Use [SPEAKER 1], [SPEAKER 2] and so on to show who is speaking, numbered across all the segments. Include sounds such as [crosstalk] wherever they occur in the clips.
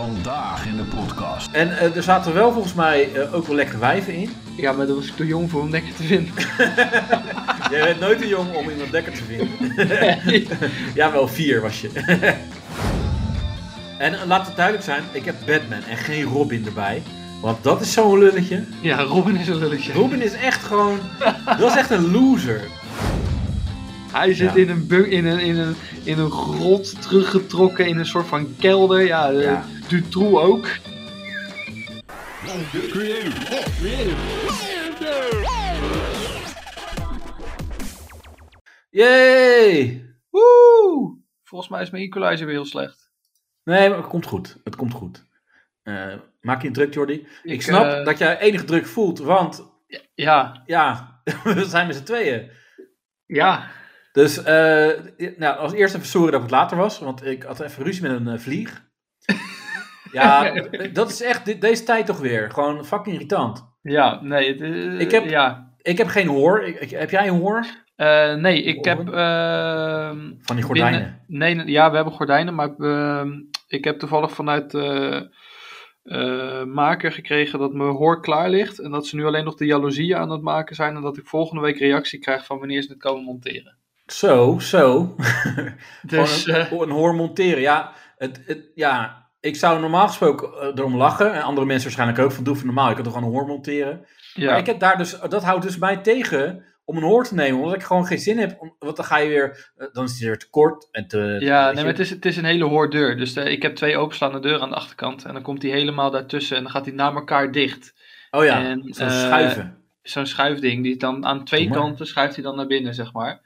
[SPEAKER 1] Vandaag in de podcast.
[SPEAKER 2] En eh, er zaten wel volgens mij eh, ook wel lekkere wijven in.
[SPEAKER 3] Ja, maar daar was ik te jong voor om lekker te vinden.
[SPEAKER 2] Jij bent nooit te jong om iemand lekker te vinden. [laughs] ja, wel vier was je. en eh, laat het duidelijk zijn, ik heb Batman en geen Robin erbij. Want dat is zo'n lulletje.
[SPEAKER 3] [laughs] ja, Robin is een lulletje.
[SPEAKER 2] Robin is echt gewoon... Dat is echt een loser.
[SPEAKER 3] Hij zit
[SPEAKER 2] Ja.
[SPEAKER 3] in, een bu- in, een, in, een, in een grot, teruggetrokken in een soort van kelder. Ja, eh,
[SPEAKER 2] Ja.
[SPEAKER 3] Dutroux ook.
[SPEAKER 2] Yay!
[SPEAKER 3] Woe! Volgens mij is mijn equalizer weer heel slecht.
[SPEAKER 2] Nee, maar het komt goed. Het komt goed. Eh, maak je niet druk, Jordi. Ik,
[SPEAKER 3] Ik,
[SPEAKER 2] snap
[SPEAKER 3] eh,
[SPEAKER 2] dat jij enige druk voelt, want
[SPEAKER 3] Ja,
[SPEAKER 2] ja, [laughs] we zijn met z'n tweeën.
[SPEAKER 3] ja.
[SPEAKER 2] Dus eh, nou, als eerste even sorry dat ik het later was, want ik had even ruzie met een eh,
[SPEAKER 3] [laughs]
[SPEAKER 2] vlieg. Ja, dat is echt de- deze tijd toch weer. Gewoon fucking irritant.
[SPEAKER 3] Ja, nee. Het, eh,
[SPEAKER 2] Ik heb-
[SPEAKER 3] ja.
[SPEAKER 2] Ik heb geen hoor. Ik- ik- heb jij een hoor?
[SPEAKER 3] Eh, nee, ik
[SPEAKER 2] Horen?
[SPEAKER 3] heb... ehm,
[SPEAKER 2] Van die gordijnen.
[SPEAKER 3] Binnen- nee, nee, ja, we hebben gordijnen, maar ehm, ik heb toevallig vanuit eh eh, maker gekregen dat mijn hoor klaar ligt. En dat ze nu alleen nog de jaloezieën aan het maken zijn. En dat ik volgende week reactie krijg van wanneer ze het komen monteren.
[SPEAKER 2] Zo, zo. [laughs]
[SPEAKER 3] Dus
[SPEAKER 2] Gewoon
[SPEAKER 3] eh,
[SPEAKER 2] een, een hoor monteren. Ja, het, het, ja, ik zou normaal gesproken eh, erom lachen. En andere mensen waarschijnlijk ook. Van doe even normaal. Je kan toch gewoon een hoor monteren.
[SPEAKER 3] [laughs] ja,
[SPEAKER 2] Maar ik heb daar dus, dat houdt dus mij tegen om een hoor te nemen. Omdat ik gewoon geen zin heb. om- want dan ga je weer, eh, dan is het weer te kort. En te, weet
[SPEAKER 3] ja nee,
[SPEAKER 2] je.
[SPEAKER 3] maar het, is, het is een hele hoordeur. Dus eh, ik heb twee openstaande deuren aan de achterkant. En dan komt die helemaal daartussen en dan gaat die na elkaar dicht.
[SPEAKER 2] Oh ja,
[SPEAKER 3] en,
[SPEAKER 2] zo'n
[SPEAKER 3] eh,
[SPEAKER 2] schuiven.
[SPEAKER 3] Zo'n schuifding, die dan aan twee
[SPEAKER 2] Doe maar.
[SPEAKER 3] kanten schuift hij dan naar binnen, zeg maar.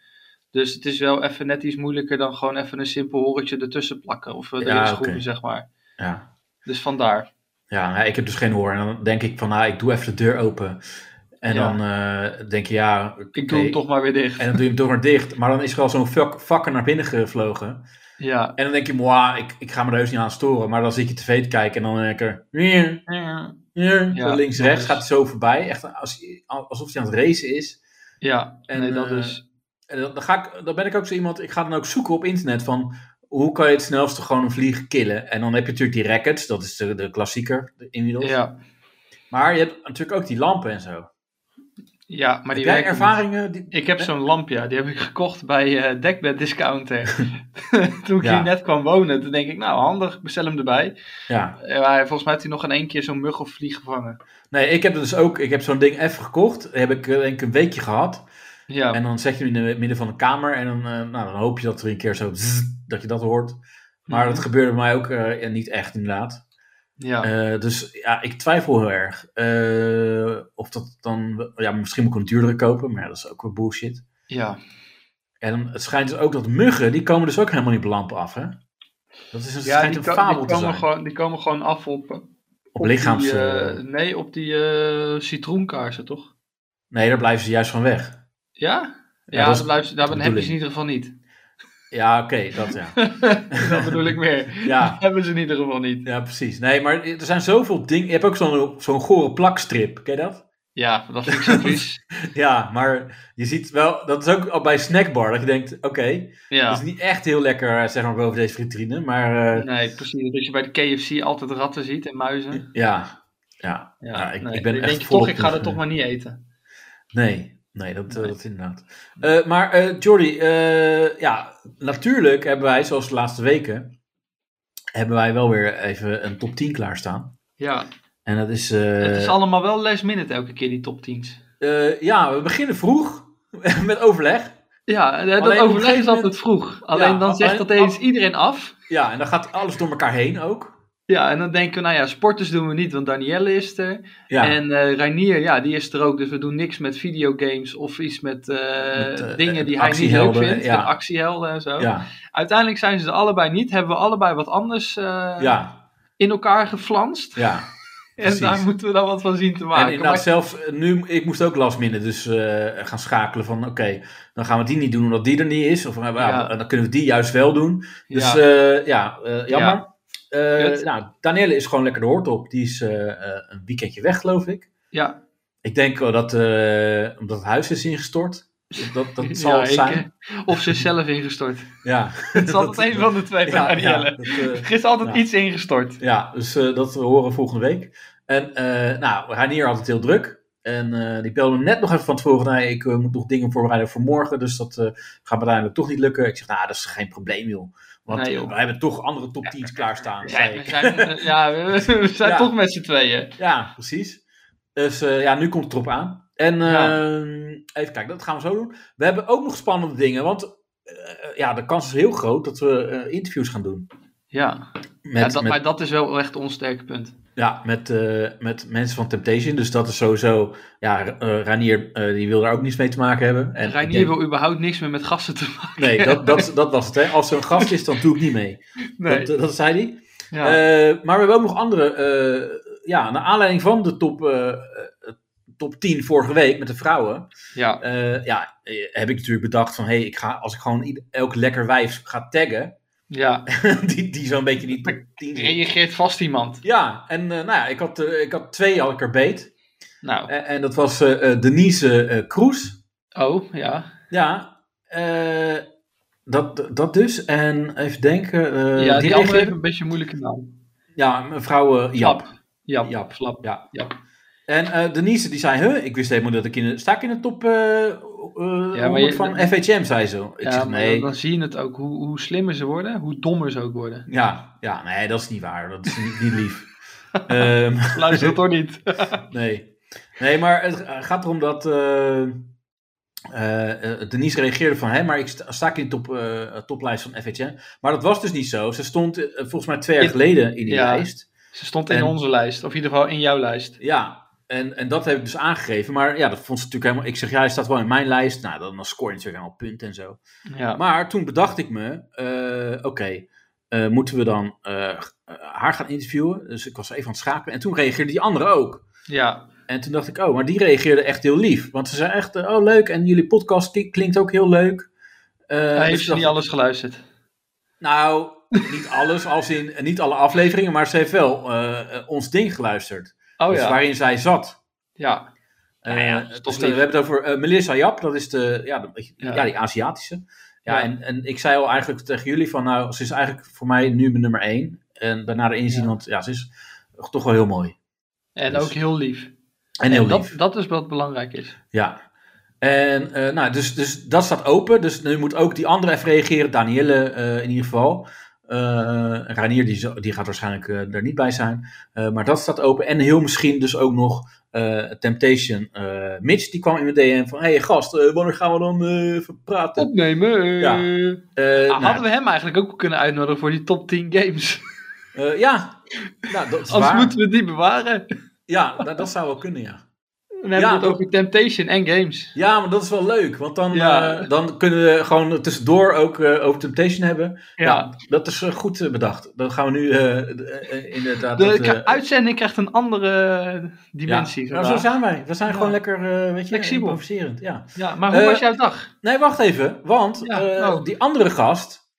[SPEAKER 3] Dus het is wel even net iets moeilijker dan gewoon even een simpel horretje ertussen plakken. Of eh,
[SPEAKER 2] Ja,
[SPEAKER 3] erin
[SPEAKER 2] oké.
[SPEAKER 3] schroeven, zeg maar.
[SPEAKER 2] Ja.
[SPEAKER 3] Dus vandaar.
[SPEAKER 2] Ja, nou, ik heb dus geen hoor. En dan denk ik van, nou, ik doe even de deur open. En
[SPEAKER 3] Ja.
[SPEAKER 2] dan eh, denk je, ja...
[SPEAKER 3] Ik doe hem
[SPEAKER 2] oké.
[SPEAKER 3] toch maar weer dicht.
[SPEAKER 2] En dan doe je hem toch maar dicht. Maar dan is er al zo'n vak- vakker naar binnen gevlogen.
[SPEAKER 3] Ja.
[SPEAKER 2] En dan denk je, moi, ik, ik ga me er heus niet aan storen. Maar dan zit je tv te kijken en dan denk ik, er,
[SPEAKER 3] Ja, dat
[SPEAKER 2] links-rechts
[SPEAKER 3] is-
[SPEAKER 2] gaat het zo voorbij. Echt als, alsof hij aan het racen is.
[SPEAKER 3] Ja,
[SPEAKER 2] En,
[SPEAKER 3] nee, dat
[SPEAKER 2] eh,
[SPEAKER 3] is.
[SPEAKER 2] En dan, dan, ga ik, dan ben ik ook zo iemand, ik ga dan ook zoeken op internet van hoe kan je het snelste gewoon een vlieg killen. En dan heb je natuurlijk die rackets, dat is de, de klassieker inmiddels.
[SPEAKER 3] Ja,
[SPEAKER 2] Maar je hebt natuurlijk ook die lampen en zo.
[SPEAKER 3] ja, maar die
[SPEAKER 2] heb jij
[SPEAKER 3] werken niet.
[SPEAKER 2] ervaringen? Die,
[SPEAKER 3] Ik heb zo'n lamp, ja, die heb ik gekocht bij eh Dekbed Discounter. [laughs] toen ik
[SPEAKER 2] Ja.
[SPEAKER 3] hier net kwam wonen, toen denk ik, nou handig, ik bestel hem erbij.
[SPEAKER 2] ja.
[SPEAKER 3] Eh, Maar volgens mij heeft hij nog in één keer zo'n mug of vlieg gevangen.
[SPEAKER 2] Nee, ik heb dus ook, ik heb zo'n ding even gekocht. Heb ik eh, denk ik een weekje gehad.
[SPEAKER 3] Ja,
[SPEAKER 2] En dan zet je hem in het midden van de kamer en dan, eh, nou, dan hoop je dat er een keer zo zzz, dat je dat hoort. Maar
[SPEAKER 3] Mhm.
[SPEAKER 2] dat gebeurde bij mij ook eh, niet echt inderdaad.
[SPEAKER 3] ja.
[SPEAKER 2] Eh, dus ja, ik twijfel heel erg. Eh, of dat dan, ja, misschien moet ik een duurdere kopen, maar ja, dat is ook weer bullshit.
[SPEAKER 3] ja.
[SPEAKER 2] En het schijnt dus ook dat muggen, die komen dus ook helemaal niet op lampen af, hè? Dat is een,
[SPEAKER 3] ja
[SPEAKER 2] Dus schijnt
[SPEAKER 3] die,
[SPEAKER 2] een
[SPEAKER 3] ko-
[SPEAKER 2] fabel
[SPEAKER 3] die
[SPEAKER 2] te
[SPEAKER 3] komen
[SPEAKER 2] zijn.
[SPEAKER 3] gewoon, die komen gewoon af op. Op,
[SPEAKER 2] op lichaams...
[SPEAKER 3] Die,
[SPEAKER 2] eh,
[SPEAKER 3] eh, nee, op die eh, citroenkaarsen, toch?
[SPEAKER 2] nee, daar blijven ze juist van weg.
[SPEAKER 3] Ja?
[SPEAKER 2] Ja,
[SPEAKER 3] Ja,
[SPEAKER 2] dat is
[SPEAKER 3] dat blijft, daar
[SPEAKER 2] de
[SPEAKER 3] heb je ze in
[SPEAKER 2] bedoeling.
[SPEAKER 3] ieder geval
[SPEAKER 2] [laughs]
[SPEAKER 3] niet.
[SPEAKER 2] Ja, oké, dat ja.
[SPEAKER 3] [laughs] dat bedoel ik meer.
[SPEAKER 2] ja.
[SPEAKER 3] Hebben ze in ieder geval niet.
[SPEAKER 2] Ja, precies. Nee, maar er zijn zoveel dingen. Je hebt ook zo'n zo'n gore plakstrip, ken je dat?
[SPEAKER 3] Ja, dat vind ik
[SPEAKER 2] [laughs]
[SPEAKER 3] zo vies.
[SPEAKER 2] Ja, maar je ziet wel, dat is ook al bij snackbar, dat je denkt, oké, dat
[SPEAKER 3] Ja.
[SPEAKER 2] is niet echt heel lekker, eh, zeg maar, boven deze vitrine, maar eh,
[SPEAKER 3] Nee, precies. Dat je bij de KFC altijd ratten ziet en muizen.
[SPEAKER 2] ja, ja, Ja, ik-
[SPEAKER 3] nee.
[SPEAKER 2] ik ben
[SPEAKER 3] Dan
[SPEAKER 2] echt
[SPEAKER 3] denk je
[SPEAKER 2] volop
[SPEAKER 3] toch, ik ga dat
[SPEAKER 2] tegen-
[SPEAKER 3] toch maar niet eten.
[SPEAKER 2] nee, nee, dat, eh,
[SPEAKER 3] Nee.
[SPEAKER 2] dat inderdaad. Eh, maar eh Jordi, eh, ja, natuurlijk hebben wij, zoals de laatste weken, hebben wij wel weer even een top 10 klaarstaan.
[SPEAKER 3] Ja,
[SPEAKER 2] En dat is, eh,
[SPEAKER 3] het is allemaal wel last minute elke keer, die top 10's.
[SPEAKER 2] eh, ja, we beginnen vroeg [laughs] met overleg.
[SPEAKER 3] Ja, eh, dat
[SPEAKER 2] Alleen op een
[SPEAKER 3] overleg
[SPEAKER 2] gegeven
[SPEAKER 3] is
[SPEAKER 2] moment-
[SPEAKER 3] altijd vroeg. Alleen dan zegt
[SPEAKER 2] alleen-
[SPEAKER 3] dat eens iedereen af.
[SPEAKER 2] Ja, en dan gaat alles door elkaar heen ook.
[SPEAKER 3] Ja, en dan denken we, nou ja, sporters doen we niet, want Danielle is er.
[SPEAKER 2] Ja,
[SPEAKER 3] En eh Reinier, ja, die is er ook. Dus we doen niks met videogames of iets met, eh,
[SPEAKER 2] Met, eh,
[SPEAKER 3] dingen die hij niet leuk
[SPEAKER 2] actiehelden,
[SPEAKER 3] vindt.
[SPEAKER 2] ja.
[SPEAKER 3] Met actiehelden en zo.
[SPEAKER 2] ja,
[SPEAKER 3] Uiteindelijk zijn ze er allebei niet. Hebben we allebei wat anders eh,
[SPEAKER 2] ja,
[SPEAKER 3] in elkaar geflanst.
[SPEAKER 2] ja.
[SPEAKER 3] En
[SPEAKER 2] Precies.
[SPEAKER 3] daar moeten we dan wat van zien te
[SPEAKER 2] En
[SPEAKER 3] maken.
[SPEAKER 2] inderdaad,
[SPEAKER 3] Maar-
[SPEAKER 2] zelfs eh, nu, ik moest ook last minder dus eh, gaan schakelen van, oké, dan gaan we die niet doen omdat die er niet is. Of eh, nou,
[SPEAKER 3] Ja.
[SPEAKER 2] dan kunnen we die juist wel doen. Dus
[SPEAKER 3] ja,
[SPEAKER 2] eh, ja, eh, jammer. Eh,
[SPEAKER 3] Kut.
[SPEAKER 2] nou, Danielle is gewoon lekker de hoort op. Die is eh, eh, een weekendje weg, geloof ik.
[SPEAKER 3] ja,
[SPEAKER 2] Ik denk wel dat, eh, omdat het huis is ingestort. Dat,
[SPEAKER 3] [laughs]
[SPEAKER 2] dat zal het
[SPEAKER 3] ik,
[SPEAKER 2] zijn.
[SPEAKER 3] eh, Of ze is zelf
[SPEAKER 2] [laughs]
[SPEAKER 3] ingestort. [laughs]
[SPEAKER 2] Ja.
[SPEAKER 3] Het is altijd één van de twee
[SPEAKER 2] [laughs]
[SPEAKER 3] van
[SPEAKER 2] ja, ja,
[SPEAKER 3] Marielle.
[SPEAKER 2] dat, eh,
[SPEAKER 3] Er is altijd
[SPEAKER 2] Ja.
[SPEAKER 3] iets ingestort.
[SPEAKER 2] ja, dus eh, dat we horen volgende week. En eh nou, Ranier had het heel druk. En eh, die belde me net nog even van tevoren. Nee, ik eh, moet nog dingen voorbereiden voor morgen. Dus dat eh, gaat me uiteindelijk toch niet lukken. Ik zeg, nou, dat is geen probleem, joh. Want
[SPEAKER 3] Nee,
[SPEAKER 2] eh,
[SPEAKER 3] joh.
[SPEAKER 2] we hebben toch andere top 10's klaarstaan. zei
[SPEAKER 3] Ja, we
[SPEAKER 2] ik.
[SPEAKER 3] zijn, eh, ja, we we zijn
[SPEAKER 2] Ja.
[SPEAKER 3] toch met z'n tweeën.
[SPEAKER 2] Ja, precies. Dus eh, ja, nu komt het erop aan. En
[SPEAKER 3] Ja.
[SPEAKER 2] ehm, even kijken, dat gaan we zo doen. We hebben ook nog spannende dingen, want eh, ja, de kans is heel groot dat we eh, interviews gaan doen.
[SPEAKER 3] Ja,
[SPEAKER 2] Met,
[SPEAKER 3] Ja, dat,
[SPEAKER 2] met,
[SPEAKER 3] maar dat is wel echt ons sterke punt.
[SPEAKER 2] ja, met, eh, met mensen van Temptation. Dus dat is sowieso. Ja, eh, Ranier eh, die wil daar ook niets mee te maken hebben. En
[SPEAKER 3] En
[SPEAKER 2] ik
[SPEAKER 3] Reinier
[SPEAKER 2] denk-
[SPEAKER 3] wil überhaupt niks meer met gasten te maken.
[SPEAKER 2] Nee, dat, dat, dat was het. Hè. Als er een gast is, dan doe ik niet mee.
[SPEAKER 3] [laughs] Nee.
[SPEAKER 2] Dat, eh, dat zei hij.
[SPEAKER 3] ja.
[SPEAKER 2] Eh, maar we hebben ook nog andere. eh, ja, naar aanleiding van de top, eh, eh, top 10 vorige week met de vrouwen.
[SPEAKER 3] ja.
[SPEAKER 2] eh, ja, eh, heb ik natuurlijk bedacht van... Hey, ik ga, als ik gewoon ieder- elk lekker wijf ga taggen... [laughs]
[SPEAKER 3] ja.
[SPEAKER 2] eh, die, die zo'n beetje die top 10 zit.
[SPEAKER 3] Reageert vast iemand.
[SPEAKER 2] Ja, en eh, nou ja, ik had, eh, ik had twee had ik er beet.
[SPEAKER 3] Nou,
[SPEAKER 2] En, en dat was eh, eh, Denise eh Kroes.
[SPEAKER 3] oh, ja.
[SPEAKER 2] Ja, eh, dat, dat dus. En even denken... eh,
[SPEAKER 3] ja, die, andere
[SPEAKER 2] reageerde-
[SPEAKER 3] heeft een beetje een moeilijke naam.
[SPEAKER 2] Ja, mevrouw eh, Jap.
[SPEAKER 3] Flap. Ja,
[SPEAKER 2] Jap.
[SPEAKER 3] Flap.
[SPEAKER 2] Ja.
[SPEAKER 3] Jap.
[SPEAKER 2] En eh, Denise die zei, huh, ik wist helemaal niet dat ik in de... Sta ik in de top eh eh, 100 van FHM, zei ze. Ik
[SPEAKER 3] Ja,
[SPEAKER 2] zeg,
[SPEAKER 3] maar
[SPEAKER 2] nee.
[SPEAKER 3] dan zie je het ook. Hoe, hoe slimmer ze worden, hoe dommer ze ook worden.
[SPEAKER 2] Ja, ja, nee, dat is niet waar. Dat is niet, niet
[SPEAKER 3] [laughs]
[SPEAKER 2] lief. Ehm,
[SPEAKER 3] Luister dat toch
[SPEAKER 2] [laughs]
[SPEAKER 3] niet.
[SPEAKER 2] nee. nee, maar het gaat erom dat eh, eh, eh, Denise reageerde van... Hé, maar ik sta, sta ik in de top, eh, toplijst van FHM. Maar dat was dus niet zo. Ze stond eh, volgens mij twee jaar
[SPEAKER 3] In-
[SPEAKER 2] geleden in die
[SPEAKER 3] Ja.
[SPEAKER 2] lijst.
[SPEAKER 3] Ze stond in
[SPEAKER 2] En-
[SPEAKER 3] onze lijst. Of in ieder geval in jouw lijst.
[SPEAKER 2] Ja, en, en dat heb ik dus aangegeven. Maar ja, dat vond ze natuurlijk helemaal... Ik zeg, ja, je staat wel in mijn lijst. Nou, dan, dan scoor je natuurlijk helemaal punten en zo.
[SPEAKER 3] Ja.
[SPEAKER 2] Maar toen bedacht ik me, eh, oké, eh, moeten we dan eh, g- eh, haar gaan interviewen? Dus ik was even aan het schakelen. En toen reageerde die andere ook.
[SPEAKER 3] ja.
[SPEAKER 2] En toen dacht ik, oh, maar die reageerde echt heel lief. Want ze zei echt, eh, oh leuk, en jullie podcast die klinkt ook heel leuk. Eh,
[SPEAKER 3] Hij
[SPEAKER 2] dus
[SPEAKER 3] heeft
[SPEAKER 2] ik
[SPEAKER 3] ze
[SPEAKER 2] dacht,
[SPEAKER 3] niet alles geluisterd.
[SPEAKER 2] Nou, niet alles, als in eh, niet alle afleveringen, maar ze heeft wel eh, eh, ons ding geluisterd.
[SPEAKER 3] Oh
[SPEAKER 2] dus
[SPEAKER 3] ja.
[SPEAKER 2] waarin zij zat.
[SPEAKER 3] Ja. Nou
[SPEAKER 2] Eh,
[SPEAKER 3] ja, dat
[SPEAKER 2] dus
[SPEAKER 3] is toch
[SPEAKER 2] de-
[SPEAKER 3] lief.
[SPEAKER 2] we hebben het over eh, Melissa Jap, dat is de, ja, de- ja.
[SPEAKER 3] Ja.
[SPEAKER 2] die Aziatische. Ja,
[SPEAKER 3] Ja.
[SPEAKER 2] En, en ik zei al eigenlijk tegen jullie van, nou, ze is eigenlijk voor mij nu mijn nummer één. En daarna de inzien,
[SPEAKER 3] Ja.
[SPEAKER 2] want ja, ze is toch wel heel mooi.
[SPEAKER 3] En
[SPEAKER 2] Dus-
[SPEAKER 3] ook heel lief.
[SPEAKER 2] En heel
[SPEAKER 3] dat,
[SPEAKER 2] lief.
[SPEAKER 3] dat is wat belangrijk is.
[SPEAKER 2] Ja. En eh, nou, dus, dus dat staat open. Dus nu moet ook die andere even reageren. Danielle eh, in ieder geval. Eh Ranier die, zo- die gaat waarschijnlijk eh, er niet bij zijn. Eh, maar dat staat open. En heel misschien dus ook nog eh, Temptation eh, Mitch. Die kwam in mijn DM van... Hé hey, gast, eh, wanneer gaan we dan eh, even praten?
[SPEAKER 3] Opnemen. eh.
[SPEAKER 2] Ja. Eh,
[SPEAKER 3] Ah,
[SPEAKER 2] nou,
[SPEAKER 3] Hadden we hem eigenlijk ook kunnen uitnodigen voor die top 10 games?
[SPEAKER 2] eh, ja, nou, dat is
[SPEAKER 3] Anders
[SPEAKER 2] waar.
[SPEAKER 3] moeten we die bewaren.
[SPEAKER 2] Ja, dat, dat zou wel kunnen, ja.
[SPEAKER 3] Dan hebben we het
[SPEAKER 2] dat-
[SPEAKER 3] over Temptation en games.
[SPEAKER 2] Ja, maar dat is wel leuk. Want dan,
[SPEAKER 3] Ja.
[SPEAKER 2] eh, dan kunnen we gewoon tussendoor ook eh, over Temptation hebben. Ja,
[SPEAKER 3] Ja.
[SPEAKER 2] dat is eh, goed eh, bedacht. Dan gaan we nu eh, d- eh, inderdaad.
[SPEAKER 3] De
[SPEAKER 2] dat,
[SPEAKER 3] ka-
[SPEAKER 2] eh,
[SPEAKER 3] uitzending krijgt een andere
[SPEAKER 2] ja.
[SPEAKER 3] dimensie.
[SPEAKER 2] Nou, zo
[SPEAKER 3] vandaag.
[SPEAKER 2] zijn wij. We zijn
[SPEAKER 3] eh, Ja.
[SPEAKER 2] gewoon lekker eh, weet je,
[SPEAKER 3] Flexibel.
[SPEAKER 2] improviserend. Ja.
[SPEAKER 3] ja, maar hoe
[SPEAKER 2] Eh,
[SPEAKER 3] was jouw dag?
[SPEAKER 2] Nee, wacht even. Want
[SPEAKER 3] Ja,
[SPEAKER 2] eh,
[SPEAKER 3] oh.
[SPEAKER 2] die andere gast,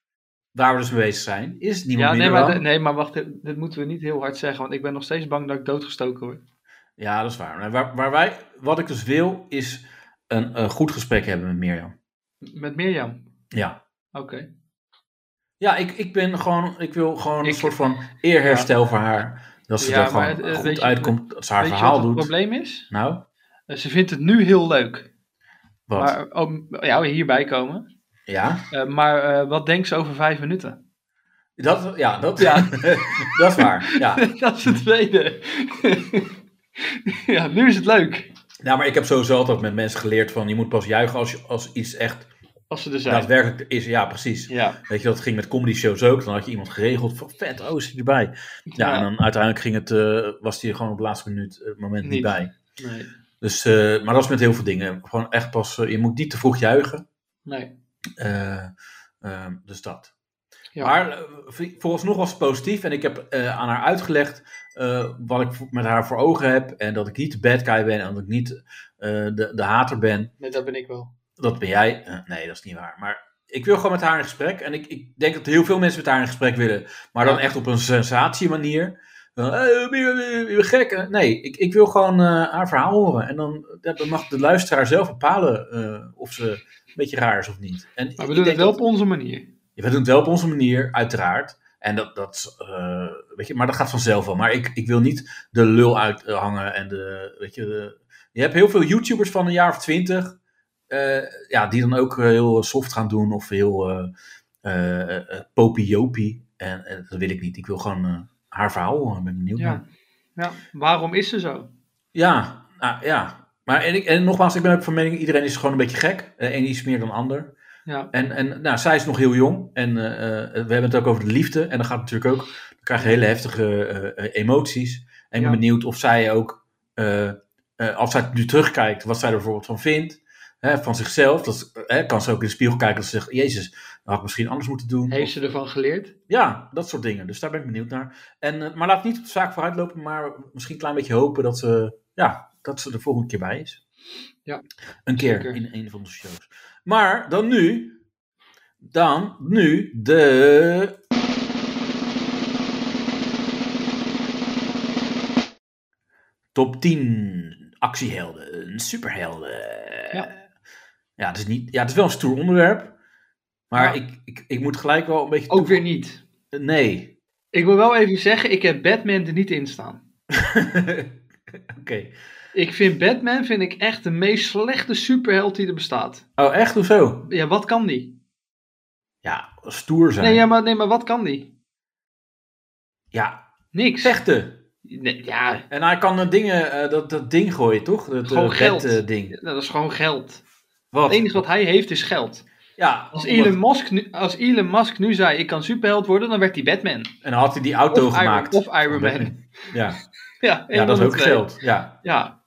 [SPEAKER 2] waar we dus mee bezig zijn, is niemand
[SPEAKER 3] Ja, nee
[SPEAKER 2] minder
[SPEAKER 3] maar,
[SPEAKER 2] dan-
[SPEAKER 3] de- nee, maar wacht, dit, dit moeten we niet heel hard zeggen, want ik ben nog steeds bang dat ik doodgestoken word.
[SPEAKER 2] Ja, dat is waar. Maar waar, waar wij, wat ik dus wil, is een, eh, goed gesprek hebben met Mirjam.
[SPEAKER 3] Met Mirjam.
[SPEAKER 2] Ja.
[SPEAKER 3] Oké.
[SPEAKER 2] Ja, ik, ik ben gewoon, ik wil gewoon een
[SPEAKER 3] Ik-
[SPEAKER 2] soort van eerherstel voor haar. Dat ze
[SPEAKER 3] Ja,
[SPEAKER 2] er gewoon
[SPEAKER 3] maar het- eh, weet
[SPEAKER 2] goed
[SPEAKER 3] je-
[SPEAKER 2] uitkomt, dat ze haar
[SPEAKER 3] Weet je
[SPEAKER 2] verhaal
[SPEAKER 3] wat het
[SPEAKER 2] doet.
[SPEAKER 3] probleem is?
[SPEAKER 2] Nou,
[SPEAKER 3] Eh, Ze vindt het nu heel leuk.
[SPEAKER 2] wat?
[SPEAKER 3] Maar ook, ja, hierbij komen.
[SPEAKER 2] ja?
[SPEAKER 3] Eh, maar eh, wat denkt ze over vijf minuten? [laughs]
[SPEAKER 2] Dat, ja, [laughs] dat,
[SPEAKER 3] Ja.
[SPEAKER 2] dat is waar. Ja.
[SPEAKER 3] dat is het tweede. [laughs] ja, nu is het leuk.
[SPEAKER 2] Nou, maar ik heb sowieso altijd met mensen geleerd van je moet pas juichen als, je- als iets echt
[SPEAKER 3] Als ze er zijn.
[SPEAKER 2] daadwerkelijk is. Ja, precies.
[SPEAKER 3] Ja.
[SPEAKER 2] Weet je, dat ging met comedy shows ook. Dan had je iemand geregeld van vet, oh, zit erbij. Ja,
[SPEAKER 3] Ja.
[SPEAKER 2] en dan uiteindelijk ging het, eh, was die er gewoon op het laatste minuut, eh, moment niet,
[SPEAKER 3] Niet.
[SPEAKER 2] bij.
[SPEAKER 3] Nee.
[SPEAKER 2] Dus, eh, maar dat is met heel veel dingen. Gewoon echt pas, eh, je moet niet te vroeg juichen.
[SPEAKER 3] nee.
[SPEAKER 2] Eh, ehm, dus dat.
[SPEAKER 3] Ja.
[SPEAKER 2] Maar eh, v- vooralsnog was het positief. En ik heb eh, aan haar uitgelegd eh, wat ik v- met haar voor ogen heb. En dat ik niet de bad guy ben. En dat ik niet eh, de, de hater ben.
[SPEAKER 3] nee, dat ben ik wel.
[SPEAKER 2] Dat ben jij. Eh, nee, dat is niet waar. Maar ik wil gewoon met haar in gesprek. En ik, ik denk dat heel veel mensen met haar in gesprek willen. Maar dan
[SPEAKER 3] Ja.
[SPEAKER 2] echt op een sensatiemanier. Van, eh, je bent- je bent gek. Eh, Nee, ik, ik wil gewoon eh, haar verhaal horen. En dan, ja, dan mag de luisteraar zelf bepalen eh, of ze een beetje raar is of niet. En ik-
[SPEAKER 3] Maar we
[SPEAKER 2] ik
[SPEAKER 3] doen het
[SPEAKER 2] denk
[SPEAKER 3] wel
[SPEAKER 2] dat-
[SPEAKER 3] op onze manier.
[SPEAKER 2] ja, we doen het wel op onze manier, uiteraard. En dat, dat eh, weet je, maar dat gaat vanzelf wel. Maar ik, ik wil niet de lul uithangen en de, weet je, de- je hebt heel veel YouTubers van een jaar of twintig, ja, die dan ook eh, heel soft gaan doen of heel eh eh, eh, popiopie. En, en dat wil ik niet. Ik wil gewoon eh, haar verhaal horen. Ik ben benieuwd naar.
[SPEAKER 3] Ja. ja. Waarom is ze zo?
[SPEAKER 2] Ja, ah, ja. Maar en, ik, en nogmaals, ik ben ook van mening, iedereen is gewoon een beetje gek. Eh, Eén iets meer dan ander.
[SPEAKER 3] Ja.
[SPEAKER 2] En, en nou, zij is nog heel jong. En eh, eh, we hebben het ook over de liefde. En dan gaat het natuurlijk ook, dan krijg je hele heftige eh, eh, emoties. En ik ben
[SPEAKER 3] Ja.
[SPEAKER 2] benieuwd of zij ook, eh, eh, als zij nu terugkijkt, wat zij er bijvoorbeeld van vindt. Hè, van zichzelf. Dat, is- hè, kan ze ook in de spiegel kijken en zegt, jezus, dat had ik misschien anders moeten doen.
[SPEAKER 3] Heeft ze ervan geleerd?
[SPEAKER 2] Ja, dat soort dingen. Dus daar ben ik benieuwd naar. En, eh, maar laat niet op de zaak vooruit lopen, maar misschien een klein beetje hopen dat ze, ja, dat ze de volgende keer bij is.
[SPEAKER 3] Ja,
[SPEAKER 2] Een keer
[SPEAKER 3] zeker.
[SPEAKER 2] in een van onze shows. Maar dan nu, dan nu de... Top 10 actiehelden, superhelden.
[SPEAKER 3] Ja.
[SPEAKER 2] Ja, het is, niet, ja, het is wel een stoer onderwerp. Maar
[SPEAKER 3] Ja.
[SPEAKER 2] ik, ik, ik moet gelijk wel een beetje...
[SPEAKER 3] Ook weer niet.
[SPEAKER 2] Nee. [laughs]
[SPEAKER 3] Ik wil wel even zeggen, ik heb Batman er niet in staan.
[SPEAKER 2] Oké.
[SPEAKER 3] Ik vind Batman vind ik echt de meest slechte superheld die er bestaat.
[SPEAKER 2] Oh, echt? Hoezo?
[SPEAKER 3] Ja, wat kan die?
[SPEAKER 2] Ja, stoer zijn.
[SPEAKER 3] Nee,
[SPEAKER 2] ja.
[SPEAKER 3] ja, maar, nee, maar wat kan die? Niks.
[SPEAKER 2] vechten.
[SPEAKER 3] Nee, ja,
[SPEAKER 2] En hij kan eh, dingen, eh, dat, dat ding gooien, toch? Dat, eh,
[SPEAKER 3] Gewoon
[SPEAKER 2] dat,
[SPEAKER 3] geld.
[SPEAKER 2] eh, ding.
[SPEAKER 3] nou, dat is gewoon geld.
[SPEAKER 2] Wat?
[SPEAKER 3] Het enige wat hij heeft is geld.
[SPEAKER 2] Ja.
[SPEAKER 3] Als
[SPEAKER 2] omdat-
[SPEAKER 3] Elon, Musk nu, als Elon Musk nu zei, ik kan superheld worden, dan werd hij Batman. [laughs]
[SPEAKER 2] En dan had hij die auto
[SPEAKER 3] of
[SPEAKER 2] gemaakt.
[SPEAKER 3] Iron, of Iron
[SPEAKER 2] Omdat-
[SPEAKER 3] Man.
[SPEAKER 2] [laughs] Ja,
[SPEAKER 3] Ja,
[SPEAKER 2] ja
[SPEAKER 3] één
[SPEAKER 2] dat
[SPEAKER 3] van
[SPEAKER 2] is
[SPEAKER 3] de
[SPEAKER 2] ook
[SPEAKER 3] twee.
[SPEAKER 2] geld. Ja.
[SPEAKER 3] Ja,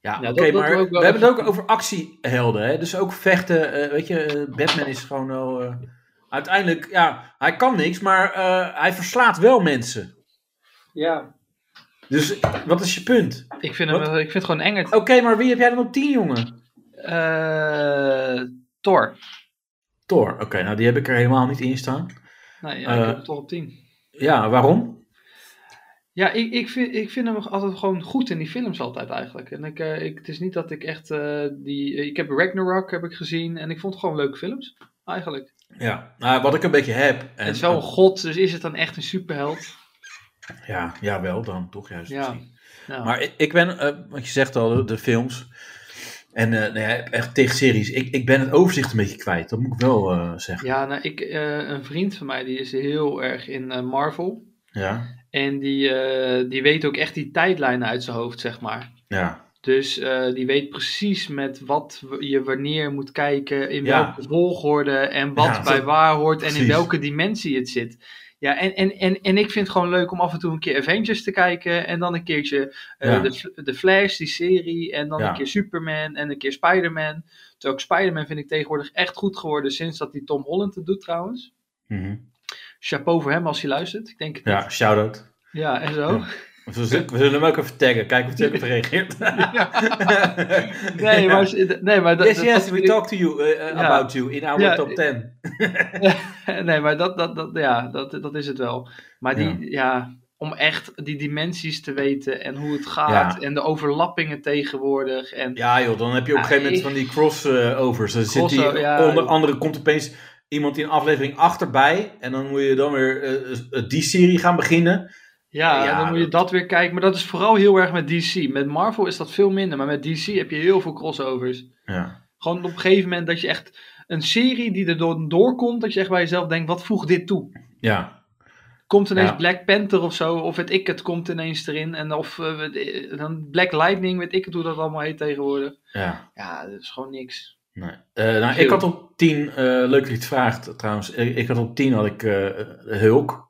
[SPEAKER 2] Ja,
[SPEAKER 3] Ja,
[SPEAKER 2] oké,
[SPEAKER 3] dat- dat
[SPEAKER 2] maar
[SPEAKER 3] wil ik
[SPEAKER 2] we
[SPEAKER 3] wel
[SPEAKER 2] hebben het
[SPEAKER 3] even-
[SPEAKER 2] ook over actiehelden. Hè? Dus ook vechten. eh, weet je, eh, Batman is gewoon wel. eh, uiteindelijk, ja, hij kan niks, maar eh, hij verslaat wel mensen.
[SPEAKER 3] ja.
[SPEAKER 2] Dus wat is je punt?
[SPEAKER 3] Ik, vind hem, eh,
[SPEAKER 2] Wat?
[SPEAKER 3] ik vind het gewoon enger.
[SPEAKER 2] Oké, maar wie heb jij dan op 10, jongen?
[SPEAKER 3] Eh Thor.
[SPEAKER 2] Thor, oké, nou die heb ik er helemaal niet in staan.
[SPEAKER 3] Nee, Nou ja, ik
[SPEAKER 2] Eh.
[SPEAKER 3] heb hem toch op 10.
[SPEAKER 2] Ja, waarom?
[SPEAKER 3] Ja, ik, ik, vind, ik vind hem altijd gewoon goed in die films altijd eigenlijk. En ik, eh, ik, het is niet dat ik echt eh, die... Ik heb Ragnarok heb ik gezien en ik vond het gewoon leuke films. Eigenlijk.
[SPEAKER 2] Ja, nou, wat ik een beetje heb. En,
[SPEAKER 3] het is wel een god, dus is het dan echt een superheld?
[SPEAKER 2] Ja, ja, wel dan, toch juist.
[SPEAKER 3] Ja.
[SPEAKER 2] misschien.
[SPEAKER 3] Nou,
[SPEAKER 2] Maar ik, ik ben, eh, want je zegt al, de, de films. En eh, nee, echt tegen series. Ik, ik ben het overzicht een beetje kwijt, dat moet ik wel eh, zeggen.
[SPEAKER 3] Ja, nou, ik, eh, een vriend van mij die is heel erg in eh, Marvel.
[SPEAKER 2] Ja,
[SPEAKER 3] En die, eh, die weet ook echt die tijdlijnen uit zijn hoofd, zeg maar.
[SPEAKER 2] ja.
[SPEAKER 3] Dus eh, die weet precies met wat w- je wanneer moet kijken, in
[SPEAKER 2] Ja.
[SPEAKER 3] welke volgorde en wat
[SPEAKER 2] Ja,
[SPEAKER 3] bij
[SPEAKER 2] zo-
[SPEAKER 3] waar hoort en in
[SPEAKER 2] precies.
[SPEAKER 3] welke dimensie het zit. Ja, en, en, en, en ik vind het gewoon leuk om af en toe een keer Avengers te kijken en dan een keertje eh,
[SPEAKER 2] Ja.
[SPEAKER 3] de, F- de Flash, die serie, en dan
[SPEAKER 2] Ja.
[SPEAKER 3] een keer Superman en een keer Spider-Man. Terwijl ik Spider-Man vind ik tegenwoordig echt goed geworden sinds dat die Tom Holland het doet trouwens.
[SPEAKER 2] Mhm.
[SPEAKER 3] Chapeau voor hem als hij luistert, ik denk het niet.
[SPEAKER 2] Ja, shout-out.
[SPEAKER 3] Ja, en zo.
[SPEAKER 2] Ja. We zullen, we zullen hem ook even taggen, kijken of hij ook even reageert. [laughs]
[SPEAKER 3] Nee, maar, nee, maar dat,
[SPEAKER 2] Yes,
[SPEAKER 3] dat-
[SPEAKER 2] yes, we
[SPEAKER 3] dat-
[SPEAKER 2] talk to you eh, eh,
[SPEAKER 3] Ja.
[SPEAKER 2] about you in our
[SPEAKER 3] Ja,
[SPEAKER 2] top 10.
[SPEAKER 3] [laughs] nee, maar dat, dat, dat, ja, dat, dat is het wel. Maar die, ja. om echt die dimensies te weten en hoe het gaat en de overlappingen tegenwoordig. En, ja.
[SPEAKER 2] Ja joh, dan heb je op een
[SPEAKER 3] Ja,
[SPEAKER 2] gegeven moment
[SPEAKER 3] Ah,
[SPEAKER 2] van
[SPEAKER 3] ik-
[SPEAKER 2] die crossovers. Dan zit die,
[SPEAKER 3] Crosso- ja,
[SPEAKER 2] onder
[SPEAKER 3] joh.
[SPEAKER 2] andere komt opeens iemand in aflevering achterbij. En dan moet je dan weer eh, eh, die serie gaan beginnen. Ja,
[SPEAKER 3] dan moet je dat weer kijken. Maar dat is vooral heel erg met DC. Met Marvel is dat veel minder, maar met DC heb je heel veel crossovers.
[SPEAKER 2] Ja,
[SPEAKER 3] Gewoon op een gegeven moment dat je echt een serie die er door- doorkomt, dat je echt bij jezelf denkt, wat voegt dit toe?
[SPEAKER 2] ja.
[SPEAKER 3] Komt ineens
[SPEAKER 2] Ja.
[SPEAKER 3] Black Panther of zo, of weet ik het, komt ineens erin. En of eh, weet ik- dan Black Lightning, weet ik het hoe dat allemaal heet tegenwoordig.
[SPEAKER 2] ja.
[SPEAKER 3] Ja, dat is gewoon niks.
[SPEAKER 2] Nee. Eh, nou, ik had op 10, eh, leuk dat je het vraagt trouwens. Ik, ik had op 10 had ik eh, Hulk.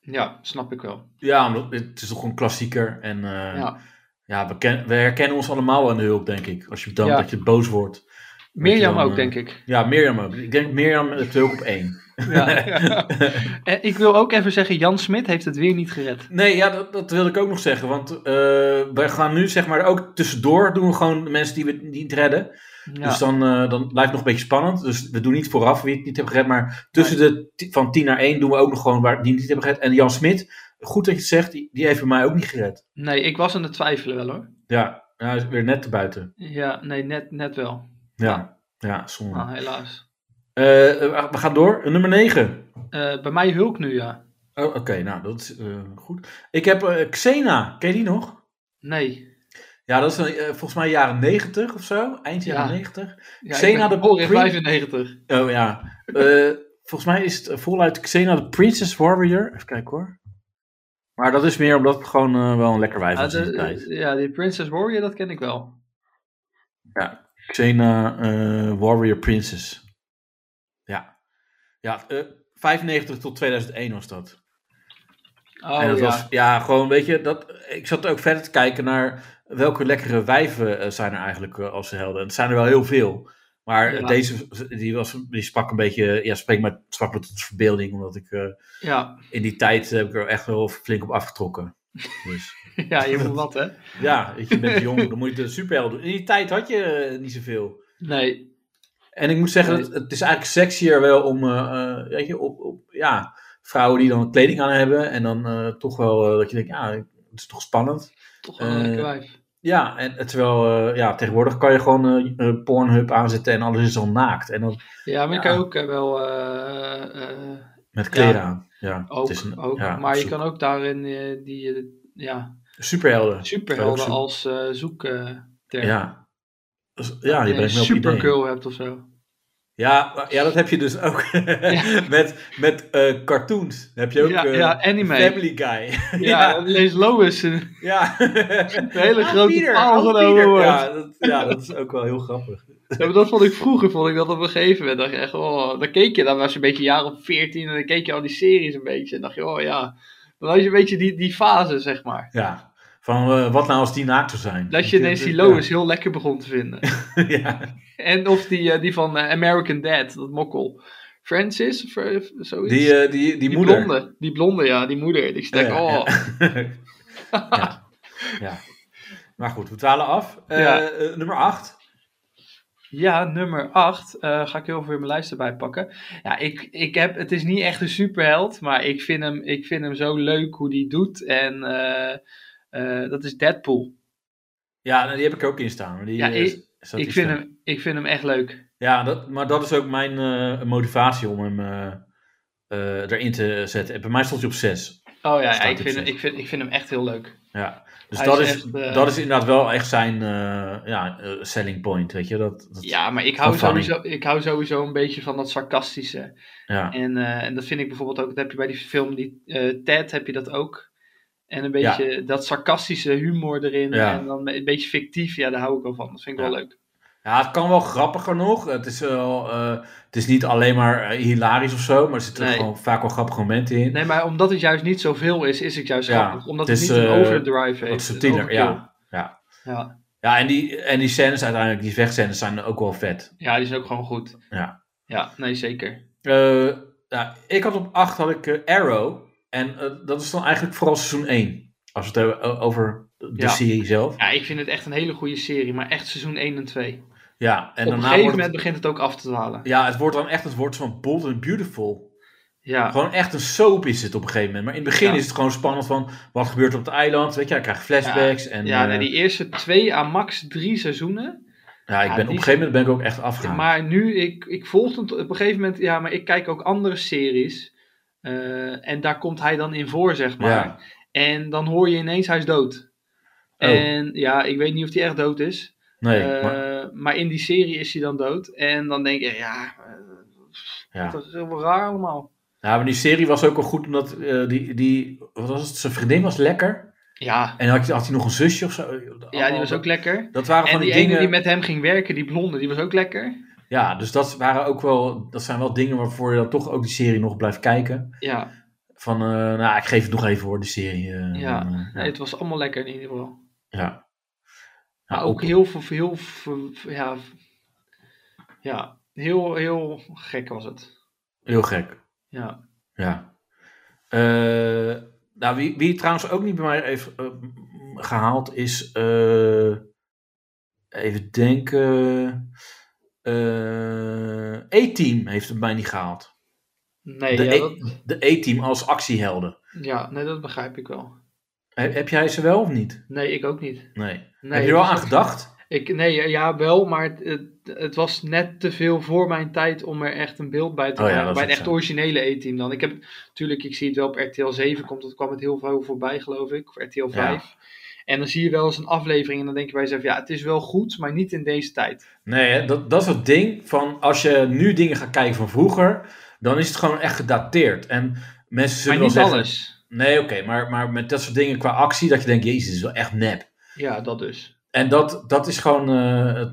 [SPEAKER 3] Ja, snap ik wel.
[SPEAKER 2] Ja, omdat het is toch een klassieker. En eh, ja,
[SPEAKER 3] ja.
[SPEAKER 2] we, ken- we herkennen ons allemaal aan de Hulk, denk ik. Als je dan
[SPEAKER 3] Ja.
[SPEAKER 2] dat je boos wordt.
[SPEAKER 3] Mirjam
[SPEAKER 2] dan,
[SPEAKER 3] ook,
[SPEAKER 2] eh,
[SPEAKER 3] denk
[SPEAKER 2] [laughs]
[SPEAKER 3] ik.
[SPEAKER 2] Ja, Mirjam ook. Ik denk Mirjam heeft Hulk op 1.
[SPEAKER 3] Ja.
[SPEAKER 2] [laughs]
[SPEAKER 3] en ik wil ook even zeggen, Jan Smit heeft het weer niet gered.
[SPEAKER 2] Nee, ja, dat, dat wilde ik ook nog zeggen. Want eh, wij gaan nu, zeg maar, ook tussendoor doen we gewoon de mensen die we niet redden.
[SPEAKER 3] Ja,
[SPEAKER 2] Dus dan, eh, dan blijft het nog een beetje spannend. Dus we doen niet vooraf wie het niet hebben gered. Maar tussen de, ti- van 10 naar 1 doen we ook nog gewoon waar het niet, niet hebben gered. En Jan Smit goed dat je het zegt, die, die heeft voor mij ook niet gered.
[SPEAKER 3] Nee, ik was aan het twijfelen wel hoor.
[SPEAKER 2] Ja, hij is weer net te buiten.
[SPEAKER 3] Ja, nee, net, net wel.
[SPEAKER 2] Ja, ja zonde.
[SPEAKER 3] Ah, helaas.
[SPEAKER 2] Eh, we gaan door. Nummer 9.
[SPEAKER 3] Eh, bij mij Hulk nu, ja.
[SPEAKER 2] Oh, Oké, nou dat is eh, goed. Ik heb eh, Xena. Ken je die nog?
[SPEAKER 3] Nee.
[SPEAKER 2] Ja, dat is een, eh, volgens mij jaren 90 of zo. Eind jaren
[SPEAKER 3] Ja.
[SPEAKER 2] 90.
[SPEAKER 3] Ja,
[SPEAKER 2] Xena
[SPEAKER 3] ik ben
[SPEAKER 2] de
[SPEAKER 3] geboren in
[SPEAKER 2] Pre-
[SPEAKER 3] 95.
[SPEAKER 2] Oh ja. Eh, volgens mij is het eh, voluit Xena de Princess Warrior. Even kijken hoor. Maar dat is meer omdat het gewoon eh, wel een lekker wijf
[SPEAKER 3] Ah,
[SPEAKER 2] was in die
[SPEAKER 3] de-
[SPEAKER 2] tijd.
[SPEAKER 3] ja, die Princess Warrior, dat ken ik wel.
[SPEAKER 2] Xena eh, Warrior Princess. Ja. Ja, eh, 95 tot 2001 was dat.
[SPEAKER 3] Oh
[SPEAKER 2] en dat
[SPEAKER 3] ja.
[SPEAKER 2] was, ja, gewoon, weet je, dat, ik zat ook verder te kijken naar welke lekkere wijven eh, zijn er eigenlijk eh, als helden. En het zijn er wel heel veel. Maar eh,
[SPEAKER 3] Ja.
[SPEAKER 2] deze, die, was, die sprak een beetje, ja, spreekt me, sprak me tot de verbeelding. Omdat ik eh,
[SPEAKER 3] ja. [laughs]
[SPEAKER 2] in die tijd heb ik er echt wel flink op afgetrokken.
[SPEAKER 3] [laughs]
[SPEAKER 2] Dus,
[SPEAKER 3] ja, je moet wat, hè?
[SPEAKER 2] ja, weet je, je bent jong, dan moet je de superheld doen. In die tijd had je eh, niet zoveel.
[SPEAKER 3] Nee.
[SPEAKER 2] En ik moet zeggen,
[SPEAKER 3] Nee.
[SPEAKER 2] het, het is eigenlijk sexier wel om, eh, eh, weet je, op, op, ja, vrouwen die dan kleding aan hebben. En dan eh, toch wel eh, dat je denkt, ja, het is toch spannend.
[SPEAKER 3] Toch wel een
[SPEAKER 2] Eh,
[SPEAKER 3] lekker wijf.
[SPEAKER 2] Ja, en en terwijl eh, ja, tegenwoordig kan je gewoon eh, eh, Pornhub aanzetten en alles is al naakt. En dan
[SPEAKER 3] Ja, maar je
[SPEAKER 2] ja.
[SPEAKER 3] kan ook eh, wel... eh, eh,
[SPEAKER 2] met kleren
[SPEAKER 3] Ja.
[SPEAKER 2] aan. Ja,
[SPEAKER 3] ook,
[SPEAKER 2] het is een-
[SPEAKER 3] ook.
[SPEAKER 2] ja,
[SPEAKER 3] maar je
[SPEAKER 2] zoek-
[SPEAKER 3] kan ook daarin eh, die eh, ja,
[SPEAKER 2] Superhelden. Kan je
[SPEAKER 3] superhelden
[SPEAKER 2] ook
[SPEAKER 3] als eh zoekterm.
[SPEAKER 2] zoeken. Ja, Dus- ja je brengt me op idee.
[SPEAKER 3] Supergirl hebt of zo.
[SPEAKER 2] Ja, maar- ja, dat heb je dus ook.
[SPEAKER 3] [laughs] Ja.
[SPEAKER 2] [laughs] met met eh, cartoons heb je ook
[SPEAKER 3] ja,
[SPEAKER 2] eh,
[SPEAKER 3] ja, anime.
[SPEAKER 2] Family Guy. [laughs]
[SPEAKER 3] Ja, lees Lois. Een
[SPEAKER 2] ja.
[SPEAKER 3] [laughs] hele
[SPEAKER 2] Ah,
[SPEAKER 3] grote
[SPEAKER 2] Pieter,
[SPEAKER 3] paal
[SPEAKER 2] oh,
[SPEAKER 3] genomen
[SPEAKER 2] Pieter.
[SPEAKER 3] wordt.
[SPEAKER 2] Ja, dat, ja, dat is ook wel heel grappig.
[SPEAKER 3] Ja, maar dat vond ik vroeger, vond ik dat op een gegeven moment. Dacht je echt, oh, dan keek je, dan was je een beetje jaar op 14 en dan keek je al die series een beetje. En dacht je, oh ja. Dan had je een beetje die, die fase, zeg maar.
[SPEAKER 2] Ja, van eh, wat nou als die naakt zou zijn?
[SPEAKER 3] Dat je ineens die Lois heel lekker begon te vinden.
[SPEAKER 2] [laughs]
[SPEAKER 3] [laughs]
[SPEAKER 2] Ja. ja.
[SPEAKER 3] En of die, eh, die van eh, American Dad, dat mokkel. Francis, of, eh, zoiets.
[SPEAKER 2] Die, eh, die, die,
[SPEAKER 3] Die
[SPEAKER 2] moeder.
[SPEAKER 3] blonde. [laughs] Die blonde, ja, die moeder. Die denk,
[SPEAKER 2] Ja,
[SPEAKER 3] oh,
[SPEAKER 2] [laughs] ja. ja. Maar goed, we dwalen af. Eh,
[SPEAKER 3] Ja.
[SPEAKER 2] eh, nummer 8.
[SPEAKER 3] Ja, nummer 8. ga ik heel veel in mijn lijst erbij pakken. Ja, ik, ik heb, het is niet echt een superheld, maar ik vind hem, ik vind hem zo leuk hoe die doet. En eh, eh, dat is Deadpool.
[SPEAKER 2] Ja, nou, die heb ik er ook in staan. maar Die,
[SPEAKER 3] Ja,
[SPEAKER 2] eh,
[SPEAKER 3] ik-
[SPEAKER 2] staat
[SPEAKER 3] Ik
[SPEAKER 2] hier
[SPEAKER 3] vind,
[SPEAKER 2] staan.
[SPEAKER 3] hem, ik vind hem echt leuk.
[SPEAKER 2] Ja, dat, maar dat is ook mijn eh, motivatie om hem eh, eh, erin te zetten. En Bij mij stond hij op 6.
[SPEAKER 3] Oh ja,
[SPEAKER 2] Staat
[SPEAKER 3] ik
[SPEAKER 2] op
[SPEAKER 3] vind,
[SPEAKER 2] zes.
[SPEAKER 3] ik, vind, ik vind hem echt heel leuk.
[SPEAKER 2] Ja. Dus
[SPEAKER 3] Hij
[SPEAKER 2] dat
[SPEAKER 3] is
[SPEAKER 2] is,
[SPEAKER 3] echt, eh,
[SPEAKER 2] dat is inderdaad wel echt zijn eh, ja, eh, selling point, weet je. Dat, dat,
[SPEAKER 3] Ja, maar ik hou,
[SPEAKER 2] Van Fanny.
[SPEAKER 3] sowieso, ik hou sowieso een beetje van dat sarcastische.
[SPEAKER 2] ja.
[SPEAKER 3] En, eh, en dat vind ik bijvoorbeeld ook, dat heb je bij die film die, eh Ted, heb je dat ook. En een
[SPEAKER 2] Ja.
[SPEAKER 3] beetje dat sarcastische humor erin.
[SPEAKER 2] Ja.
[SPEAKER 3] En dan een beetje fictief, ja, daar hou ik wel van. Dat vind ik
[SPEAKER 2] Ja.
[SPEAKER 3] wel leuk.
[SPEAKER 2] Ja, het kan wel grappiger nog. Het is, wel, eh, het is niet alleen maar eh, hilarisch of zo, maar er zitten
[SPEAKER 3] Nee.
[SPEAKER 2] gewoon vaak wel grappige momenten in.
[SPEAKER 3] Nee, maar omdat het juist niet zoveel is, is het juist
[SPEAKER 2] Ja,
[SPEAKER 3] grappig. Omdat het,
[SPEAKER 2] het is,
[SPEAKER 3] niet een
[SPEAKER 2] eh,
[SPEAKER 3] overdrive heeft.
[SPEAKER 2] Wat
[SPEAKER 3] een
[SPEAKER 2] subtieler,
[SPEAKER 3] overkill.
[SPEAKER 2] ja. Ja,
[SPEAKER 3] ja.
[SPEAKER 2] ja en, die, en die scènes uiteindelijk, die vechtscènes zijn ook wel vet.
[SPEAKER 3] Ja, die is ook gewoon goed.
[SPEAKER 2] Ja.
[SPEAKER 3] Ja, nee, zeker.
[SPEAKER 2] Eh, nou, ik had op 8 had ik eh, Arrow. En eh, dat is dan eigenlijk vooral seizoen 1. Als we het hebben o- over de
[SPEAKER 3] Ja.
[SPEAKER 2] serie zelf.
[SPEAKER 3] Ja, ik vind het echt een hele goede serie, maar echt seizoen 1 en 2.
[SPEAKER 2] Ja, en
[SPEAKER 3] Op een
[SPEAKER 2] daarna
[SPEAKER 3] gegeven
[SPEAKER 2] wordt
[SPEAKER 3] moment
[SPEAKER 2] het,
[SPEAKER 3] begint het ook af te dwalen.
[SPEAKER 2] ja, het wordt dan echt het woord van bold and beautiful.
[SPEAKER 3] Ja,
[SPEAKER 2] Gewoon echt een soap is het op een gegeven moment. Maar in het begin
[SPEAKER 3] Ja.
[SPEAKER 2] is het gewoon spannend van wat gebeurt er op het eiland. Weet je, ik krijg flashbacks. en,
[SPEAKER 3] ja nee,
[SPEAKER 2] eh,
[SPEAKER 3] die eerste twee aan max drie seizoenen.
[SPEAKER 2] ja ik
[SPEAKER 3] ja,
[SPEAKER 2] ben, op
[SPEAKER 3] die-
[SPEAKER 2] een gegeven moment ben ik ook echt afgegaan.
[SPEAKER 3] Maar nu, ik, ik volgde het op een gegeven moment, ja, maar ik kijk ook andere series. eh, en daar komt hij dan in voor, zeg maar.
[SPEAKER 2] Ja.
[SPEAKER 3] En dan hoor je ineens, hij is dood.
[SPEAKER 2] Oh.
[SPEAKER 3] En ja, ik weet niet of hij echt dood is.
[SPEAKER 2] nee,
[SPEAKER 3] Eh,
[SPEAKER 2] maar,
[SPEAKER 3] maar... in die serie is hij dan dood. En dan denk je, ja, eh,
[SPEAKER 2] ja.
[SPEAKER 3] dat is heel raar allemaal.
[SPEAKER 2] Ja, maar die serie was ook wel goed omdat eh, die, die, wat was het, zijn vriendin was lekker.
[SPEAKER 3] Ja,
[SPEAKER 2] En had, je- had hij nog een zusje of zo?
[SPEAKER 3] ja die was ook lekker.
[SPEAKER 2] Dat waren
[SPEAKER 3] En
[SPEAKER 2] van
[SPEAKER 3] die
[SPEAKER 2] die,
[SPEAKER 3] ene
[SPEAKER 2] dingen.
[SPEAKER 3] die met hem ging werken, die blonde, die was ook lekker.
[SPEAKER 2] Ja, dus dat, waren ook wel, dat zijn wel dingen waarvoor je dan toch ook die serie nog blijft kijken.
[SPEAKER 3] Ja,
[SPEAKER 2] Van, eh, nou, ik geef het nog even hoor, die serie. eh,
[SPEAKER 3] Ja,
[SPEAKER 2] eh,
[SPEAKER 3] nee, het was allemaal lekker in ieder geval.
[SPEAKER 2] ja. Nou,
[SPEAKER 3] Maar
[SPEAKER 2] Ja,
[SPEAKER 3] ook heel veel, heel, veel- ja, ja, heel, heel gek was het.
[SPEAKER 2] heel gek.
[SPEAKER 3] Ja.
[SPEAKER 2] Ja. Eh, nou, wie, wie trouwens ook niet bij mij heeft eh, m- gehaald is. eh, even denken. eh, A-Team heeft het bij mij niet gehaald.
[SPEAKER 3] Nee,
[SPEAKER 2] De
[SPEAKER 3] ja,
[SPEAKER 2] E-
[SPEAKER 3] dat,
[SPEAKER 2] de E-team als actiehelden.
[SPEAKER 3] ja, nee, dat begrijp ik wel.
[SPEAKER 2] He- heb jij ze wel of niet?
[SPEAKER 3] Nee, ik ook niet.
[SPEAKER 2] Nee.
[SPEAKER 3] Nee,
[SPEAKER 2] heb je er wel
[SPEAKER 3] dus
[SPEAKER 2] aan
[SPEAKER 3] dat-
[SPEAKER 2] gedacht?
[SPEAKER 3] Ik, nee, ja, ja, wel, maar het, het, het was net te veel voor mijn tijd om er echt een beeld bij te
[SPEAKER 2] Oh ja,
[SPEAKER 3] maken.
[SPEAKER 2] dat is
[SPEAKER 3] bij het
[SPEAKER 2] ook
[SPEAKER 3] echt
[SPEAKER 2] zo.
[SPEAKER 3] originele E-team dan. Ik heb natuurlijk, ik zie het wel op RTL 7 komt, dat kwam het heel veel voorbij, geloof ik, of RTL 5. En dan zie je wel eens een aflevering en dan denk je bij jezelf, ja, het is wel goed, maar niet in deze tijd.
[SPEAKER 2] Nee, hè, dat, dat is het ding van als je nu dingen gaat kijken van vroeger, dan is het gewoon echt gedateerd. En mensen zullen
[SPEAKER 3] Maar
[SPEAKER 2] wel
[SPEAKER 3] niet
[SPEAKER 2] zeggen,
[SPEAKER 3] alles.
[SPEAKER 2] Nee, oké, maar, maar met dat soort dingen qua actie, dat je denkt, jezus, dit is wel echt nep.
[SPEAKER 3] Ja, dat dus.
[SPEAKER 2] En dat, dat is gewoon, eh,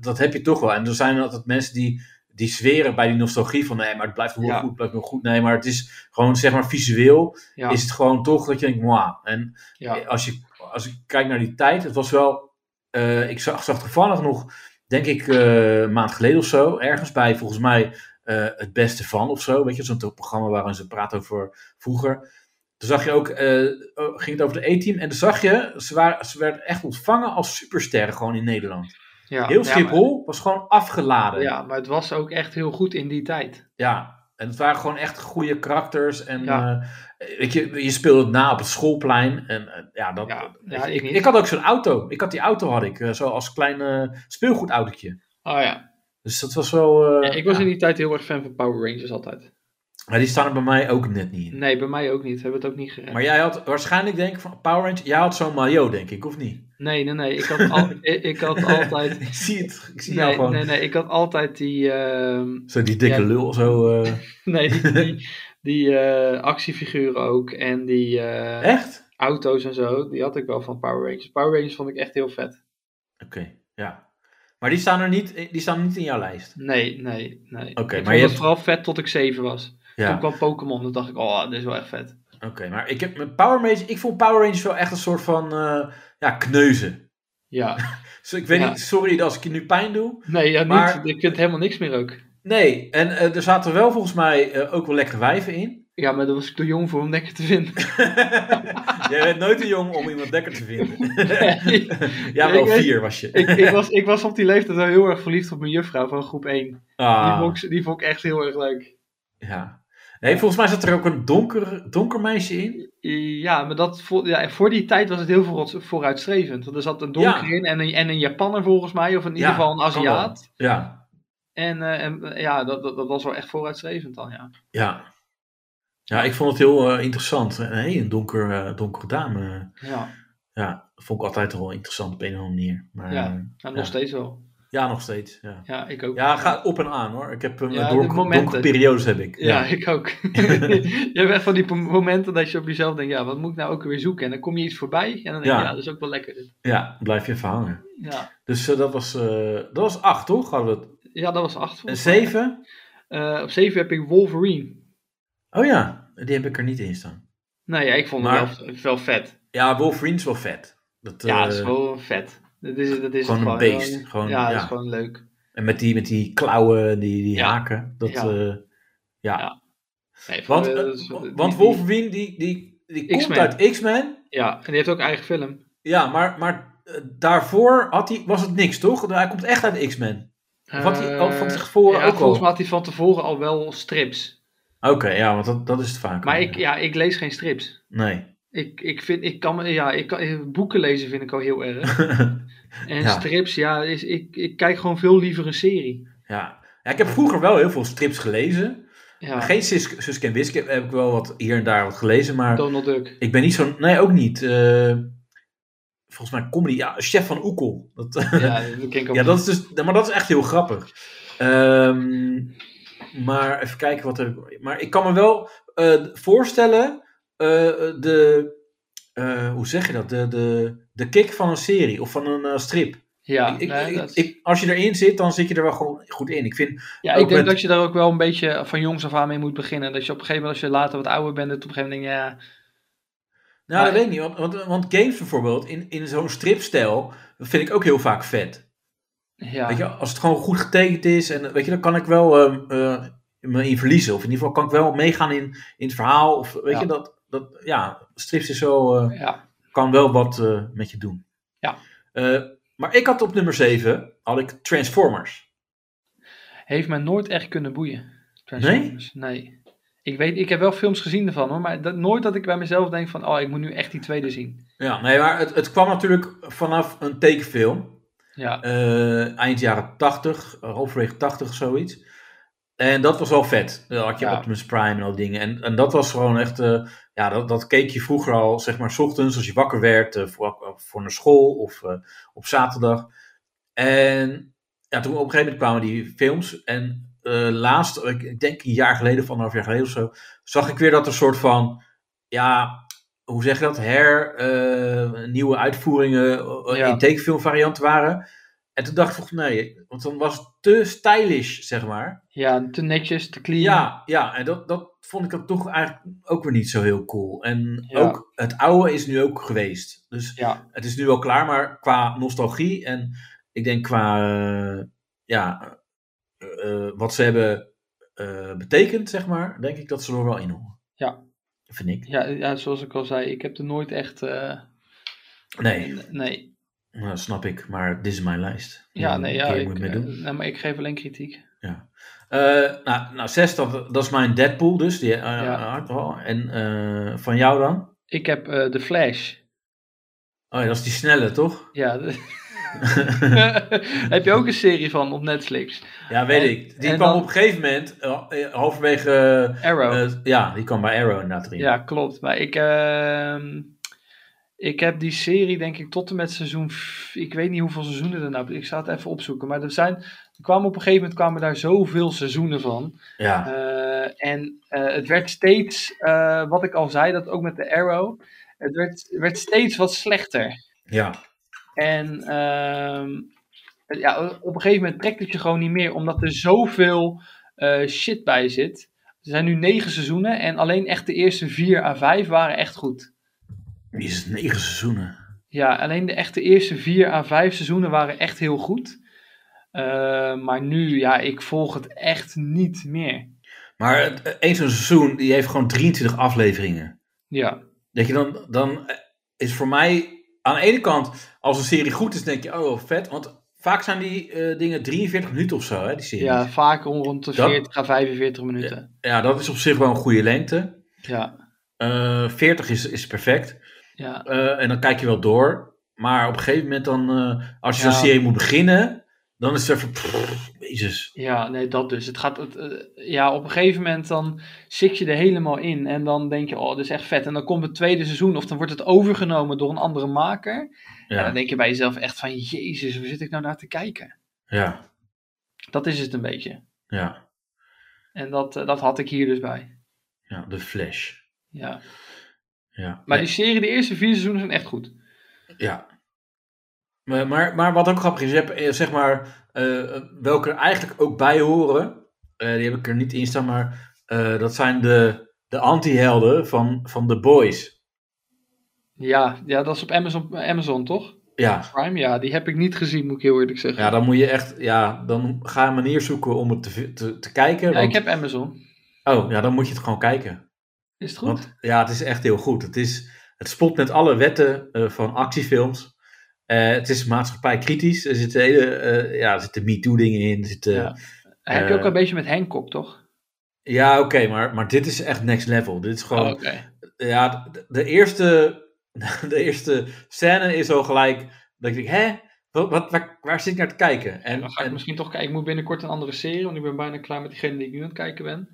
[SPEAKER 2] dat heb je toch wel. En er zijn altijd mensen die, die zweren bij die nostalgie van, nee, maar het blijft wel
[SPEAKER 3] Ja.
[SPEAKER 2] goed, het blijft wel goed. Nee, maar het is gewoon, zeg maar, visueel
[SPEAKER 3] Ja,
[SPEAKER 2] is het gewoon toch dat je denkt, mwah. En
[SPEAKER 3] ja,
[SPEAKER 2] Eh, als, je, als ik kijk naar die tijd, het was wel, eh, ik zag, zag toevallig nog, denk ik, eh, een maand geleden of zo, ergens bij, volgens mij, eh, het beste van of zo. Weet je, zo'n programma waarin ze praten over vroeger. Toen zag je ook, eh, oh, ging het over de E-team. En toen zag je, ze, waren, ze werden echt ontvangen als supersterren gewoon in Nederland.
[SPEAKER 3] ja.
[SPEAKER 2] Heel
[SPEAKER 3] Ja, maar-
[SPEAKER 2] Schiphol was gewoon afgeladen. Ja.
[SPEAKER 3] Ja, maar het was ook echt heel goed in die tijd.
[SPEAKER 2] En het waren gewoon echt goede karakters. En
[SPEAKER 3] Ja.
[SPEAKER 2] eh, weet je, je speelde het na op het schoolplein. En eh, ja, dat,
[SPEAKER 3] Ja,
[SPEAKER 2] weet
[SPEAKER 3] ja
[SPEAKER 2] je,
[SPEAKER 3] ik niet.
[SPEAKER 2] ik had ook zo'n auto. Ik had die auto had ik, eh, zo als klein eh, speelgoedautootje.
[SPEAKER 3] Oh ja.
[SPEAKER 2] Dus dat was wel... eh,
[SPEAKER 3] Ja, ik was
[SPEAKER 2] ja.
[SPEAKER 3] in die tijd heel erg fan van Power Rangers altijd.
[SPEAKER 2] Maar die staan er bij mij ook net niet in.
[SPEAKER 3] Nee, bij mij ook niet. Hebben het ook niet gered.
[SPEAKER 2] Maar jij had waarschijnlijk denk ik van Power Rangers, jij had zo'n maillot denk ik, of niet?
[SPEAKER 3] Nee, nee, nee. Ik had,
[SPEAKER 2] [laughs]
[SPEAKER 3] al, ik, [laughs] ik had altijd.
[SPEAKER 2] ik zie het, ik zie jou
[SPEAKER 3] Nee,
[SPEAKER 2] gewoon.
[SPEAKER 3] nee, nee, ik had altijd die, ehm, [laughs]
[SPEAKER 2] Zo die dikke
[SPEAKER 3] Ja.
[SPEAKER 2] lul, zo. eh,
[SPEAKER 3] nee, die, die, die eh, actiefiguren ook en die eh,
[SPEAKER 2] Echt?
[SPEAKER 3] auto's en zo. Die had ik wel van Power Rangers. Power Rangers vond ik echt heel vet.
[SPEAKER 2] Oké, ja. Maar die staan er niet, eh, die staan niet in jouw lijst.
[SPEAKER 3] Nee, nee,
[SPEAKER 2] Oké,
[SPEAKER 3] nee. ik
[SPEAKER 2] maar
[SPEAKER 3] vond
[SPEAKER 2] je
[SPEAKER 3] het
[SPEAKER 2] hebt-
[SPEAKER 3] vooral vet tot ik zeven was. Toen
[SPEAKER 2] Ja,
[SPEAKER 3] kwam Pokémon, toen dacht ik, oh, dit is wel echt vet.
[SPEAKER 2] oké. maar ik heb met Power Rangers, ik vond Power Rangers wel echt een soort van, eh, ja, kneuzen. [laughs]
[SPEAKER 3] Ja.
[SPEAKER 2] Dus ik weet
[SPEAKER 3] Ja.
[SPEAKER 2] niet, sorry als ik je nu pijn doe.
[SPEAKER 3] Nee, ja, niet.
[SPEAKER 2] Maar-
[SPEAKER 3] Ik vind helemaal niks meer ook.
[SPEAKER 2] Nee, en eh, er zaten wel volgens mij eh, ook wel lekkere wijven in. [laughs]
[SPEAKER 3] Ja, maar daar was ik te jong voor om lekker te vinden.
[SPEAKER 2] Jij bent nooit te jong om iemand lekker te
[SPEAKER 3] [laughs]
[SPEAKER 2] vinden.
[SPEAKER 3] Nee.
[SPEAKER 2] ja,
[SPEAKER 3] Nee,
[SPEAKER 2] wel
[SPEAKER 3] ik weet-
[SPEAKER 2] vier was je.
[SPEAKER 3] ik, ik, was, ik was op die leeftijd wel heel erg verliefd op mijn juffrouw van groep 1. Die,
[SPEAKER 2] Ah.
[SPEAKER 3] vond ik, die vond ik echt heel erg leuk.
[SPEAKER 2] Ja. Nee, volgens mij zat er ook een donker, donker meisje in.
[SPEAKER 3] Ja, maar dat voor, ja, voor die tijd was het heel voor, vooruitstrevend. Want er zat een donker
[SPEAKER 2] Ja.
[SPEAKER 3] in en een, en een Japanner volgens mij, of in ieder
[SPEAKER 2] Ja,
[SPEAKER 3] geval een
[SPEAKER 2] kan wel.
[SPEAKER 3] Aziat.
[SPEAKER 2] Ja.
[SPEAKER 3] En, eh, en eh, ja, dat, dat, dat was wel echt vooruitstrevend dan, ja.
[SPEAKER 2] Ja. Ja, ik vond het heel eh, interessant. Nee, een donker, eh, donkere dame.
[SPEAKER 3] Ja,
[SPEAKER 2] Ja, vond ik altijd wel interessant op een of andere manier. Maar,
[SPEAKER 3] Ja.
[SPEAKER 2] ja.
[SPEAKER 3] nou, nog
[SPEAKER 2] Ja.
[SPEAKER 3] steeds wel.
[SPEAKER 2] ja, nog steeds. Ja.
[SPEAKER 3] Ja, ik ook.
[SPEAKER 2] ja, gaat op en aan hoor. Ik heb eh,
[SPEAKER 3] Ja, de
[SPEAKER 2] donker,
[SPEAKER 3] momenten.
[SPEAKER 2] donkere periodes heb ik.
[SPEAKER 3] Ja,
[SPEAKER 2] [laughs]
[SPEAKER 3] ik ook. je hebt echt van die pom- momenten dat je op jezelf denkt, ja, wat moet ik nou ook weer zoeken? En dan kom je iets voorbij en dan denk je,
[SPEAKER 2] Ja.
[SPEAKER 3] ja, dat is ook wel lekker. dit.
[SPEAKER 2] Ja, blijf je even hangen.
[SPEAKER 3] Ja,
[SPEAKER 2] Dus eh, dat, was, eh, dat was acht, toch? Hadden we het.
[SPEAKER 3] ja dat was acht.
[SPEAKER 2] En
[SPEAKER 3] volgens mij.
[SPEAKER 2] zeven?
[SPEAKER 3] Eh, op zeven heb ik Wolverine.
[SPEAKER 2] Oh ja, die heb ik er niet in staan.
[SPEAKER 3] Nou ja, ik vond
[SPEAKER 2] Maar-
[SPEAKER 3] het wel, wel vet.
[SPEAKER 2] Ja, Wolverine is wel vet. Dat,
[SPEAKER 3] Ja,
[SPEAKER 2] eh,
[SPEAKER 3] dat is gewoon vet. Dat is, dat is
[SPEAKER 2] gewoon
[SPEAKER 3] het
[SPEAKER 2] een beest.
[SPEAKER 3] Ja,
[SPEAKER 2] Gewoon-
[SPEAKER 3] ja, dat
[SPEAKER 2] ja.
[SPEAKER 3] is gewoon leuk.
[SPEAKER 2] En met die, met die klauwen, die, die
[SPEAKER 3] Ja.
[SPEAKER 2] haken. Dat,
[SPEAKER 3] Ja.
[SPEAKER 2] eh, ja.
[SPEAKER 3] Ja. Nee,
[SPEAKER 2] Want,
[SPEAKER 3] voor-
[SPEAKER 2] eh,
[SPEAKER 3] dat is- die-
[SPEAKER 2] want
[SPEAKER 3] die-
[SPEAKER 2] Wolverine, die, die, die komt
[SPEAKER 3] X-Men.
[SPEAKER 2] uit X-Men.
[SPEAKER 3] Ja, en die heeft ook eigen film.
[SPEAKER 2] Ja, maar, maar eh, daarvoor had hij, was het niks, toch? Hij komt echt uit X-Men. Of had hij
[SPEAKER 3] Eh,
[SPEAKER 2] al van tevoren
[SPEAKER 3] ja,
[SPEAKER 2] ook al?
[SPEAKER 3] volgens mij had hij van tevoren al wel strips.
[SPEAKER 2] Oké, ja, want dat, dat is het vaak.
[SPEAKER 3] Maar ik, ja, ik lees geen strips.
[SPEAKER 2] Nee. [laughs]
[SPEAKER 3] Ik, ik vind, ik kan, me- ja, ik kan, eh, boeken lezen vind ik al
[SPEAKER 2] [laughs]
[SPEAKER 3] heel erg. En
[SPEAKER 2] Ja.
[SPEAKER 3] strips, ja, is, ik, ik kijk gewoon veel liever een serie.
[SPEAKER 2] ja. ja, ik heb vroeger wel heel veel strips gelezen.
[SPEAKER 3] Ja,
[SPEAKER 2] Geen Sis- Suske en Wiske heb ik wel wat hier en daar wat gelezen. Maar [laughs]
[SPEAKER 3] Donald Duck.
[SPEAKER 2] ik ben niet zo'n... Nee, ook niet. Eh, volgens mij comedy. Ja, Chef van Oekel. Dat,
[SPEAKER 3] Ja, dat ken ik ook
[SPEAKER 2] [laughs] Ja,
[SPEAKER 3] niet.
[SPEAKER 2] dat is dus, maar dat is echt heel grappig. Ehm, maar even kijken wat er. Maar ik kan me wel eh, voorstellen. eh, de. eh, hoe zeg je dat? De, de, de kick van een serie of van een eh, strip.
[SPEAKER 3] Ja,
[SPEAKER 2] ik, ik-
[SPEAKER 3] nee,
[SPEAKER 2] ik-
[SPEAKER 3] dat is-
[SPEAKER 2] ik- als je erin zit, dan zit je er wel gewoon goed in. Ik vind.
[SPEAKER 3] Ja,
[SPEAKER 2] Ook
[SPEAKER 3] ik denk
[SPEAKER 2] met-
[SPEAKER 3] dat je daar ook wel een beetje van jongs af aan mee moet beginnen. Dat je op een gegeven moment, als je later wat ouder bent, dat op een gegeven moment denk je,
[SPEAKER 2] Nou,
[SPEAKER 3] Maar-
[SPEAKER 2] dat weet ik niet. Want, want, want games bijvoorbeeld, in, in zo'n stripstijl. Dat vind ik ook heel vaak vet.
[SPEAKER 3] ja,
[SPEAKER 2] Weet
[SPEAKER 3] ja,
[SPEAKER 2] je, als het gewoon goed getekend is. En weet je, dan kan ik wel ehm, eh, me in verliezen. Of in ieder geval kan ik wel meegaan in, in het verhaal. Of weet
[SPEAKER 3] Ja.
[SPEAKER 2] je, dat, dat ja, strips is wel, eh,
[SPEAKER 3] ja,
[SPEAKER 2] kan wel wat eh, met je doen.
[SPEAKER 3] Ja.
[SPEAKER 2] Eh, maar ik had op nummer 7 had ik Transformers.
[SPEAKER 3] heeft me nooit echt kunnen boeien. Transformers. Nee. Ik weet, ik heb wel films gezien ervan hoor, maar dat, nooit dat ik bij mezelf denk van, oh, ik moet nu echt die tweede zien.
[SPEAKER 2] Ja, nee, maar het, het kwam natuurlijk vanaf een tekenfilm.
[SPEAKER 3] Ja,
[SPEAKER 2] eh, eind jaren 80, eh, halverwege 80 zoiets. En dat was wel vet. Dan had je
[SPEAKER 3] Ja.
[SPEAKER 2] Optimus Prime en al die dingen. En, en dat was gewoon echt. eh, ja, dat, dat keek je vroeger al, zeg maar, 's ochtends als je wakker werd. eh, voor, voor naar school of eh, op zaterdag. En ja, toen op een gegeven moment kwamen die films. En eh, laatst, ik, ik denk een jaar geleden, of anderhalf jaar geleden of zo. zag ik weer dat er soort van. Ja, hoe zeg je dat? Her. eh, nieuwe uitvoeringen eh,
[SPEAKER 3] Ja.
[SPEAKER 2] in tekenfilmvariant waren. En toen dacht ik, nee, want dan was het te stylish, zeg maar.
[SPEAKER 3] ja te netjes, te clean.
[SPEAKER 2] Ja, ja en dat, dat vond ik dan toch eigenlijk ook weer niet zo heel cool. En
[SPEAKER 3] Ja.
[SPEAKER 2] ook het oude is nu ook geweest. Dus
[SPEAKER 3] Ja,
[SPEAKER 2] het is nu wel klaar, maar qua nostalgie en ik denk qua eh, ja, eh, eh, wat ze hebben eh, betekend, zeg maar, denk ik dat ze er wel in horen.
[SPEAKER 3] Ja.
[SPEAKER 2] Vind ik.
[SPEAKER 3] ja, ja, zoals ik al zei, ik heb er nooit echt... eh,
[SPEAKER 2] Nee,
[SPEAKER 3] nee.
[SPEAKER 2] nou, snap ik, maar dit is mijn lijst.
[SPEAKER 3] Ja, nee, ja.
[SPEAKER 2] Hier
[SPEAKER 3] Ik,
[SPEAKER 2] moet je mee
[SPEAKER 3] eh,
[SPEAKER 2] doen.
[SPEAKER 3] nee, maar ik geef alleen kritiek.
[SPEAKER 2] Eh, nou, nou, zes, dat, dat is mijn Deadpool dus. Die, eh, had ik al. En eh, van jou dan?
[SPEAKER 3] Ik heb eh The Flash.
[SPEAKER 2] Oh ja, dat is die snelle, toch?
[SPEAKER 3] Ja. [laughs] de- heb je ook een serie van op Netflix?
[SPEAKER 2] [laughs] ja, weet
[SPEAKER 3] En-
[SPEAKER 2] ik. Die
[SPEAKER 3] en
[SPEAKER 2] kwam
[SPEAKER 3] dan-
[SPEAKER 2] op een gegeven moment, eh, eh, halverwege... eh,
[SPEAKER 3] Arrow.
[SPEAKER 2] eh, ja, die kwam bij Arrow inderdaad erin.
[SPEAKER 3] Ja, klopt. Maar ik, ehm, ik heb die serie denk ik tot en met seizoen... v- Ik weet niet hoeveel seizoenen er nou... Ik zou het even opzoeken. Maar er zijn... Er kwamen op een gegeven moment kwamen daar zoveel seizoenen van.
[SPEAKER 2] Ja.
[SPEAKER 3] Eh, en eh, het werd steeds... eh, wat ik al zei, dat ook met de Arrow. Het werd, werd steeds wat slechter.
[SPEAKER 2] ja.
[SPEAKER 3] En ehm, ja, op een gegeven moment trekt het je gewoon niet meer. Omdat er zoveel eh, shit bij zit. Er zijn nu negen seizoenen. En alleen echt de eerste vier à vijf waren echt goed.
[SPEAKER 2] Die is negen seizoenen.
[SPEAKER 3] Ja, alleen de echte eerste vier à vijf seizoenen waren echt heel goed. Eh, maar nu, ja, ik volg het echt niet meer.
[SPEAKER 2] Maar het- eh, één zo'n seizoen, die heeft gewoon 23 afleveringen.
[SPEAKER 3] Ja,
[SPEAKER 2] Denk je, dan, dan eh, is voor mij... Aan de ene kant, als een serie goed is, denk je, oh, vet. Want vaak zijn die eh, dingen 43 minuten of zo, hè, die series.
[SPEAKER 3] ja vaak om rond de
[SPEAKER 2] Dat-
[SPEAKER 3] 40 à 45 minuten.
[SPEAKER 2] Ja, dat is op zich wel een goede lengte.
[SPEAKER 3] Ja,
[SPEAKER 2] Eh 40 is, is perfect.
[SPEAKER 3] ja,
[SPEAKER 2] Eh, en dan kijk je wel door. Maar op een gegeven moment dan, eh, als je
[SPEAKER 3] Ja.
[SPEAKER 2] zo'n serie moet beginnen, dan is het even, pff, jezus.
[SPEAKER 3] ja, nee, dat dus. Het gaat, het, eh, ja, op een gegeven moment dan zit je er helemaal in. En dan denk je, oh, dit is echt vet. En dan komt het tweede seizoen of dan wordt het overgenomen door een andere maker. En
[SPEAKER 2] Ja,
[SPEAKER 3] dan denk je bij jezelf echt van, jezus, waar zit ik nou naar te kijken?
[SPEAKER 2] ja,
[SPEAKER 3] Dat is het een beetje.
[SPEAKER 2] ja,
[SPEAKER 3] En dat, eh, dat had ik hier dus bij.
[SPEAKER 2] ja, de Flash.
[SPEAKER 3] Ja.
[SPEAKER 2] Ja,
[SPEAKER 3] Maar
[SPEAKER 2] Nee,
[SPEAKER 3] die serie, de eerste vier seizoenen zijn echt goed.
[SPEAKER 2] ja. Maar, maar, maar wat ook grappig is, je hebt eh, zeg maar, eh, welke er eigenlijk ook bij horen, eh, die heb ik er niet in staan, maar eh, dat zijn de, de anti-helden van, van The Boys.
[SPEAKER 3] Ja, ja dat is op Amazon, Amazon toch?
[SPEAKER 2] Ja,
[SPEAKER 3] Prime, ja, die heb ik niet gezien, moet ik heel eerlijk zeggen.
[SPEAKER 2] ja, dan moet je echt, ja, dan ga een manier zoeken om het te, te, te kijken.
[SPEAKER 3] Ja,
[SPEAKER 2] want-
[SPEAKER 3] ik heb Amazon.
[SPEAKER 2] Oh, ja, dan moet je het gewoon kijken.
[SPEAKER 3] Is het goed?
[SPEAKER 2] Want ja, het is echt heel goed. Het, is, het spot met alle wetten eh, van actiefilms. Eh, het is maatschappij kritisch. Er zitten, hele, eh, ja, er zitten MeToo-dingen in. Er zitten, ja,
[SPEAKER 3] Ja. heb je ook
[SPEAKER 2] eh,
[SPEAKER 3] een beetje met Hancock, toch?
[SPEAKER 2] oké, maar, maar dit is echt next level. Dit is gewoon.
[SPEAKER 3] Oh, oké.
[SPEAKER 2] Ja, de, de eerste, [laughs] de eerste scène is al gelijk. Dat ik denk, hè? Wat, wat, waar, waar zit ik naar te kijken? En,
[SPEAKER 3] Dan ga ik
[SPEAKER 2] en-
[SPEAKER 3] misschien toch kijken. Ik moet binnenkort een andere serie, want ik ben bijna klaar met diegene die ik nu aan het kijken ben.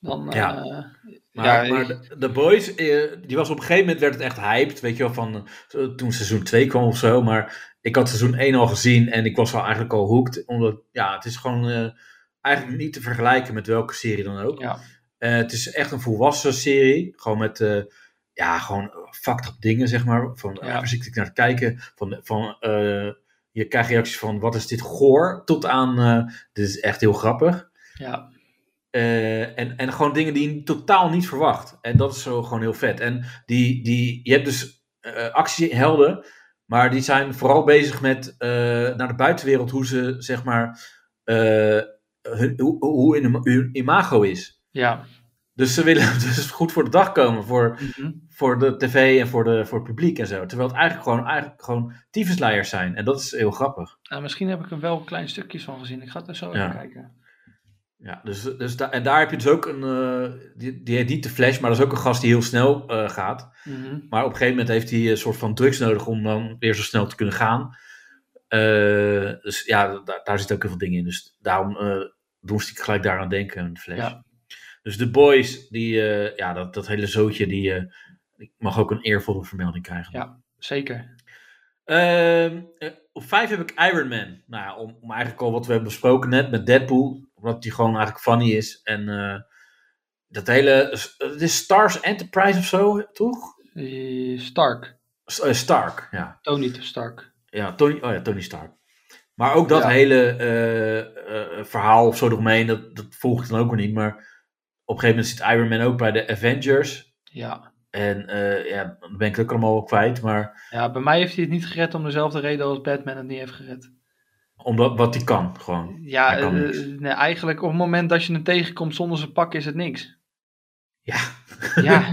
[SPEAKER 3] Dan, eh,
[SPEAKER 2] Ja.
[SPEAKER 3] ja,
[SPEAKER 2] Maar,
[SPEAKER 3] ik-
[SPEAKER 2] maar de, de Boys, eh, die was op een gegeven moment werd het echt hyped. Weet je wel, van eh, toen seizoen 2 kwam of zo. Maar ik had seizoen 1 al gezien en ik was al eigenlijk al hooked. Omdat, ja, het is gewoon eh, eigenlijk niet te vergelijken met welke serie dan ook.
[SPEAKER 3] Ja.
[SPEAKER 2] Eh, het is echt een volwassen serie. Gewoon met, eh, ja, gewoon fucked up dingen, zeg maar. Van,
[SPEAKER 3] Ja.
[SPEAKER 2] ja. waar zit ik naar te kijken? Van, van, eh, je krijgt reacties van, wat is dit goor? Tot aan, eh, dit is echt heel grappig.
[SPEAKER 3] ja,
[SPEAKER 2] Eh, en, en gewoon dingen die je totaal niet verwacht. En dat is zo gewoon heel vet. En die, die, je hebt dus eh, actiehelden, maar die zijn vooral bezig met eh, naar de buitenwereld hoe ze, zeg maar, eh, hun, hoe, hoe hun, hun imago is.
[SPEAKER 3] ja.
[SPEAKER 2] Dus ze willen [laughs] dus goed voor de dag komen, voor,
[SPEAKER 3] Mhm.
[SPEAKER 2] voor de tv en voor, de, voor het publiek en zo. Terwijl het eigenlijk gewoon, eigenlijk gewoon tyfusleiers zijn. En dat is heel grappig.
[SPEAKER 3] Eh, Nou, misschien heb ik er wel een klein stukjes van gezien. Ik ga het er zo
[SPEAKER 2] Ja.
[SPEAKER 3] even kijken.
[SPEAKER 2] Ja, dus, dus da- en daar heb je dus ook een. eh, die, die heet niet de Flash, maar dat is ook een gast die heel snel eh, gaat.
[SPEAKER 3] Mhm.
[SPEAKER 2] Maar op een gegeven moment heeft hij een soort van drugs nodig om dan weer zo snel te kunnen gaan. Eh, dus ja, daar, daar zitten ook heel veel dingen in. Dus daarom eh moest ik gelijk daaraan denken, een Flash.
[SPEAKER 3] Ja.
[SPEAKER 2] Dus de boys, die, eh, ja, dat, dat hele zootje, die, eh, die mag ook een eervolle vermelding krijgen.
[SPEAKER 3] Ja. Zeker.
[SPEAKER 2] Ehm, eh, op vijf heb ik Iron Man. Nou, ja, om, om eigenlijk al wat we hebben besproken net met Deadpool. Omdat die gewoon eigenlijk funny is. En eh, dat hele... Het is Stars Enterprise of zo, toch?
[SPEAKER 3] Eh, Stark.
[SPEAKER 2] S- eh, Stark, ja.
[SPEAKER 3] Tony te Stark.
[SPEAKER 2] Ja, Tony, oh ja, Tony Stark. Maar ook dat
[SPEAKER 3] Ja.
[SPEAKER 2] hele eh, eh, verhaal of zo eromheen, dat, dat volg ik dan ook weer niet. Maar op een gegeven moment zit Iron Man ook bij de Avengers.
[SPEAKER 3] Ja.
[SPEAKER 2] En eh, ja, dan ben ik het ook allemaal wel kwijt. Maar
[SPEAKER 3] ja, bij mij heeft hij het niet gered om dezelfde reden als Batman het niet heeft gered.
[SPEAKER 2] omdat wat hij kan, gewoon.
[SPEAKER 3] Ja,
[SPEAKER 2] Hij kan
[SPEAKER 3] eh,
[SPEAKER 2] niks.
[SPEAKER 3] nee, eigenlijk op het moment dat je hem tegenkomt zonder zijn pak is het niks.
[SPEAKER 2] Ja.
[SPEAKER 3] Ja,
[SPEAKER 2] [laughs]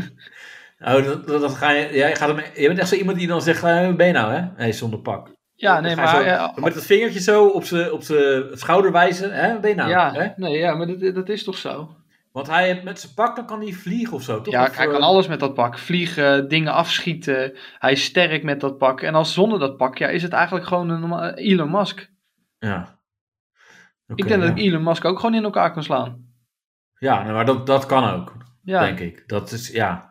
[SPEAKER 2] Oh, dat, dat, dat ga je, jij gaat hem, je bent echt zo iemand die dan zegt, eh, ben je nou hè? Nee, zonder pak.
[SPEAKER 3] ja
[SPEAKER 2] Dan
[SPEAKER 3] nee,
[SPEAKER 2] ga je
[SPEAKER 3] maar... eh,
[SPEAKER 2] zo-
[SPEAKER 3] ja,
[SPEAKER 2] Met dat vingertje zo op zijn op z'n schouder wijzen, hè? Ben je nou
[SPEAKER 3] ja,
[SPEAKER 2] hè?
[SPEAKER 3] nee, ja, maar dat, dat is toch zo?
[SPEAKER 2] Want hij, heeft- met zijn pak, dan kan hij vliegen of zo, toch?
[SPEAKER 3] Ja,
[SPEAKER 2] Of,
[SPEAKER 3] hij
[SPEAKER 2] eh,
[SPEAKER 3] kan alles met dat pak. Vliegen, dingen afschieten. Hij is sterk met dat pak. En als zonder dat pak, ja, is het eigenlijk gewoon een norma- Elon Musk.
[SPEAKER 2] Ja.
[SPEAKER 3] ik denk dat
[SPEAKER 2] ja.
[SPEAKER 3] ik Elon Musk ook gewoon in elkaar kan slaan.
[SPEAKER 2] Ja, nou, maar dat, dat kan ook,
[SPEAKER 3] Ja.
[SPEAKER 2] denk ik. Dat is, ja.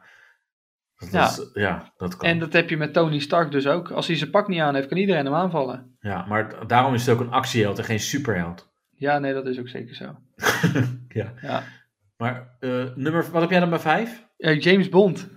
[SPEAKER 2] Dat
[SPEAKER 3] Ja.
[SPEAKER 2] Is, ja, dat kan.
[SPEAKER 3] En dat heb je met Tony Stark dus ook. Als hij zijn pak niet aan heeft, kan iedereen hem aanvallen.
[SPEAKER 2] Ja, maar d- daarom is het ook een actieheld en geen superheld.
[SPEAKER 3] Ja, nee, dat is ook zeker zo.
[SPEAKER 2] ja.
[SPEAKER 3] Ja.
[SPEAKER 2] Maar eh, nummer, wat heb jij dan bij vijf?
[SPEAKER 3] Eh, James Bond.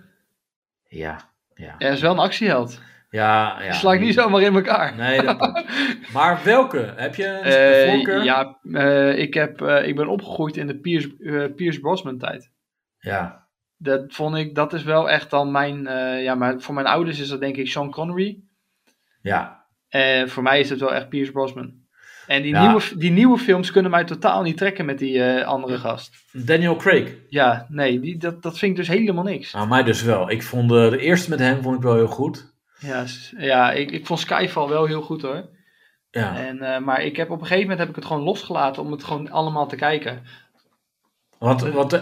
[SPEAKER 2] Ja, ja.
[SPEAKER 3] Hij is wel een actieheld.
[SPEAKER 2] Ja, ja.
[SPEAKER 3] Sla ik niet zomaar in elkaar.
[SPEAKER 2] Nee, dat
[SPEAKER 3] [laughs]
[SPEAKER 2] klopt. Maar welke? Heb je een
[SPEAKER 3] Eh,
[SPEAKER 2] voorkeur?
[SPEAKER 3] ja, eh, ik, heb, eh, ik ben opgegroeid in de Piers, eh Piers Brosnan tijd.
[SPEAKER 2] Ja,
[SPEAKER 3] Dat vond ik, dat is wel echt dan mijn, eh, ja, maar voor mijn ouders is dat denk ik Sean Connery.
[SPEAKER 2] ja.
[SPEAKER 3] Eh, voor mij is het wel echt Pierce Brosnan. En die,
[SPEAKER 2] Ja.
[SPEAKER 3] nieuwe, die nieuwe films kunnen mij totaal niet trekken met die eh, andere gast.
[SPEAKER 2] Daniel Craig.
[SPEAKER 3] Ja, nee, die, dat, dat vind ik dus helemaal niks.
[SPEAKER 2] Nou, mij dus wel. Ik vond eh, de eerste met hem vond ik wel heel goed.
[SPEAKER 3] Ja, s- ja ik, ik vond Skyfall wel heel goed hoor.
[SPEAKER 2] Ja,
[SPEAKER 3] En, eh, maar ik heb op een gegeven moment heb ik het gewoon losgelaten om het gewoon allemaal te kijken.
[SPEAKER 2] want, want eh,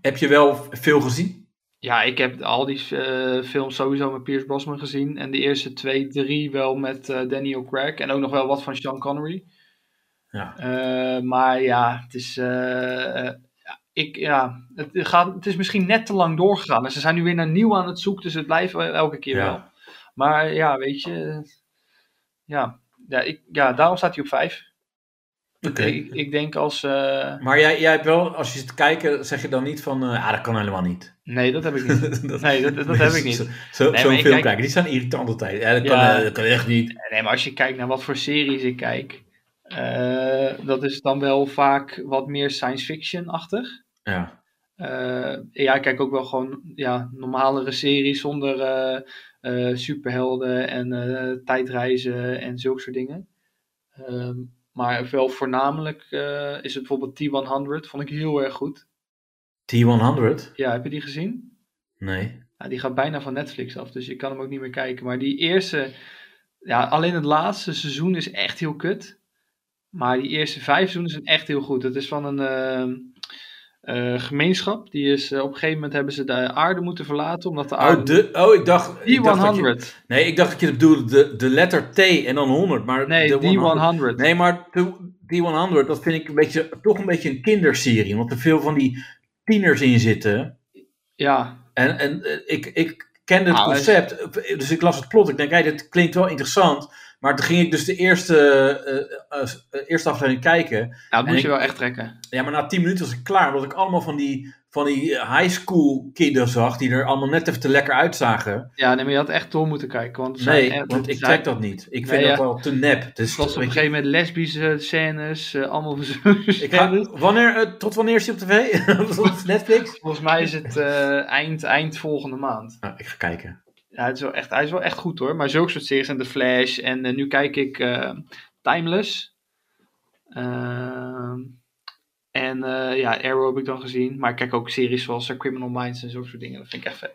[SPEAKER 2] heb je wel veel gezien?
[SPEAKER 3] Ja, ik heb al die eh, films sowieso met Pierce Brosnan gezien. En de eerste twee, drie wel met eh, Daniel Craig. En ook nog wel wat van Sean Connery.
[SPEAKER 2] Ja.
[SPEAKER 3] Eh, maar ja, het is. eh, eh, ja, ik, ja, het, gaat, het is misschien net te lang doorgegaan. En ze zijn nu weer naar nieuw aan het zoeken, dus het blijft wel elke keer
[SPEAKER 2] Ja.
[SPEAKER 3] wel. Maar ja, weet je. eh, Ja, ja, ik, ja daarom staat hij op vijf.
[SPEAKER 2] Oké.
[SPEAKER 3] Ik, ik denk als. eh,
[SPEAKER 2] Maar jij, jij hebt wel, als je zit te kijken, zeg je dan niet van, eh, ah, dat kan helemaal niet. [laughs]
[SPEAKER 3] nee, dat heb ik niet.
[SPEAKER 2] dat,
[SPEAKER 3] Nee, dat, Dus dat heb ik
[SPEAKER 2] [laughs] Zo,
[SPEAKER 3] niet.
[SPEAKER 2] zo,
[SPEAKER 3] maar
[SPEAKER 2] zo'n
[SPEAKER 3] ik
[SPEAKER 2] film
[SPEAKER 3] kijk-
[SPEAKER 2] kijken, die zijn irritant altijd. Ja, dat, kan,
[SPEAKER 3] Ja.
[SPEAKER 2] eh, dat kan echt niet.
[SPEAKER 3] Nee, maar als je kijkt naar wat voor series ik kijk. eh, dat is dan wel vaak wat meer science fiction-achtig.
[SPEAKER 2] Ja,
[SPEAKER 3] Eh, ja, ik kijk ook wel gewoon ja, normalere series zonder eh, eh, superhelden en eh, tijdreizen en zulke soort dingen. Ehm, maar wel voornamelijk eh, is het bijvoorbeeld T100, vond ik heel erg goed.
[SPEAKER 2] T-100?
[SPEAKER 3] Ja, heb je die gezien?
[SPEAKER 2] Nee.
[SPEAKER 3] Ja, Nou, die gaat bijna van Netflix af, dus je kan hem ook niet meer kijken. Maar die eerste, ja, alleen het laatste seizoen is echt heel kut. Maar die eerste vijf seizoenen zijn echt heel goed. Het is van een ehm, eh, eh, gemeenschap. Die is, eh, op een gegeven moment hebben ze de aarde moeten verlaten, omdat de aarde...
[SPEAKER 2] Oh, de, oh ik dacht... ik dacht dat je-
[SPEAKER 3] D100.
[SPEAKER 2] nee, ik dacht dat je het bedoelde de, de letter T en dan 100, maar...
[SPEAKER 3] Nee,
[SPEAKER 2] de
[SPEAKER 3] D100.
[SPEAKER 2] Nee, maar de- die 100, dat vind ik een beetje, toch een beetje een kinderserie. Omdat er veel van die tieners in zitten.
[SPEAKER 3] Ja,
[SPEAKER 2] En, en eh, ik, ik kende het
[SPEAKER 3] Ah, maar-
[SPEAKER 2] concept, eh, dus ik las het plot. Ik denk, hé, dit klinkt wel interessant. Maar toen ging ik dus de eerste, eh, eh, eh, eerste aflevering kijken.
[SPEAKER 3] ja dat moet
[SPEAKER 2] ik-
[SPEAKER 3] je wel echt trekken.
[SPEAKER 2] Ja, maar na 10 minuten was ik klaar. Omdat ik allemaal van die, van die eh, high school kinderen zag. Die er allemaal net even te lekker uitzagen.
[SPEAKER 3] Ja, nee, maar je had echt door moeten kijken. Want er zijn
[SPEAKER 2] Nee,
[SPEAKER 3] echt-
[SPEAKER 2] want ik
[SPEAKER 3] er zijn-
[SPEAKER 2] check dat niet. Ik
[SPEAKER 3] Nee,
[SPEAKER 2] vind
[SPEAKER 3] ja.
[SPEAKER 2] dat wel te nep. Dus,
[SPEAKER 3] Het was op een
[SPEAKER 2] weet je,
[SPEAKER 3] gegeven moment lesbische scènes, eh, allemaal [laughs]
[SPEAKER 2] ik ga,
[SPEAKER 3] scènes.
[SPEAKER 2] wanneer, eh, tot wanneer is hij op tv? [laughs] Op Netflix?
[SPEAKER 3] Volgens mij is het eh, eind, eind volgende maand.
[SPEAKER 2] Nou, ik ga kijken.
[SPEAKER 3] Ja, het is wel echt, hij is wel echt goed hoor. Maar zulke soort series en The Flash. En eh, nu kijk ik eh, Timeless. Ehm, en eh, ja, Arrow heb ik dan gezien. Maar ik kijk ook series zoals eh, Criminal Minds en zulke soort dingen. Dat vind ik echt vet.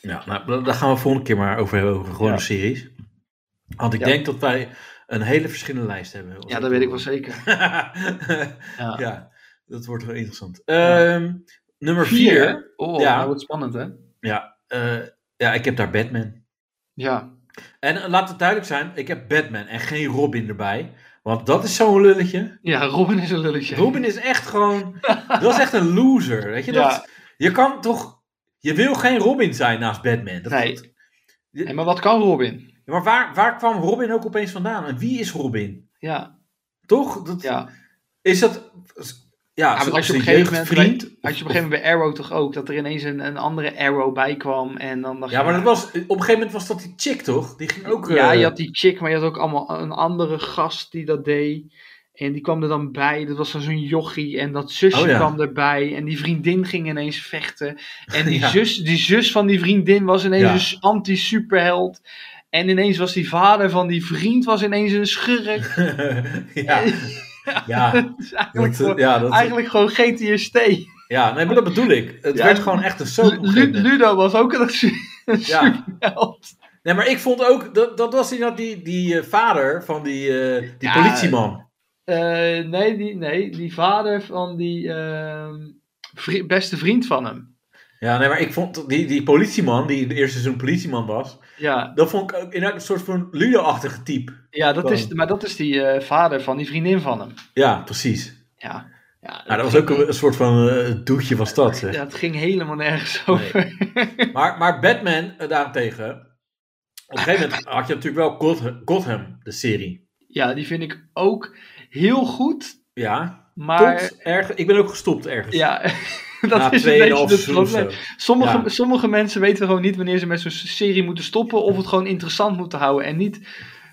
[SPEAKER 2] Ja, nou, daar gaan we volgende keer maar over hebben, over gewone
[SPEAKER 3] Ja.
[SPEAKER 2] series. Want ik
[SPEAKER 3] Ja.
[SPEAKER 2] denk dat wij een hele verschillende lijst hebben. [laughs]
[SPEAKER 3] Ja, dat weet ik wel zeker.
[SPEAKER 2] ja.
[SPEAKER 3] Ja.
[SPEAKER 2] Dat wordt wel interessant. Ehm, nummer 4.
[SPEAKER 3] Oh,
[SPEAKER 2] Ja.
[SPEAKER 3] dat wordt spannend, hè?
[SPEAKER 2] Ja, eh, ja, ik heb daar Batman.
[SPEAKER 3] Ja.
[SPEAKER 2] En eh, laat het duidelijk zijn, ik heb Batman en geen Robin erbij. Want dat is zo'n lulletje.
[SPEAKER 3] Ja, Robin is een lulletje.
[SPEAKER 2] Robin is echt gewoon... dat is echt een loser, weet je? Dat,
[SPEAKER 3] Ja.
[SPEAKER 2] Je kan toch... Je wil geen Robin zijn naast Batman. Dat
[SPEAKER 3] Nee. Hé, maar wat kan Robin?
[SPEAKER 2] Ja, maar waar, waar kwam Robin ook opeens vandaan? En wie is Robin?
[SPEAKER 3] Ja,
[SPEAKER 2] Toch? Dat,
[SPEAKER 3] ja.
[SPEAKER 2] Is dat... Ja,
[SPEAKER 3] Ja, maar
[SPEAKER 2] als
[SPEAKER 3] als je op
[SPEAKER 2] een
[SPEAKER 3] een gegeven moment
[SPEAKER 2] jeugdvriend...
[SPEAKER 3] bij, had je op een gegeven moment bij Arrow toch ook dat er ineens een, een andere Arrow bij kwam en dan dacht
[SPEAKER 2] Ja,
[SPEAKER 3] je,
[SPEAKER 2] maar dat was, op een gegeven moment was dat die chick, toch? Die ging ook...
[SPEAKER 3] ja,
[SPEAKER 2] eh,
[SPEAKER 3] je had die chick, maar je had ook allemaal een andere gast die dat deed. En die kwam er dan bij. Dat was dan zo'n jochie. En dat zusje
[SPEAKER 2] Oh, ja.
[SPEAKER 3] kwam erbij. En die vriendin ging ineens vechten. En
[SPEAKER 2] [laughs]
[SPEAKER 3] die,
[SPEAKER 2] Ja.
[SPEAKER 3] zus, die zus van die vriendin was ineens
[SPEAKER 2] Ja.
[SPEAKER 3] een s- anti-superheld. En ineens was die vader van die vriend was ineens een
[SPEAKER 2] [laughs]
[SPEAKER 3] schurk.
[SPEAKER 2] [laughs]
[SPEAKER 3] [laughs]
[SPEAKER 2] ja, ja,
[SPEAKER 3] Het is eigenlijk,
[SPEAKER 2] dat, eh,
[SPEAKER 3] gewoon,
[SPEAKER 2] ja, dat,
[SPEAKER 3] eigenlijk gewoon GTST.
[SPEAKER 2] ja, nee, maar dat bedoel ik. Het
[SPEAKER 3] Ja.
[SPEAKER 2] werd gewoon echt een soap. op een
[SPEAKER 3] Lu-
[SPEAKER 2] gegeven moment.
[SPEAKER 3] Ludo was ook een su- een
[SPEAKER 2] Ja.
[SPEAKER 3] superheld.
[SPEAKER 2] Nee, maar ik vond ook, dat, dat was die, die, die eh, vader van die, eh, die
[SPEAKER 3] Ja.
[SPEAKER 2] politieman.
[SPEAKER 3] Eh, nee, die, nee, die vader van die ehm, vri- beste vriend van hem.
[SPEAKER 2] Ja, nee, maar ik vond die, die politieman, die in het eerste seizoen politieman was,
[SPEAKER 3] Ja,
[SPEAKER 2] dat vond ik ook inderdaad een soort van Ludo-achtige type.
[SPEAKER 3] ja dat is,
[SPEAKER 2] Gewoon.
[SPEAKER 3] maar dat is die eh, vader van die vriendin van hem.
[SPEAKER 2] Ja, precies.
[SPEAKER 3] Ja, ja
[SPEAKER 2] Nou, dat was ook een, een soort van eh doetje was dat. zeg.
[SPEAKER 3] ja, het ging helemaal nergens
[SPEAKER 2] Nee.
[SPEAKER 3] over.
[SPEAKER 2] Maar, maar Batman eh, daarentegen, op een gegeven moment had je natuurlijk wel Gotham, Gotham de serie.
[SPEAKER 3] Ja, die vind ik ook heel goed,
[SPEAKER 2] Ja,
[SPEAKER 3] maar...
[SPEAKER 2] tot erg, ik ben ook gestopt ergens.
[SPEAKER 3] Ja, [laughs] dat
[SPEAKER 2] Na
[SPEAKER 3] is een beetje
[SPEAKER 2] 2,5
[SPEAKER 3] het
[SPEAKER 2] seizoen of
[SPEAKER 3] probleem.
[SPEAKER 2] zo.
[SPEAKER 3] Sommige,
[SPEAKER 2] Ja.
[SPEAKER 3] sommige mensen weten gewoon niet wanneer ze met zo'n serie moeten stoppen of het gewoon interessant moeten houden en niet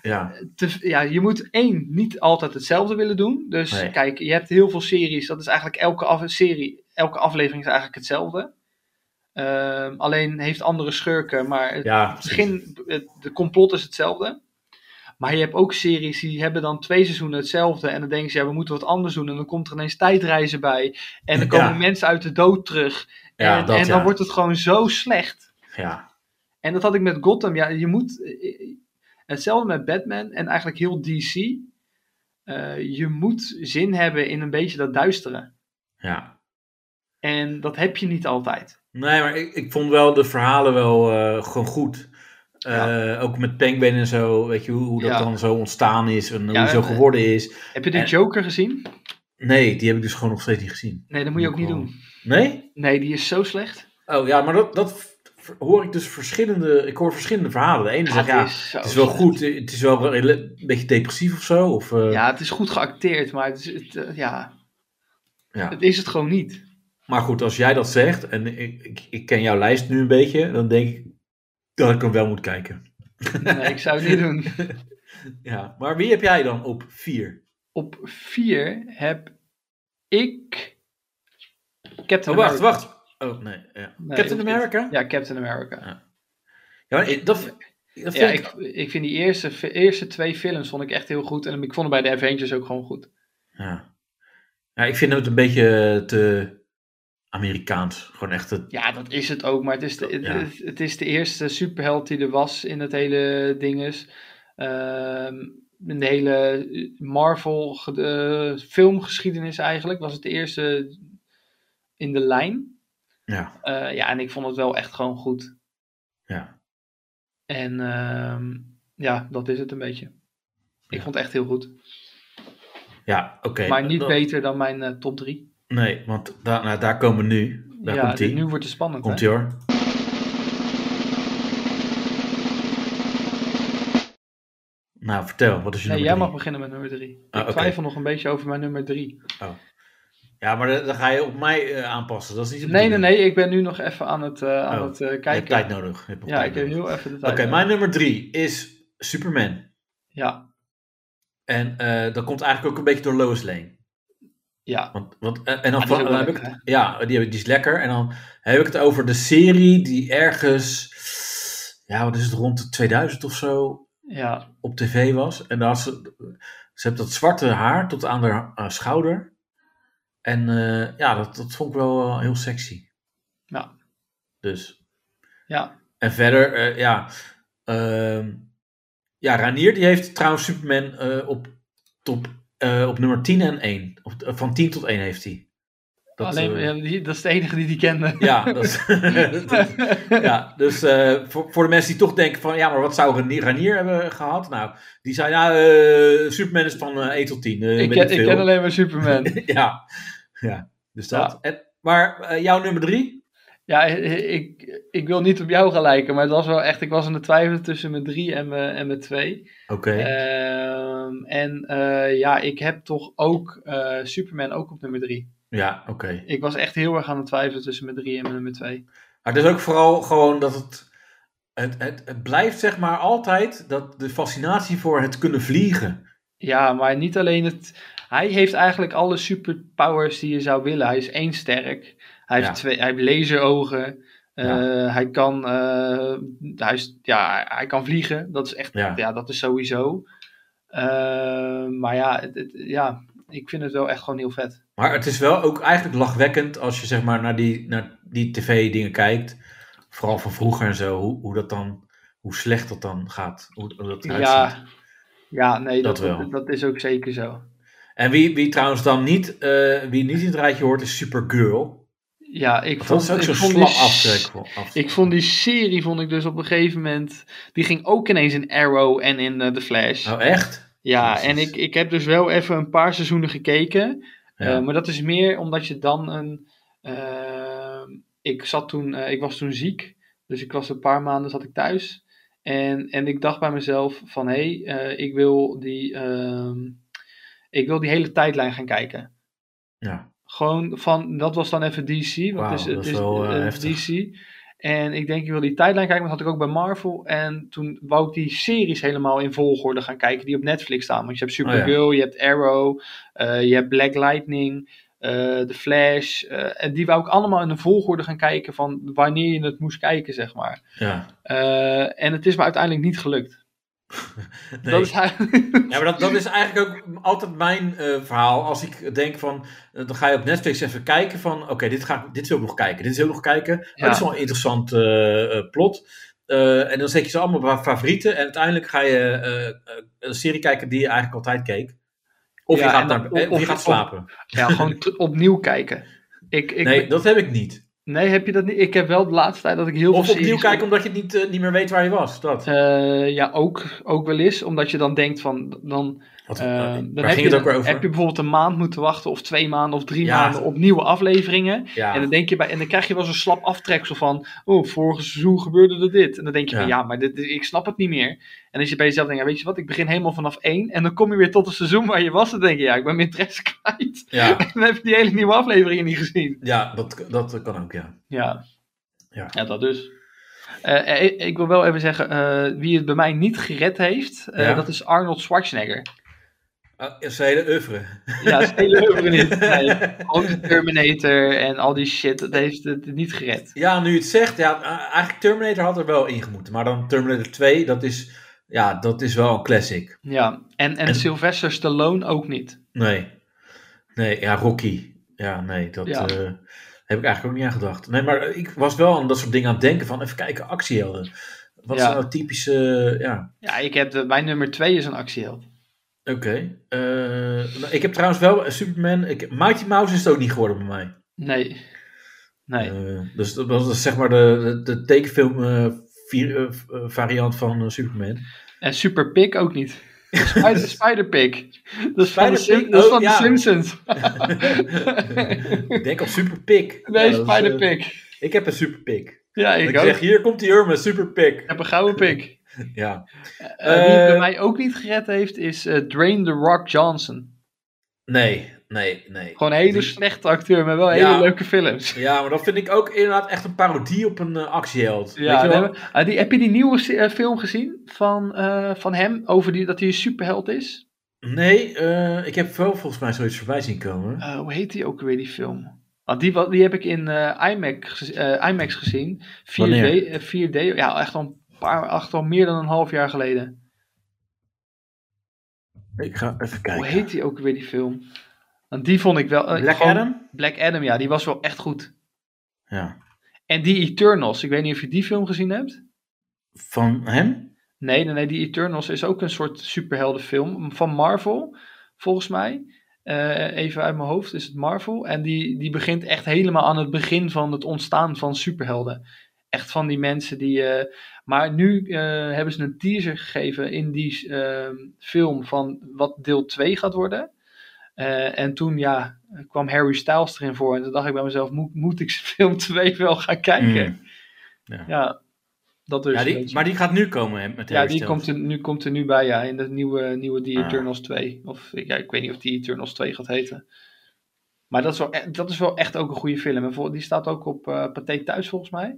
[SPEAKER 2] Ja,
[SPEAKER 3] te- ja, je moet één, niet altijd hetzelfde willen doen. Dus
[SPEAKER 2] Nee.
[SPEAKER 3] kijk, je hebt heel veel series. Dat is eigenlijk elke af- serie, elke aflevering is eigenlijk hetzelfde. Ehm, alleen heeft andere schurken, maar het
[SPEAKER 2] ja precies.
[SPEAKER 3] begin, het, de complot is hetzelfde. Maar je hebt ook series die hebben dan twee seizoenen hetzelfde. En dan denken ze, ja, we moeten wat anders doen. En dan komt er ineens tijdreizen bij. En dan
[SPEAKER 2] Ja.
[SPEAKER 3] komen mensen uit de dood terug.
[SPEAKER 2] Ja,
[SPEAKER 3] en
[SPEAKER 2] dat,
[SPEAKER 3] en dan
[SPEAKER 2] ja.
[SPEAKER 3] wordt het gewoon zo slecht.
[SPEAKER 2] Ja,
[SPEAKER 3] En dat had ik met Gotham. Ja, je moet. eh, eh, Hetzelfde met Batman en eigenlijk heel DC. Eh, je moet zin hebben in een beetje dat duisteren.
[SPEAKER 2] ja.
[SPEAKER 3] En dat heb je niet altijd.
[SPEAKER 2] Nee, maar ik, ik vond wel de verhalen wel eh, gewoon goed. Eh, Ook met Penguin en zo, weet je, hoe, hoe dat
[SPEAKER 3] Ja.
[SPEAKER 2] dan zo ontstaan is en eh, hoe
[SPEAKER 3] Ja,
[SPEAKER 2] het zo
[SPEAKER 3] en-
[SPEAKER 2] geworden is.
[SPEAKER 3] Heb je de
[SPEAKER 2] En-
[SPEAKER 3] Joker gezien?
[SPEAKER 2] Nee, die heb ik dus gewoon nog steeds niet gezien.
[SPEAKER 3] Nee, dat moet je ook niet
[SPEAKER 2] Gewoon-
[SPEAKER 3] doen.
[SPEAKER 2] Nee?
[SPEAKER 3] Nee, die is zo slecht.
[SPEAKER 2] Oh ja, maar dat, dat v- v- hoor ik dus verschillende. Ik hoor verschillende verhalen. De ene zegt
[SPEAKER 3] het
[SPEAKER 2] ja,
[SPEAKER 3] Ah, is zo
[SPEAKER 2] het is wel
[SPEAKER 3] slecht.
[SPEAKER 2] goed, eh, het is wel re- een beetje depressief of zo. Of, eh,
[SPEAKER 3] Ja, het is goed geacteerd, maar het is, het, eh, ja.
[SPEAKER 2] Ja.
[SPEAKER 3] het is het gewoon niet.
[SPEAKER 2] Maar goed, als jij dat zegt en ik, ik, ik ken jouw lijst nu een beetje, dan denk ik dat ik hem wel moet kijken.
[SPEAKER 3] Nee, ik zou het niet doen.
[SPEAKER 2] Ja, maar wie heb jij dan op vier?
[SPEAKER 3] Op vier heb ik. Captain
[SPEAKER 2] Oh, wacht,
[SPEAKER 3] America.
[SPEAKER 2] wacht. Oh nee, ja. Captain
[SPEAKER 3] dat-
[SPEAKER 2] America?
[SPEAKER 3] Ja, Captain America.
[SPEAKER 2] Ja, maar ik- dat, dat vind
[SPEAKER 3] Ja,
[SPEAKER 2] ik-
[SPEAKER 3] ik, ik vind die eerste, fi- eerste twee films vond ik echt heel goed. En ik vond hem bij de Avengers ook gewoon goed.
[SPEAKER 2] Ja. ja, ik vind het een beetje eh, te Amerikaans. Gewoon echt het.
[SPEAKER 3] Ja, dat is het ook. Maar het is de, het,
[SPEAKER 2] Ja.
[SPEAKER 3] het- het is de eerste superheld die er was in het hele dinges. Ehm, in de hele Marvel ge- eh, filmgeschiedenis eigenlijk. Was het de eerste in de lijn.
[SPEAKER 2] Ja,
[SPEAKER 3] Eh, ja, en ik vond het wel echt gewoon goed.
[SPEAKER 2] ja.
[SPEAKER 3] En ehm, ja, dat is het een beetje. Ik
[SPEAKER 2] Ja.
[SPEAKER 3] vond het echt heel goed.
[SPEAKER 2] ja oké.
[SPEAKER 3] Maar niet
[SPEAKER 2] Dan-
[SPEAKER 3] beter dan mijn eh, top drie.
[SPEAKER 2] Nee, want daar, nou, daar komen we nu. Daar
[SPEAKER 3] ja,
[SPEAKER 2] komt
[SPEAKER 3] dit-
[SPEAKER 2] hij.
[SPEAKER 3] nu wordt het spannend. hè?
[SPEAKER 2] Komt hij hoor. Nou, vertel, wat is je
[SPEAKER 3] Nee, jij
[SPEAKER 2] nummer
[SPEAKER 3] mag
[SPEAKER 2] drie?
[SPEAKER 3] beginnen met nummer 3. ik
[SPEAKER 2] Ah, oké.
[SPEAKER 3] twijfel nog een beetje over mijn nummer 3.
[SPEAKER 2] Ja, maar dan, dan ga je op mij eh, aanpassen. Dat is niet de
[SPEAKER 3] Nee, nee,
[SPEAKER 2] bedoeling.
[SPEAKER 3] nee, ik ben nu nog even aan het, eh, aan
[SPEAKER 2] Oh,
[SPEAKER 3] het eh,
[SPEAKER 2] Je hebt
[SPEAKER 3] kijken.
[SPEAKER 2] tijd nodig. Je hebt nog
[SPEAKER 3] ja,
[SPEAKER 2] tijd
[SPEAKER 3] ik heb
[SPEAKER 2] nodig.
[SPEAKER 3] heel even de
[SPEAKER 2] Oké,
[SPEAKER 3] tijd. nodig.
[SPEAKER 2] mijn nummer drie is Superman.
[SPEAKER 3] Ja,
[SPEAKER 2] En eh, dat komt eigenlijk ook een beetje door Lois Lane.
[SPEAKER 3] ja.
[SPEAKER 2] Want, want, eh, en dan,
[SPEAKER 3] Ah, die is
[SPEAKER 2] dan
[SPEAKER 3] ook wel
[SPEAKER 2] heb ik
[SPEAKER 3] lekker,
[SPEAKER 2] het, ja, die, heb- die is lekker. En dan heb ik het over de serie die ergens, ja, wat is het, rond de 2000 of zo
[SPEAKER 3] ja.
[SPEAKER 2] op tv was. En daar had ze, ze heeft dat zwarte haar tot aan haar eh, schouder. En eh, ja, dat, dat vond ik wel eh, heel sexy.
[SPEAKER 3] Ja.
[SPEAKER 2] Dus.
[SPEAKER 3] Ja.
[SPEAKER 2] En verder, eh, ja. ehm, ja, Ranier die heeft trouwens Superman eh, op, top, eh, op nummer 10 en 1. Op, eh, van 10 tot 1 heeft hij. Dat,
[SPEAKER 3] Alleen,
[SPEAKER 2] eh,
[SPEAKER 3] ja, die- dat is de enige die die [laughs] kende.
[SPEAKER 2] Ja, dat is-
[SPEAKER 3] [laughs]
[SPEAKER 2] [laughs] ja dus eh, voor, voor de mensen die toch denken van, ja, maar wat zou Ranier, Ranier hebben gehad? Nou, die zijn, nou, eh, Superman is van eh 1 tot 10. eh,
[SPEAKER 3] ik,
[SPEAKER 2] weet
[SPEAKER 3] ken,
[SPEAKER 2] veel.
[SPEAKER 3] ik ken alleen maar Superman.
[SPEAKER 2] [laughs] ja. ja, dus dat. En, maar eh, jouw nummer drie?
[SPEAKER 3] ja, ik, ik wil niet op jou gaan lijken, maar het was wel echt, ik was in de twijfel tussen mijn drie en mijn, en mijn twee.
[SPEAKER 2] Oké.
[SPEAKER 3] Eh. Ehm, en eh, ja, ik heb toch ook eh, Superman ook op nummer 3.
[SPEAKER 2] ja, oké.
[SPEAKER 3] Ik was echt heel erg aan het twijfelen tussen mijn 3 en mijn nummer 2.
[SPEAKER 2] Maar het is ook vooral gewoon dat het, het, het, het blijft zeg maar altijd dat de fascinatie voor het kunnen vliegen.
[SPEAKER 3] Ja, maar niet alleen het. Hij heeft eigenlijk alle superpowers die je zou willen. Hij is één sterk. Hij heeft,
[SPEAKER 2] Ja.
[SPEAKER 3] twee, hij heeft laserogen. Eh,
[SPEAKER 2] Ja.
[SPEAKER 3] Hij kan. eh, hij, is- ja, hij kan vliegen. Dat is echt. Ja,
[SPEAKER 2] Ja.
[SPEAKER 3] dat is sowieso. Eh, maar ja, het- het- ja, ik vind het wel echt gewoon heel vet.
[SPEAKER 2] Maar het is wel ook eigenlijk lachwekkend als je zeg maar naar die, naar die tv dingen kijkt. Vooral van vroeger en zo, hoe, hoe dat dan, hoe slecht dat dan gaat. Hoe, hoe dat eruit ziet.
[SPEAKER 3] Ja, ja, nee, dat,
[SPEAKER 2] Dat
[SPEAKER 3] dat,
[SPEAKER 2] wel.
[SPEAKER 3] dat is ook zeker zo.
[SPEAKER 2] En wie, wie trouwens dan niet, eh, wie niet in het rijtje hoort is Supergirl.
[SPEAKER 3] Ja, ik
[SPEAKER 2] Dat
[SPEAKER 3] vond,
[SPEAKER 2] is ook
[SPEAKER 3] ik
[SPEAKER 2] zo'n
[SPEAKER 3] vond
[SPEAKER 2] slap
[SPEAKER 3] die,
[SPEAKER 2] aftrek. af-
[SPEAKER 3] Ik vond die serie vond ik dus op een gegeven moment. Die ging ook ineens in Arrow en in eh, The Flash.
[SPEAKER 2] Oh echt?
[SPEAKER 3] ja,
[SPEAKER 2] precies.
[SPEAKER 3] en ik, ik heb dus wel even een paar seizoenen gekeken.
[SPEAKER 2] Ja.
[SPEAKER 3] Eh, maar dat is meer omdat je dan een. eh, ik, zat toen, eh, ik was toen ziek. Dus ik was een paar maanden zat ik thuis. En, en ik dacht bij mezelf van hé, eh, ik, wil die, ehm, ik wil die hele tijdlijn gaan kijken.
[SPEAKER 2] ja.
[SPEAKER 3] Gewoon van, dat was dan even DC. Want
[SPEAKER 2] Wauw,
[SPEAKER 3] het is,
[SPEAKER 2] dat
[SPEAKER 3] het
[SPEAKER 2] is
[SPEAKER 3] is,
[SPEAKER 2] wel, eh,
[SPEAKER 3] eh,
[SPEAKER 2] heftig.
[SPEAKER 3] DC. En ik denk, ik wil die tijdlijn kijken, want dat had ik ook bij Marvel. En toen wou ik die series helemaal in volgorde gaan kijken die op Netflix staan. Want je hebt
[SPEAKER 2] Oh ja.
[SPEAKER 3] Supergirl, je hebt Arrow, eh, je hebt Black Lightning, eh, The Flash. eh, en die wou ik allemaal in een volgorde gaan kijken van wanneer je het moest kijken, zeg maar.
[SPEAKER 2] ja.
[SPEAKER 3] Eh, en het is me uiteindelijk niet gelukt.
[SPEAKER 2] Nee.
[SPEAKER 3] Dat is eigenlijk...
[SPEAKER 2] Ja, maar dat, dat is eigenlijk ook altijd mijn eh, verhaal. Als ik denk van, eh, dan ga je op Netflix even kijken van, oké, dit, ga ik- dit wil ik nog kijken, dit wil ik nog kijken. Oh,
[SPEAKER 3] Ja.
[SPEAKER 2] dit is wel een interessant eh, eh, plot. Eh, en dan zet je ze allemaal bij favorieten en uiteindelijk ga je eh, eh, een serie kijken die je eigenlijk altijd keek. Of
[SPEAKER 3] Ja,
[SPEAKER 2] je
[SPEAKER 3] en
[SPEAKER 2] gaat,
[SPEAKER 3] dan-
[SPEAKER 2] naar, eh,
[SPEAKER 3] of-
[SPEAKER 2] of je gaat
[SPEAKER 3] of-
[SPEAKER 2] slapen.
[SPEAKER 3] ja, gewoon t- opnieuw kijken. Ik, ik,
[SPEAKER 2] nee,
[SPEAKER 3] nee.
[SPEAKER 2] dat heb ik niet.
[SPEAKER 3] heb je dat niet? Ik heb wel de laatste tijd dat ik heel
[SPEAKER 2] Of
[SPEAKER 3] veel
[SPEAKER 2] opnieuw
[SPEAKER 3] series-
[SPEAKER 2] kijken omdat je het niet, eh, niet meer weet waar je was. Dat.
[SPEAKER 3] Eh, ja, ook, ook wel eens. Omdat je dan denkt van, dan,
[SPEAKER 2] Wat-
[SPEAKER 3] eh,
[SPEAKER 2] waar
[SPEAKER 3] dan
[SPEAKER 2] ging
[SPEAKER 3] je,
[SPEAKER 2] het ook weer over?
[SPEAKER 3] heb je bijvoorbeeld een maand moeten wachten of twee maanden of drie
[SPEAKER 2] Ja.
[SPEAKER 3] maanden op nieuwe afleveringen.
[SPEAKER 2] ja.
[SPEAKER 3] En, dan denk je bij, en dan krijg je wel zo'n slap aftreksel van, oh, vorig seizoen gebeurde er dit. En dan denk je van,
[SPEAKER 2] Ja.
[SPEAKER 3] ja, maar dit, ik snap het niet meer. En als je bij jezelf denkt, ja, weet je wat, ik begin helemaal vanaf één. En dan kom je weer tot het seizoen waar je was. Dan denk je, ja, ik ben mijn interesse [laughs] kwijt.
[SPEAKER 2] ja.
[SPEAKER 3] En dan heb je die hele nieuwe afleveringen niet gezien.
[SPEAKER 2] ja, dat, dat kan ook, ja.
[SPEAKER 3] Ja.
[SPEAKER 2] Ja.
[SPEAKER 3] dat dus. Eh, eh, ik wil wel even zeggen, eh, wie het bij mij niet gered heeft, eh,
[SPEAKER 2] Ja.
[SPEAKER 3] dat is Arnold Schwarzenegger.
[SPEAKER 2] Ah, is de hele oeuvre.
[SPEAKER 3] Ja, dat is heel leuk maar niet. [laughs] Nee, ook de Terminator en al die shit, dat heeft het niet gered.
[SPEAKER 2] [laughs] Ja, nu je het zegt, ja, eh, eigenlijk Terminator had er wel in gemoeten. Maar dan Terminator 2, dat is, ja, dat is wel een classic.
[SPEAKER 3] Ja, en, en
[SPEAKER 2] En-
[SPEAKER 3] Sylvester Stallone ook niet.
[SPEAKER 2] Nee. Nee, ja, Rocky. Ja, nee, dat
[SPEAKER 3] Ja.
[SPEAKER 2] eh, heb ik eigenlijk ook niet aan gedacht. Nee, maar ik was wel aan dat soort dingen aan het denken van, even kijken, actiehelden. Wat
[SPEAKER 3] Ja.
[SPEAKER 2] zijn nou typische, eh, ja,
[SPEAKER 3] Ja, ik heb de, mijn nummer twee is een actieheld.
[SPEAKER 2] oké. Eh, nou, ik heb trouwens wel eh, Superman, ik, Mighty Mouse is het ook niet geworden bij mij.
[SPEAKER 3] Nee. Nee.
[SPEAKER 2] Eh, dus dat was zeg maar de, de, de tekenfilm eh, vier- eh, eh, variant van eh, Superman.
[SPEAKER 3] En Super Pig ook niet. [laughs] Spider, Spider Pig. Dat is van, de,
[SPEAKER 2] Spider-Pig?
[SPEAKER 3] Sim- dat
[SPEAKER 2] Oh,
[SPEAKER 3] is van de
[SPEAKER 2] ja. [laughs]
[SPEAKER 3] Simpsons.
[SPEAKER 2] [laughs] ik denk op Super Pik.
[SPEAKER 3] Nee,
[SPEAKER 2] Ja, dat is, eh,
[SPEAKER 3] Spider Pig.
[SPEAKER 2] ik heb een Super Pik.
[SPEAKER 3] Ja, ik,
[SPEAKER 2] Ik,
[SPEAKER 3] ook.
[SPEAKER 2] zeg, hier komt die Urme, Super
[SPEAKER 3] Ik
[SPEAKER 2] Pik.
[SPEAKER 3] heb een gouden pik.
[SPEAKER 2] Ja.
[SPEAKER 3] Eh, wie het bij
[SPEAKER 2] Eh,
[SPEAKER 3] mij ook niet gered heeft, is eh, Drain The Rock Johnson.
[SPEAKER 2] Nee, nee, nee.
[SPEAKER 3] Gewoon een hele
[SPEAKER 2] Die-
[SPEAKER 3] slechte acteur, maar wel
[SPEAKER 2] Ja.
[SPEAKER 3] hele leuke films. [laughs]
[SPEAKER 2] Ja, maar dat vind ik ook inderdaad echt een parodie op een eh, actieheld.
[SPEAKER 3] Ja,
[SPEAKER 2] Weet je
[SPEAKER 3] nee,
[SPEAKER 2] wel?
[SPEAKER 3] maar- ah, die, heb je die nieuwe se- eh, film gezien van, eh, van hem, over die, dat hij een superheld is?
[SPEAKER 2] Nee, eh, ik heb wel volgens mij zoiets voorbij zien komen.
[SPEAKER 3] Eh, hoe heet die ook weer, die film? Want die, wa- die heb ik in eh, IMAX, gez- eh, IMAX gezien. 4D,
[SPEAKER 2] Wanneer?
[SPEAKER 3] eh, 4D, ja, echt al, een paar, echt al meer dan een half jaar geleden.
[SPEAKER 2] Ik ga even kijken.
[SPEAKER 3] Hoe heet die ook weer, die film? Want die vond ik wel... eh,
[SPEAKER 2] nou. Black
[SPEAKER 3] gewoon-
[SPEAKER 2] Adam?
[SPEAKER 3] Black Adam, ja, die was wel echt goed.
[SPEAKER 2] Ja.
[SPEAKER 3] En die Eternals, ik weet niet of je die film gezien hebt.
[SPEAKER 2] Van hem?
[SPEAKER 3] Nee, nee, nee, die Eternals is ook een soort superheldenfilm van Marvel, volgens mij. eh, even uit mijn hoofd, is het Marvel. En die, die begint echt helemaal aan het begin van het ontstaan van superhelden. Echt van die mensen die. eh, maar nu eh, hebben ze een teaser gegeven in die eh, film van wat deel 2 gaat worden. Eh, en toen ja, kwam Harry Styles erin voor. En toen dacht ik bij mezelf: moet, moet ik [laughs] film 2 wel gaan kijken?
[SPEAKER 2] Mm.
[SPEAKER 3] Ja, dat dus.
[SPEAKER 2] Ja,
[SPEAKER 3] een beetje.
[SPEAKER 2] die, maar die gaat nu komen hè, met
[SPEAKER 3] Ja,
[SPEAKER 2] Harry
[SPEAKER 3] die
[SPEAKER 2] Styles.
[SPEAKER 3] komt er, nu, komt er nu bij, ja, in de nieuwe, nieuwe The
[SPEAKER 2] Ah.
[SPEAKER 3] Eternals 2. Of ja, ik weet niet of die Eternals 2 gaat heten. Maar dat is wel, e- dat is wel echt ook een goede film. En voor, die staat ook op eh Pathé Thuis, volgens mij.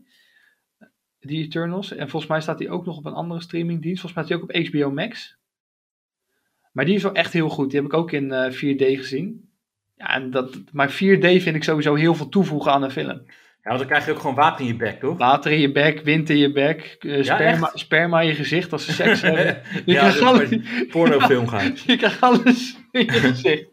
[SPEAKER 3] Die Eternals. En volgens mij staat die ook nog op een andere streamingdienst. Volgens mij staat die ook op HBO Max. Maar die is wel echt heel goed. Die heb ik ook in eh, 4D gezien. Ja, en dat, maar 4D vind ik sowieso heel veel toevoegen aan een film.
[SPEAKER 2] Ja, want dan krijg je ook gewoon water in je bek, toch? [laughs]
[SPEAKER 3] Water in je bek, wind in je bek, eh, sperma,
[SPEAKER 2] echt?
[SPEAKER 3] sperma in je gezicht als ze
[SPEAKER 2] [laughs]
[SPEAKER 3] seks hebben. Je
[SPEAKER 2] ja,
[SPEAKER 3] krijgt
[SPEAKER 2] dat
[SPEAKER 3] alles.
[SPEAKER 2] is pornofilm gaan.
[SPEAKER 3] [laughs] Je krijgt alles in je gezicht.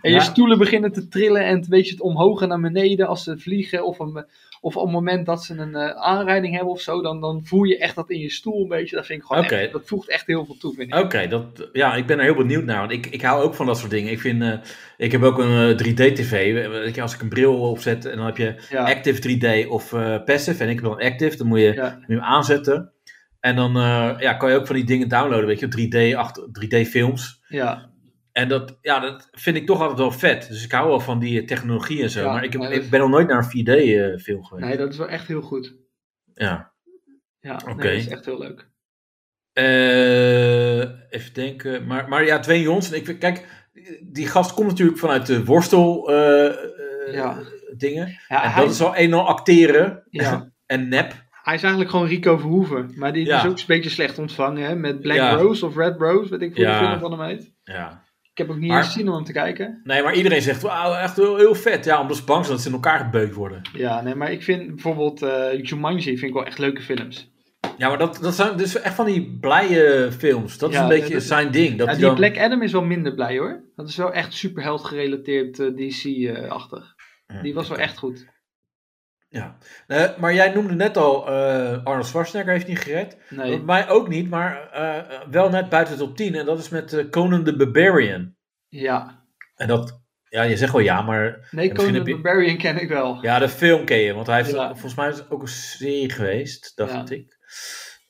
[SPEAKER 3] En
[SPEAKER 2] Ja.
[SPEAKER 3] je stoelen beginnen te trillen en het, weet je, het omhoog en naar beneden als ze vliegen. Of, een, of op het moment dat ze een eh, aanrijding hebben of zo, dan, dan voel je echt dat in je stoel een beetje. Dat vind ik gewoon
[SPEAKER 2] Oké.
[SPEAKER 3] echt- dat voegt echt heel veel toe, vind ik.
[SPEAKER 2] Oké, dat, ja, ik ben er heel benieuwd naar. Want ik, ik hou ook van dat soort dingen. Ik, vind, eh, ik heb ook een eh, 3D-tv. Als ik een bril opzet en dan heb je
[SPEAKER 3] Ja.
[SPEAKER 2] active 3D of eh, passive. En ik heb dan active, dan moet je,
[SPEAKER 3] Ja.
[SPEAKER 2] moet je hem aanzetten. En dan eh, ja, kan je ook van die dingen downloaden, weet je, 3D, achter- 3D-films.
[SPEAKER 3] ja.
[SPEAKER 2] En dat, ja, dat vind ik toch altijd wel vet. Dus ik hou wel van die eh, technologie en zo.
[SPEAKER 3] Ja,
[SPEAKER 2] maar ik, heb-
[SPEAKER 3] maar dat-
[SPEAKER 2] ik ben nog nooit naar een 4D-film geweest.
[SPEAKER 3] Nee, dat is wel echt heel goed.
[SPEAKER 2] Ja.
[SPEAKER 3] Ja, nee,
[SPEAKER 2] Oké.
[SPEAKER 3] dat is echt heel leuk.
[SPEAKER 2] Eh, even denken. Maar, maar ja, Dwayne Johnson. Ik, vind- kijk, die gast komt natuurlijk vanuit de worstel eh, eh,
[SPEAKER 3] Ja.
[SPEAKER 2] dingen.
[SPEAKER 3] Ja,
[SPEAKER 2] en
[SPEAKER 3] hij,
[SPEAKER 2] dat is al een al acteren
[SPEAKER 3] ja,
[SPEAKER 2] [laughs] en nep.
[SPEAKER 3] hij is eigenlijk gewoon Rico Verhoeven. Maar die die
[SPEAKER 2] Ja.
[SPEAKER 3] is ook een beetje slecht ontvangen, hè? Met Black
[SPEAKER 2] Ja.
[SPEAKER 3] Rose of Red Rose, weet ik hoe
[SPEAKER 2] Ja.
[SPEAKER 3] de film van hem heet.
[SPEAKER 2] Ja.
[SPEAKER 3] Ik heb ook niet
[SPEAKER 2] Maar-
[SPEAKER 3] eens gezien om hem te kijken.
[SPEAKER 2] Nee, maar iedereen zegt, wauw, echt heel, heel vet. Ja, omdat ze bang zijn dat ze in elkaar gebeukt worden.
[SPEAKER 3] Ja, nee, maar ik vind bijvoorbeeld eh, Jumanji vind ik wel echt leuke films.
[SPEAKER 2] Ja, maar dat, dat zijn dus echt van die blije films. Dat is
[SPEAKER 3] Ja,
[SPEAKER 2] een beetje
[SPEAKER 3] dat-
[SPEAKER 2] zijn ding. Dat
[SPEAKER 3] Ja,
[SPEAKER 2] hij
[SPEAKER 3] die
[SPEAKER 2] dan-
[SPEAKER 3] Black Adam is wel minder blij hoor. Dat is wel echt superheld gerelateerd DC-achtig. Die was wel echt goed.
[SPEAKER 2] Ja. Eh, maar jij noemde net al, eh, Arnold Schwarzenegger heeft niet gered.
[SPEAKER 3] Nee.
[SPEAKER 2] Bij Mij ook niet, maar eh, eh, wel net buiten de top 10. En dat is met eh, Conan the Barbarian.
[SPEAKER 3] Ja.
[SPEAKER 2] En dat, ja, je zegt wel ja, maar
[SPEAKER 3] Nee,
[SPEAKER 2] misschien
[SPEAKER 3] Conan
[SPEAKER 2] heb
[SPEAKER 3] the
[SPEAKER 2] je-
[SPEAKER 3] Barbarian ken ik wel.
[SPEAKER 2] ja, de film ken je. Want hij heeft,
[SPEAKER 3] Ja.
[SPEAKER 2] volgens mij is het ook een serie geweest, dacht
[SPEAKER 3] Ja.
[SPEAKER 2] ik.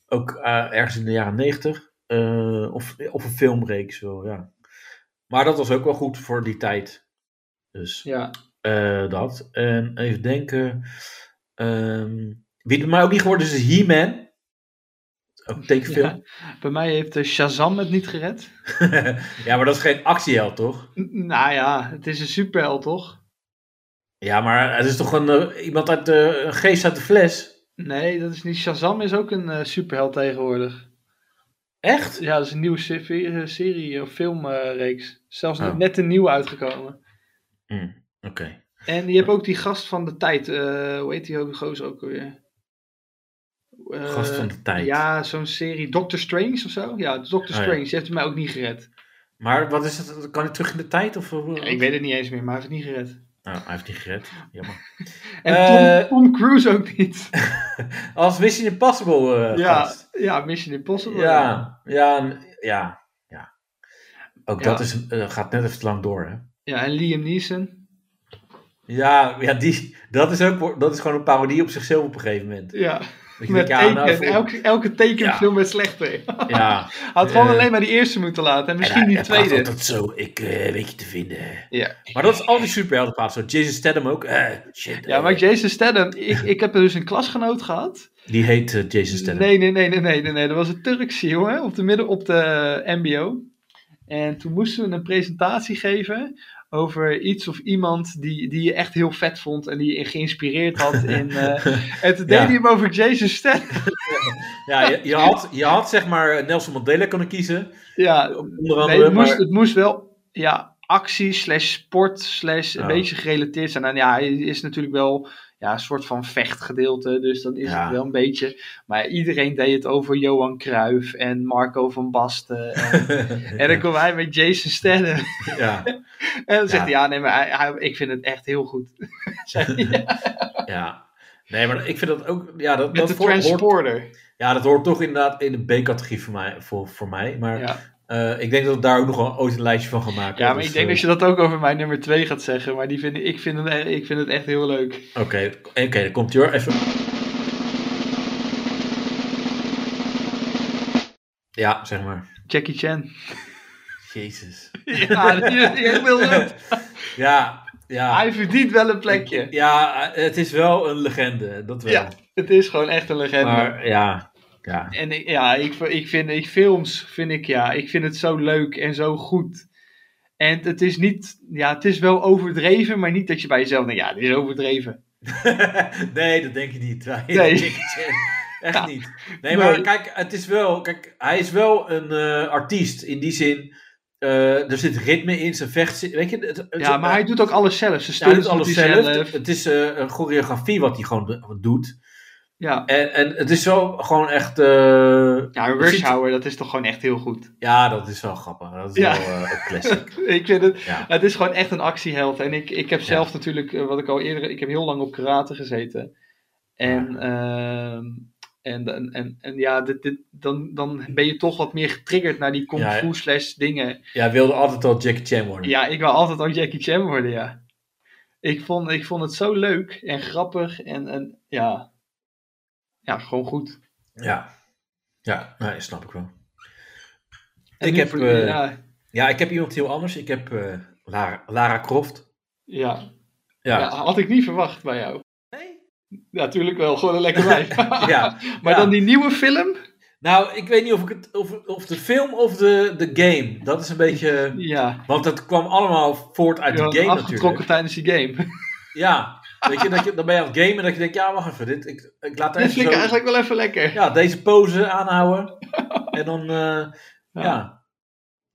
[SPEAKER 2] Ook eh, ergens in de jaren 90 eh, of, of een filmreeks wel, ja. Maar dat was ook wel goed voor die tijd. Dus...
[SPEAKER 3] Ja.
[SPEAKER 2] Eh, dat. En even denken. ehm, wie het mij ook niet geworden is, is He-Man. Ook een tekenfilm.
[SPEAKER 3] Bij mij heeft eh, Shazam het niet gered.
[SPEAKER 2] [laughs] Ja. maar dat is geen actieheld, toch?
[SPEAKER 3] N- nou ja, het is een superheld toch?
[SPEAKER 2] Ja, maar het is toch een, eh, iemand uit de een geest uit de fles?
[SPEAKER 3] Nee, dat is niet. Shazam is ook een eh, superheld tegenwoordig.
[SPEAKER 2] Echt?
[SPEAKER 3] Ja, dat is een nieuwe serie, eh, serie of filmreeks. Zelfs
[SPEAKER 2] Oh.
[SPEAKER 3] net een nieuwe uitgekomen.
[SPEAKER 2] Hm, Oké.
[SPEAKER 3] En je hebt ook die gast van de tijd. eh, hoe heet die ook- gozer ook alweer? Eh,
[SPEAKER 2] Gast van de tijd. Oh,
[SPEAKER 3] Ja, zo'n serie. Doctor Strange of zo? Ja, Doctor
[SPEAKER 2] ja.
[SPEAKER 3] Strange. Die heeft mij ook niet gered.
[SPEAKER 2] Maar wat is het? Kan hij terug in de tijd? Of, hoe-
[SPEAKER 3] ik weet het niet eens meer, maar hij heeft het niet gered.
[SPEAKER 2] Nou, hij heeft niet gered. Jammer.
[SPEAKER 3] En
[SPEAKER 2] Eh,
[SPEAKER 3] Tom, Tom Cruise ook niet.
[SPEAKER 2] Als Mission Impossible eh,
[SPEAKER 3] [laughs] ja,
[SPEAKER 2] gast.
[SPEAKER 3] ja, Mission Impossible.
[SPEAKER 2] Ja, ja, n- ja, ja. Ook
[SPEAKER 3] Ja.
[SPEAKER 2] dat is, eh, gaat net even te lang door, hè?
[SPEAKER 3] Ja, en Liam Neeson.
[SPEAKER 2] Ja, ja die, dat, is ook, dat is gewoon een parodie op zichzelf op een gegeven moment.
[SPEAKER 3] Ja,
[SPEAKER 2] Dat je
[SPEAKER 3] met
[SPEAKER 2] denkt, ja, nou,
[SPEAKER 3] teken.
[SPEAKER 2] voor-
[SPEAKER 3] Elke, elke tekenfilm werd slechter.
[SPEAKER 2] ja.
[SPEAKER 3] Hij had gewoon
[SPEAKER 2] Eh,
[SPEAKER 3] alleen maar die eerste moeten laten. En [laughs] misschien
[SPEAKER 2] En hij-
[SPEAKER 3] die
[SPEAKER 2] hij praat
[SPEAKER 3] tweede.
[SPEAKER 2] altijd zo, ik eh, weet je te vinden.
[SPEAKER 3] Ja.
[SPEAKER 2] Maar dat is al die superhelden praat zo. Jason Statham ook. eh, shit,
[SPEAKER 3] ja,
[SPEAKER 2] eh.
[SPEAKER 3] maar Jason Statham. Ik, ik heb dus een klasgenoot gehad.
[SPEAKER 2] Die heet eh, Jason Statham.
[SPEAKER 3] Nee, nee, nee, nee, nee, nee, nee. Dat was een Turkse jongen op de, midden, op de MBO. En toen moesten we een presentatie geven over iets of iemand die, die je echt heel vet vond en die je geïnspireerd
[SPEAKER 2] [laughs]
[SPEAKER 3] had. In, eh, en toen deed
[SPEAKER 2] Ja.
[SPEAKER 3] hij hem over Jason Statham.
[SPEAKER 2] Ja, je, je had, je had zeg maar Nelson Mandela kunnen kiezen.
[SPEAKER 3] Ja,
[SPEAKER 2] Onder
[SPEAKER 3] nee,
[SPEAKER 2] andere.
[SPEAKER 3] het, moest,
[SPEAKER 2] maar,
[SPEAKER 3] het moest wel ja, actie slash sport slash een
[SPEAKER 2] Ja.
[SPEAKER 3] beetje gerelateerd zijn. En ja, hij is natuurlijk wel ja, een soort van vechtgedeelte, dus dan is
[SPEAKER 2] Ja.
[SPEAKER 3] het wel een beetje. Maar iedereen deed het over Johan Cruijff en Marco van Basten en...
[SPEAKER 2] [laughs]
[SPEAKER 3] En dan komen wij met Jason Statham.
[SPEAKER 2] ja,
[SPEAKER 3] En dan zegt
[SPEAKER 2] Ja.
[SPEAKER 3] hij, ja, nee, maar hij, hij- ik vind het echt heel goed. Zegt hij, ja,
[SPEAKER 2] ja. Nee, maar ik vind dat ook... Ja, dat,
[SPEAKER 3] met
[SPEAKER 2] dat
[SPEAKER 3] de
[SPEAKER 2] hoort-
[SPEAKER 3] transporter.
[SPEAKER 2] ja, dat hoort toch inderdaad in de B-categorie voor mij. Voor, voor mij maar
[SPEAKER 3] Ja.
[SPEAKER 2] Eh, ik denk dat we daar ook nog wel ooit een lijstje van gaan maken.
[SPEAKER 3] Ja, maar
[SPEAKER 2] Dus,
[SPEAKER 3] ik denk
[SPEAKER 2] eh,
[SPEAKER 3] dat je dat ook over mijn nummer 2 gaat zeggen. Maar die vind, ik, vind het, e- ik vind het echt heel leuk.
[SPEAKER 2] Oké, eh, oké, dan komt hij hoor. Even. Ja, zeg maar. [laughs]
[SPEAKER 3] Jackie Chan.
[SPEAKER 2] Jezus.
[SPEAKER 3] Ja, die die is echt heel leuk.
[SPEAKER 2] [laughs] Ja, ja.
[SPEAKER 3] Hij verdient wel een plekje.
[SPEAKER 2] Ja, het is wel een legende, dat wel.
[SPEAKER 3] Ja, het is gewoon echt een legende.
[SPEAKER 2] maar ja, ja.
[SPEAKER 3] En ik, ja, ik, ik vind ik, films, vind ik, ja, ik vind het zo leuk en zo goed. En het is niet, ja, het is wel overdreven, maar niet dat je bij jezelf denkt, ja, dit is overdreven.
[SPEAKER 2] [laughs] nee, dat denk je niet. Wij-
[SPEAKER 3] Nee.
[SPEAKER 2] Jackie Chan. Echt
[SPEAKER 3] Ja.
[SPEAKER 2] niet. Nee, maar
[SPEAKER 3] Nee.
[SPEAKER 2] kijk, het is wel, kijk, hij is wel een eh, artiest. In die zin, eh, er zit ritme in, zijn vecht. zit- Weet je, het, het-
[SPEAKER 3] Ja, maar hij doet ook alles zelf. Ze
[SPEAKER 2] hij
[SPEAKER 3] sturen
[SPEAKER 2] doet alles zelf. Het is eh, een choreografie wat hij gewoon do- doet.
[SPEAKER 3] Ja,
[SPEAKER 2] En, en het is zo gewoon echt. eh,
[SPEAKER 3] ja
[SPEAKER 2] Het ziet-
[SPEAKER 3] Rush Hour, dat is toch gewoon echt heel goed.
[SPEAKER 2] ja, dat is wel grappig. Dat is
[SPEAKER 3] Ja.
[SPEAKER 2] wel eh, een
[SPEAKER 3] [laughs]
[SPEAKER 2] classic.
[SPEAKER 3] Ik vind het,
[SPEAKER 2] Ja.
[SPEAKER 3] het is gewoon echt een actieheld. En ik, ik heb zelf natuurlijk, eh, wat ik al eerder, ik heb heel lang op karate gezeten. En, ehm, en, en, en, en ja, dit, dit, dan, dan ben je toch wat meer getriggerd naar die kung
[SPEAKER 2] Ja,
[SPEAKER 3] fu slash dingen.
[SPEAKER 2] Jij wilde altijd al Jackie Chan worden.
[SPEAKER 3] Ja, ik wil altijd al Jackie Chan worden, ja. Ik vond, ik vond het zo leuk en grappig en, en ja. Ja, gewoon goed.
[SPEAKER 2] Ja, ja nee, snap ik wel.
[SPEAKER 3] En
[SPEAKER 2] Ik
[SPEAKER 3] nu
[SPEAKER 2] heb,
[SPEAKER 3] voor-
[SPEAKER 2] eh,
[SPEAKER 3] ja,
[SPEAKER 2] Ja, ik heb iemand heel anders. Ik heb eh, Lara, Lara Croft.
[SPEAKER 3] ja.
[SPEAKER 2] Ja.
[SPEAKER 3] Ja, had ik niet verwacht bij jou.
[SPEAKER 2] Nee?
[SPEAKER 3] Natuurlijk wel, gewoon een lekker wijf.
[SPEAKER 2] [laughs] Ja.
[SPEAKER 3] [laughs] maar
[SPEAKER 2] ja.
[SPEAKER 3] dan die nieuwe film?
[SPEAKER 2] Nou, ik weet niet of, ik het, of, of de film of de, de game. Dat is een beetje...
[SPEAKER 3] Ja.
[SPEAKER 2] Want dat kwam allemaal voort uit
[SPEAKER 3] Je
[SPEAKER 2] de
[SPEAKER 3] was
[SPEAKER 2] game
[SPEAKER 3] afgetrokken
[SPEAKER 2] natuurlijk.
[SPEAKER 3] tijdens die [laughs] game.
[SPEAKER 2] Ja. Weet je, dat je, dan ben je aan het gamen en dat je denkt... Ja, wacht even. Dit, ik, ik laat er
[SPEAKER 3] Dit
[SPEAKER 2] even
[SPEAKER 3] vind ik
[SPEAKER 2] zo,
[SPEAKER 3] eigenlijk wel even lekker.
[SPEAKER 2] ja, deze pose
[SPEAKER 3] [laughs]
[SPEAKER 2] aanhouden. En dan... eh, ja.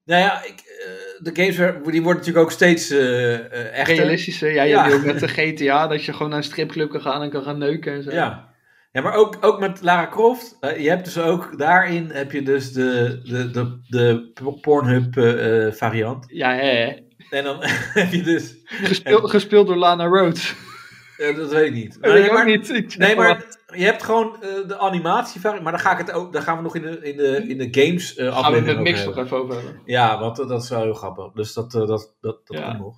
[SPEAKER 2] Nou ja, ik, eh, de games werden- die worden natuurlijk ook steeds eh, eh, echter.
[SPEAKER 3] Realistische. Ja, je
[SPEAKER 2] Ja.
[SPEAKER 3] wil ook met de GTA dat je gewoon naar een stripclub kan gaan en kan gaan neuken en zo.
[SPEAKER 2] Ja. ja, maar ook, ook met Lara Croft. eh, je hebt dus ook daarin heb je dus de, de, de, de Pornhub eh, eh, variant.
[SPEAKER 3] Ja, hè, hè.
[SPEAKER 2] En dan [laughs] heb je dus.
[SPEAKER 3] Gespeeld, gespeeld door Lana Rhodes.
[SPEAKER 2] eh, dat weet ik niet.
[SPEAKER 3] [laughs] Dat weet ik
[SPEAKER 2] maar,
[SPEAKER 3] ook niet. Ik-
[SPEAKER 2] Nee, maar je hebt gewoon eh, de animatie variant. Maar dan, ga ik het ook, dan gaan we nog in de, in de, in de games eh
[SPEAKER 3] Gaan we
[SPEAKER 2] aflevering
[SPEAKER 3] het met
[SPEAKER 2] over
[SPEAKER 3] Mix
[SPEAKER 2] hebben.
[SPEAKER 3] nog even over hebben.
[SPEAKER 2] Ja, want eh, dat, dat is wel heel grappig. Dus dat, eh, dat, dat, dat
[SPEAKER 3] Ja.
[SPEAKER 2] komt nog.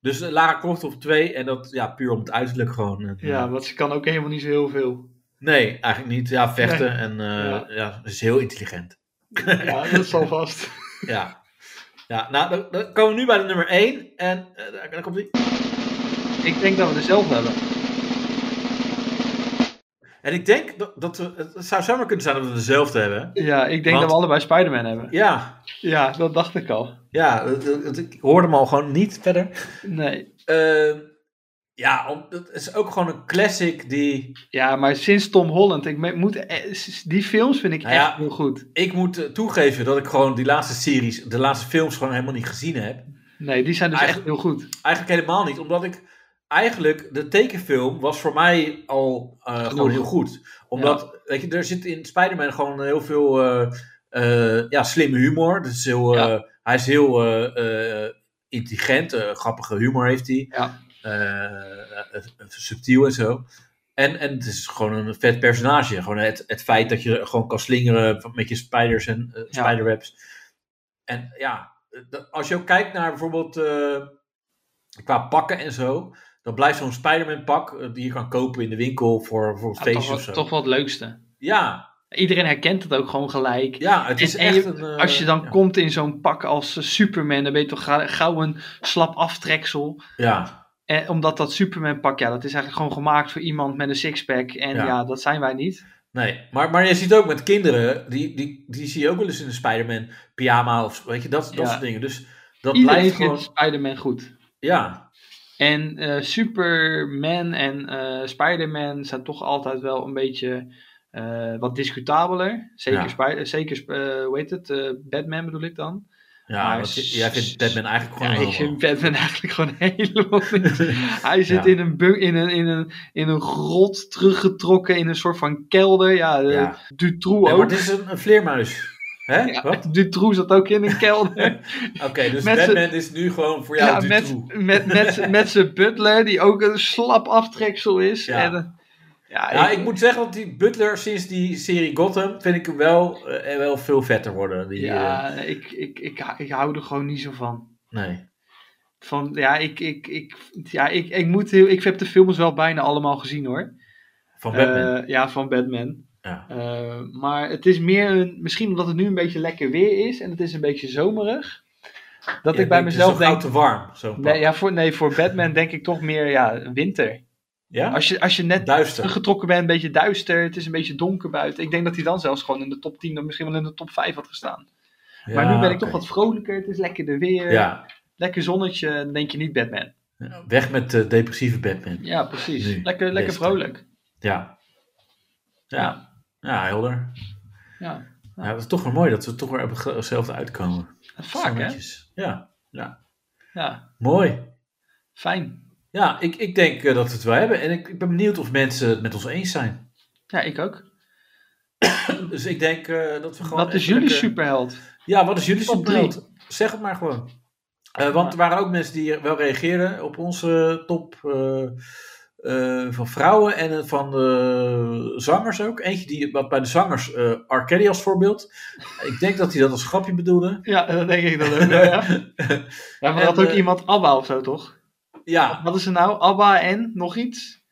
[SPEAKER 2] Dus eh, Lara Croft op twee. En dat ja, puur om het uiterlijk gewoon. eh,
[SPEAKER 3] Ja, want ze kan ook helemaal niet zo heel
[SPEAKER 2] [laughs]
[SPEAKER 3] veel.
[SPEAKER 2] Nee, eigenlijk niet. Ja, vechten. En eh,
[SPEAKER 3] Ja.
[SPEAKER 2] ja, ze is heel intelligent.
[SPEAKER 3] Ja, dat zal vast.
[SPEAKER 2] Ja. Ja, nou, dan, dan komen we nu bij de nummer 1. En eh, daar, daar komt die.
[SPEAKER 3] Ik denk dat we dezelfde hebben.
[SPEAKER 2] En ik denk dat, dat we. Het zou zomaar kunnen zijn dat we dezelfde hebben.
[SPEAKER 3] Ja, ik denk
[SPEAKER 2] Want-
[SPEAKER 3] dat we allebei Spider-Man hebben.
[SPEAKER 2] Ja,
[SPEAKER 3] Ja, dat dacht ik al.
[SPEAKER 2] ja dat- dat- dat- ik hoorde hem al gewoon niet verder.
[SPEAKER 3] Nee.
[SPEAKER 2] Eh, ja, om, dat is ook gewoon een classic die.
[SPEAKER 3] Ja, maar sinds Tom Holland, ik me- moet, eh, s- die films vind ik
[SPEAKER 2] Nou
[SPEAKER 3] echt
[SPEAKER 2] ja.
[SPEAKER 3] heel goed.
[SPEAKER 2] Ik moet eh, toegeven dat ik gewoon die laatste series, de laatste films gewoon helemaal niet gezien heb.
[SPEAKER 3] Nee, die zijn dus
[SPEAKER 2] Eigenlijk-
[SPEAKER 3] echt heel goed.
[SPEAKER 2] Eigenlijk helemaal niet, omdat ik eigenlijk de tekenfilm was voor mij al eh, gewoon heel goed. Omdat, weet je, er zit in Spider-Man gewoon heel veel eh, eh, ja, slimme humor. Dus heel, eh, Hij is heel eh, eh, intelligent, eh, grappige humor heeft hij.
[SPEAKER 3] Ja.
[SPEAKER 2] Eh, eh, subtiel en zo. En, en het is gewoon een vet personage. Gewoon het, het feit dat je gewoon kan slingeren met je spiders en eh,
[SPEAKER 3] Ja.
[SPEAKER 2] spiderwebs. En ja, dat- als je ook kijkt naar bijvoorbeeld eh, qua pakken en zo. Dan blijft zo'n Spider-Man pak eh, die je kan kopen in de winkel voor, voor een
[SPEAKER 3] Ja, toch,
[SPEAKER 2] feestje
[SPEAKER 3] wel-
[SPEAKER 2] of zo.
[SPEAKER 3] toch wel het leukste.
[SPEAKER 2] Ja,
[SPEAKER 3] Iedereen herkent het ook gewoon gelijk.
[SPEAKER 2] ja, het is
[SPEAKER 3] en
[SPEAKER 2] echt
[SPEAKER 3] je-
[SPEAKER 2] een... eh,
[SPEAKER 3] Als je dan
[SPEAKER 2] ja.
[SPEAKER 3] komt in zo'n pak als eh, Superman, dan ben je toch ga- gauw een slap aftreksel.
[SPEAKER 2] Ja,
[SPEAKER 3] Eh, omdat dat Superman pak, ja, dat is eigenlijk gewoon gemaakt voor iemand met een sixpack. En
[SPEAKER 2] Ja.
[SPEAKER 3] ja. dat zijn wij niet.
[SPEAKER 2] nee. Maar, maar je ziet ook met kinderen, die, die, die zie je ook wel eens in een Spider-Man pyjama of weet je, dat, dat
[SPEAKER 3] Ja.
[SPEAKER 2] soort dingen. Dus dat
[SPEAKER 3] Iedereen
[SPEAKER 2] blijft
[SPEAKER 3] vindt
[SPEAKER 2] gewoon...
[SPEAKER 3] Spider-Man goed.
[SPEAKER 2] Ja,
[SPEAKER 3] En eh, Superman en eh Spider-Man zijn toch altijd wel een beetje eh, wat discutabeler. Zeker,
[SPEAKER 2] Ja.
[SPEAKER 3] Spy- eh, zeker eh, hoe heet het? eh, Batman bedoel ik dan.
[SPEAKER 2] ja
[SPEAKER 3] Maar
[SPEAKER 2] want
[SPEAKER 3] s-
[SPEAKER 2] jij vindt Batman eigenlijk
[SPEAKER 3] Ja,
[SPEAKER 2] gewoon
[SPEAKER 3] ik
[SPEAKER 2] heel
[SPEAKER 3] vind Batman [laughs] eigenlijk gewoon helemaal
[SPEAKER 2] [laughs]
[SPEAKER 3] niet. Hij zit
[SPEAKER 2] Ja.
[SPEAKER 3] in, een bun- in, een, in, een, in een grot teruggetrokken in een soort van kelder. Ja, eh,
[SPEAKER 2] Ja.
[SPEAKER 3] Dutroux
[SPEAKER 2] Nee,
[SPEAKER 3] ook.
[SPEAKER 2] maar het is een, een vleermuis. Hè?
[SPEAKER 3] Ja,
[SPEAKER 2] Wat?
[SPEAKER 3] [laughs] Dutroux zat ook in een kelder.
[SPEAKER 2] Oké, dus
[SPEAKER 3] Met z'n-
[SPEAKER 2] Batman is nu gewoon voor jou [laughs]
[SPEAKER 3] Ja,
[SPEAKER 2] ja,
[SPEAKER 3] met, met, met, met zijn butler, die ook een slap aftreksel is.
[SPEAKER 2] Ja.
[SPEAKER 3] En, eh, Ja,
[SPEAKER 2] Ja,
[SPEAKER 3] ik-
[SPEAKER 2] ik moet zeggen dat die Butler sinds die serie Gotham vind ik hem wel, eh, wel veel vetter worden. Die, eh,
[SPEAKER 3] ja ik, ik, ik, ik hou er gewoon niet zo van.
[SPEAKER 2] nee.
[SPEAKER 3] Van, ja, ik, ik, ik, ja ik, ik, moet heel, ik heb de films wel bijna allemaal gezien hoor.
[SPEAKER 2] Van Batman.
[SPEAKER 3] Eh, ja, van Batman.
[SPEAKER 2] ja.
[SPEAKER 3] Eh, maar het is meer, een, misschien omdat het nu een beetje lekker weer is en het is een beetje zomerig, dat
[SPEAKER 2] Je
[SPEAKER 3] ik bij
[SPEAKER 2] denkt, het is
[SPEAKER 3] mezelf
[SPEAKER 2] toch gauw
[SPEAKER 3] denk,
[SPEAKER 2] te warm, zo'n pak.
[SPEAKER 3] nee, ja, voor, nee, voor Batman denk ik toch meer ja, winter.
[SPEAKER 2] Ja?
[SPEAKER 3] Als je, als je net
[SPEAKER 2] Duister.
[SPEAKER 3] teruggetrokken bent, een beetje duister, het is een beetje donker buiten. Ik denk dat hij dan zelfs gewoon in de top 10, of misschien wel in de top 5 had gestaan. maar nu ben ik toch wat vrolijker, het is lekkerder weer,
[SPEAKER 2] Ja,
[SPEAKER 3] lekker zonnetje, dan denk je niet Batman.
[SPEAKER 2] weg met de depressieve Batman.
[SPEAKER 3] Ja, precies.
[SPEAKER 2] Nu,
[SPEAKER 3] lekker lekker
[SPEAKER 2] beste.
[SPEAKER 3] vrolijk.
[SPEAKER 2] Ja. Ja, ja helder.
[SPEAKER 3] Ja,
[SPEAKER 2] Ja, dat is toch wel mooi dat we toch weer op hetzelfde uitkomen.
[SPEAKER 3] vaak hè?
[SPEAKER 2] Stemmetjes. Ja, ja.
[SPEAKER 3] Ja,
[SPEAKER 2] Mooi.
[SPEAKER 3] fijn.
[SPEAKER 2] Ja, ik, ik denk eh, dat we het wel hebben. En ik, ik ben benieuwd of mensen het met ons eens zijn.
[SPEAKER 3] Ja, ik ook.
[SPEAKER 2] Dus ik denk eh, dat we gewoon...
[SPEAKER 3] Wat is
[SPEAKER 2] even
[SPEAKER 3] jullie
[SPEAKER 2] lekker-
[SPEAKER 3] superheld?
[SPEAKER 2] Ja, wat is jullie
[SPEAKER 3] Top
[SPEAKER 2] superheld? Zeg het maar gewoon. Eh, want er waren ook mensen die wel reageerden op onze top eh, eh, van vrouwen en eh, van de zangers ook. Eentje die wat bij de zangers eh Arcady als voorbeeld. Ik denk dat hij dat als grapje bedoelde.
[SPEAKER 3] Ja, [laughs] dat denk ik dan ook
[SPEAKER 2] [laughs]
[SPEAKER 3] wel, ja. Ja, maar
[SPEAKER 2] En,
[SPEAKER 3] had ook
[SPEAKER 2] eh,
[SPEAKER 3] iemand Abba of zo, toch?
[SPEAKER 2] Ja,
[SPEAKER 3] Wat is er nou? Abba en nog iets?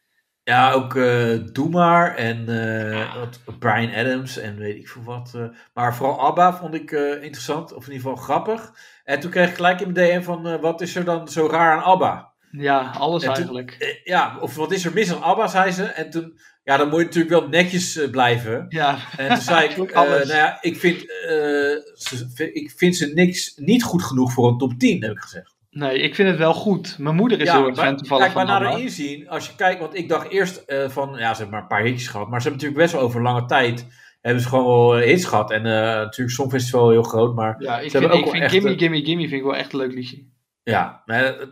[SPEAKER 2] ja ook eh Doe Maar en eh, wat, Brian Adams en weet ik veel wat. eh. maar vooral ABBA vond ik eh, interessant, of in ieder geval grappig. En toen kreeg ik gelijk in mijn DM van, eh, wat is er dan zo raar aan ABBA?
[SPEAKER 3] Ja, alles
[SPEAKER 2] En toen-
[SPEAKER 3] eigenlijk.
[SPEAKER 2] Eh, ja, of wat is er mis aan ABBA, zei ze. En toen, ja, dan moet je natuurlijk wel netjes eh, blijven.
[SPEAKER 3] Ja,
[SPEAKER 2] En toen zei ik, eh,
[SPEAKER 3] Alles.
[SPEAKER 2] nou ja, ik vind, eh, ze, ik vind ze niks niet goed genoeg voor een top 10, heb ik gezegd.
[SPEAKER 3] nee, ik vind het wel goed. Mijn moeder is heel erg fan toevallig
[SPEAKER 2] kijk,
[SPEAKER 3] van
[SPEAKER 2] maar naar
[SPEAKER 3] Abba.
[SPEAKER 2] de inzien, als je kijkt, want ik dacht eerst eh, van, ja, ze hebben maar een paar hitjes gehad. Maar ze hebben natuurlijk best wel over lange tijd, hebben ze gewoon wel eh, hits gehad. En eh natuurlijk, Songfestival heel groot, maar
[SPEAKER 3] Ja,
[SPEAKER 2] Ze
[SPEAKER 3] ik vind,
[SPEAKER 2] hebben
[SPEAKER 3] ik
[SPEAKER 2] ook wel
[SPEAKER 3] vind
[SPEAKER 2] echt,
[SPEAKER 3] Gimme
[SPEAKER 2] eh,
[SPEAKER 3] Gimme Gimme vind ik wel echt een leuk liedje.
[SPEAKER 2] ja. Maar, eh,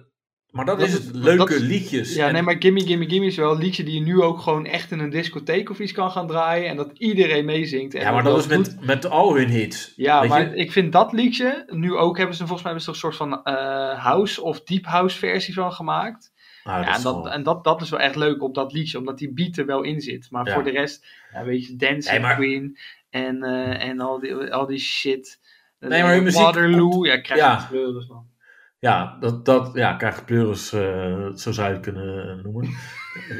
[SPEAKER 2] maar dat,
[SPEAKER 3] Dat
[SPEAKER 2] is
[SPEAKER 3] is-
[SPEAKER 2] het, leuke
[SPEAKER 3] dat-
[SPEAKER 2] liedjes.
[SPEAKER 3] Ja,
[SPEAKER 2] Dus En-
[SPEAKER 3] nee, maar Gimme Gimme Gimme is wel een liedje die je nu ook gewoon echt in een discotheek of iets kan gaan draaien. En dat iedereen meezingt. En
[SPEAKER 2] ja, maar dat is
[SPEAKER 3] goed-
[SPEAKER 2] met, met al hun hits.
[SPEAKER 3] Ja,
[SPEAKER 2] weet
[SPEAKER 3] maar
[SPEAKER 2] je?
[SPEAKER 3] ik vind dat liedje, nu ook hebben ze volgens mij hebben ze er een soort van eh, house of deep house versie van gemaakt.
[SPEAKER 2] Nou,
[SPEAKER 3] Ja,
[SPEAKER 2] is
[SPEAKER 3] en dat,
[SPEAKER 2] gewoon-
[SPEAKER 3] en dat, dat is wel echt leuk op dat liedje, omdat die beat er wel in zit. Maar
[SPEAKER 2] Ja.
[SPEAKER 3] voor de rest, ja, weet je, Dancing
[SPEAKER 2] Nee, maar-
[SPEAKER 3] Queen en, eh, en al, die, al die shit.
[SPEAKER 2] Nee, maar hun muziek
[SPEAKER 3] Waterloo, ja, ik krijg
[SPEAKER 2] Ja.
[SPEAKER 3] er pleuris van.
[SPEAKER 2] Ja, dat, dat ja, krijgt pleuris, eh, zo zou je het kunnen eh,
[SPEAKER 3] [laughs]
[SPEAKER 2] noemen. [laughs]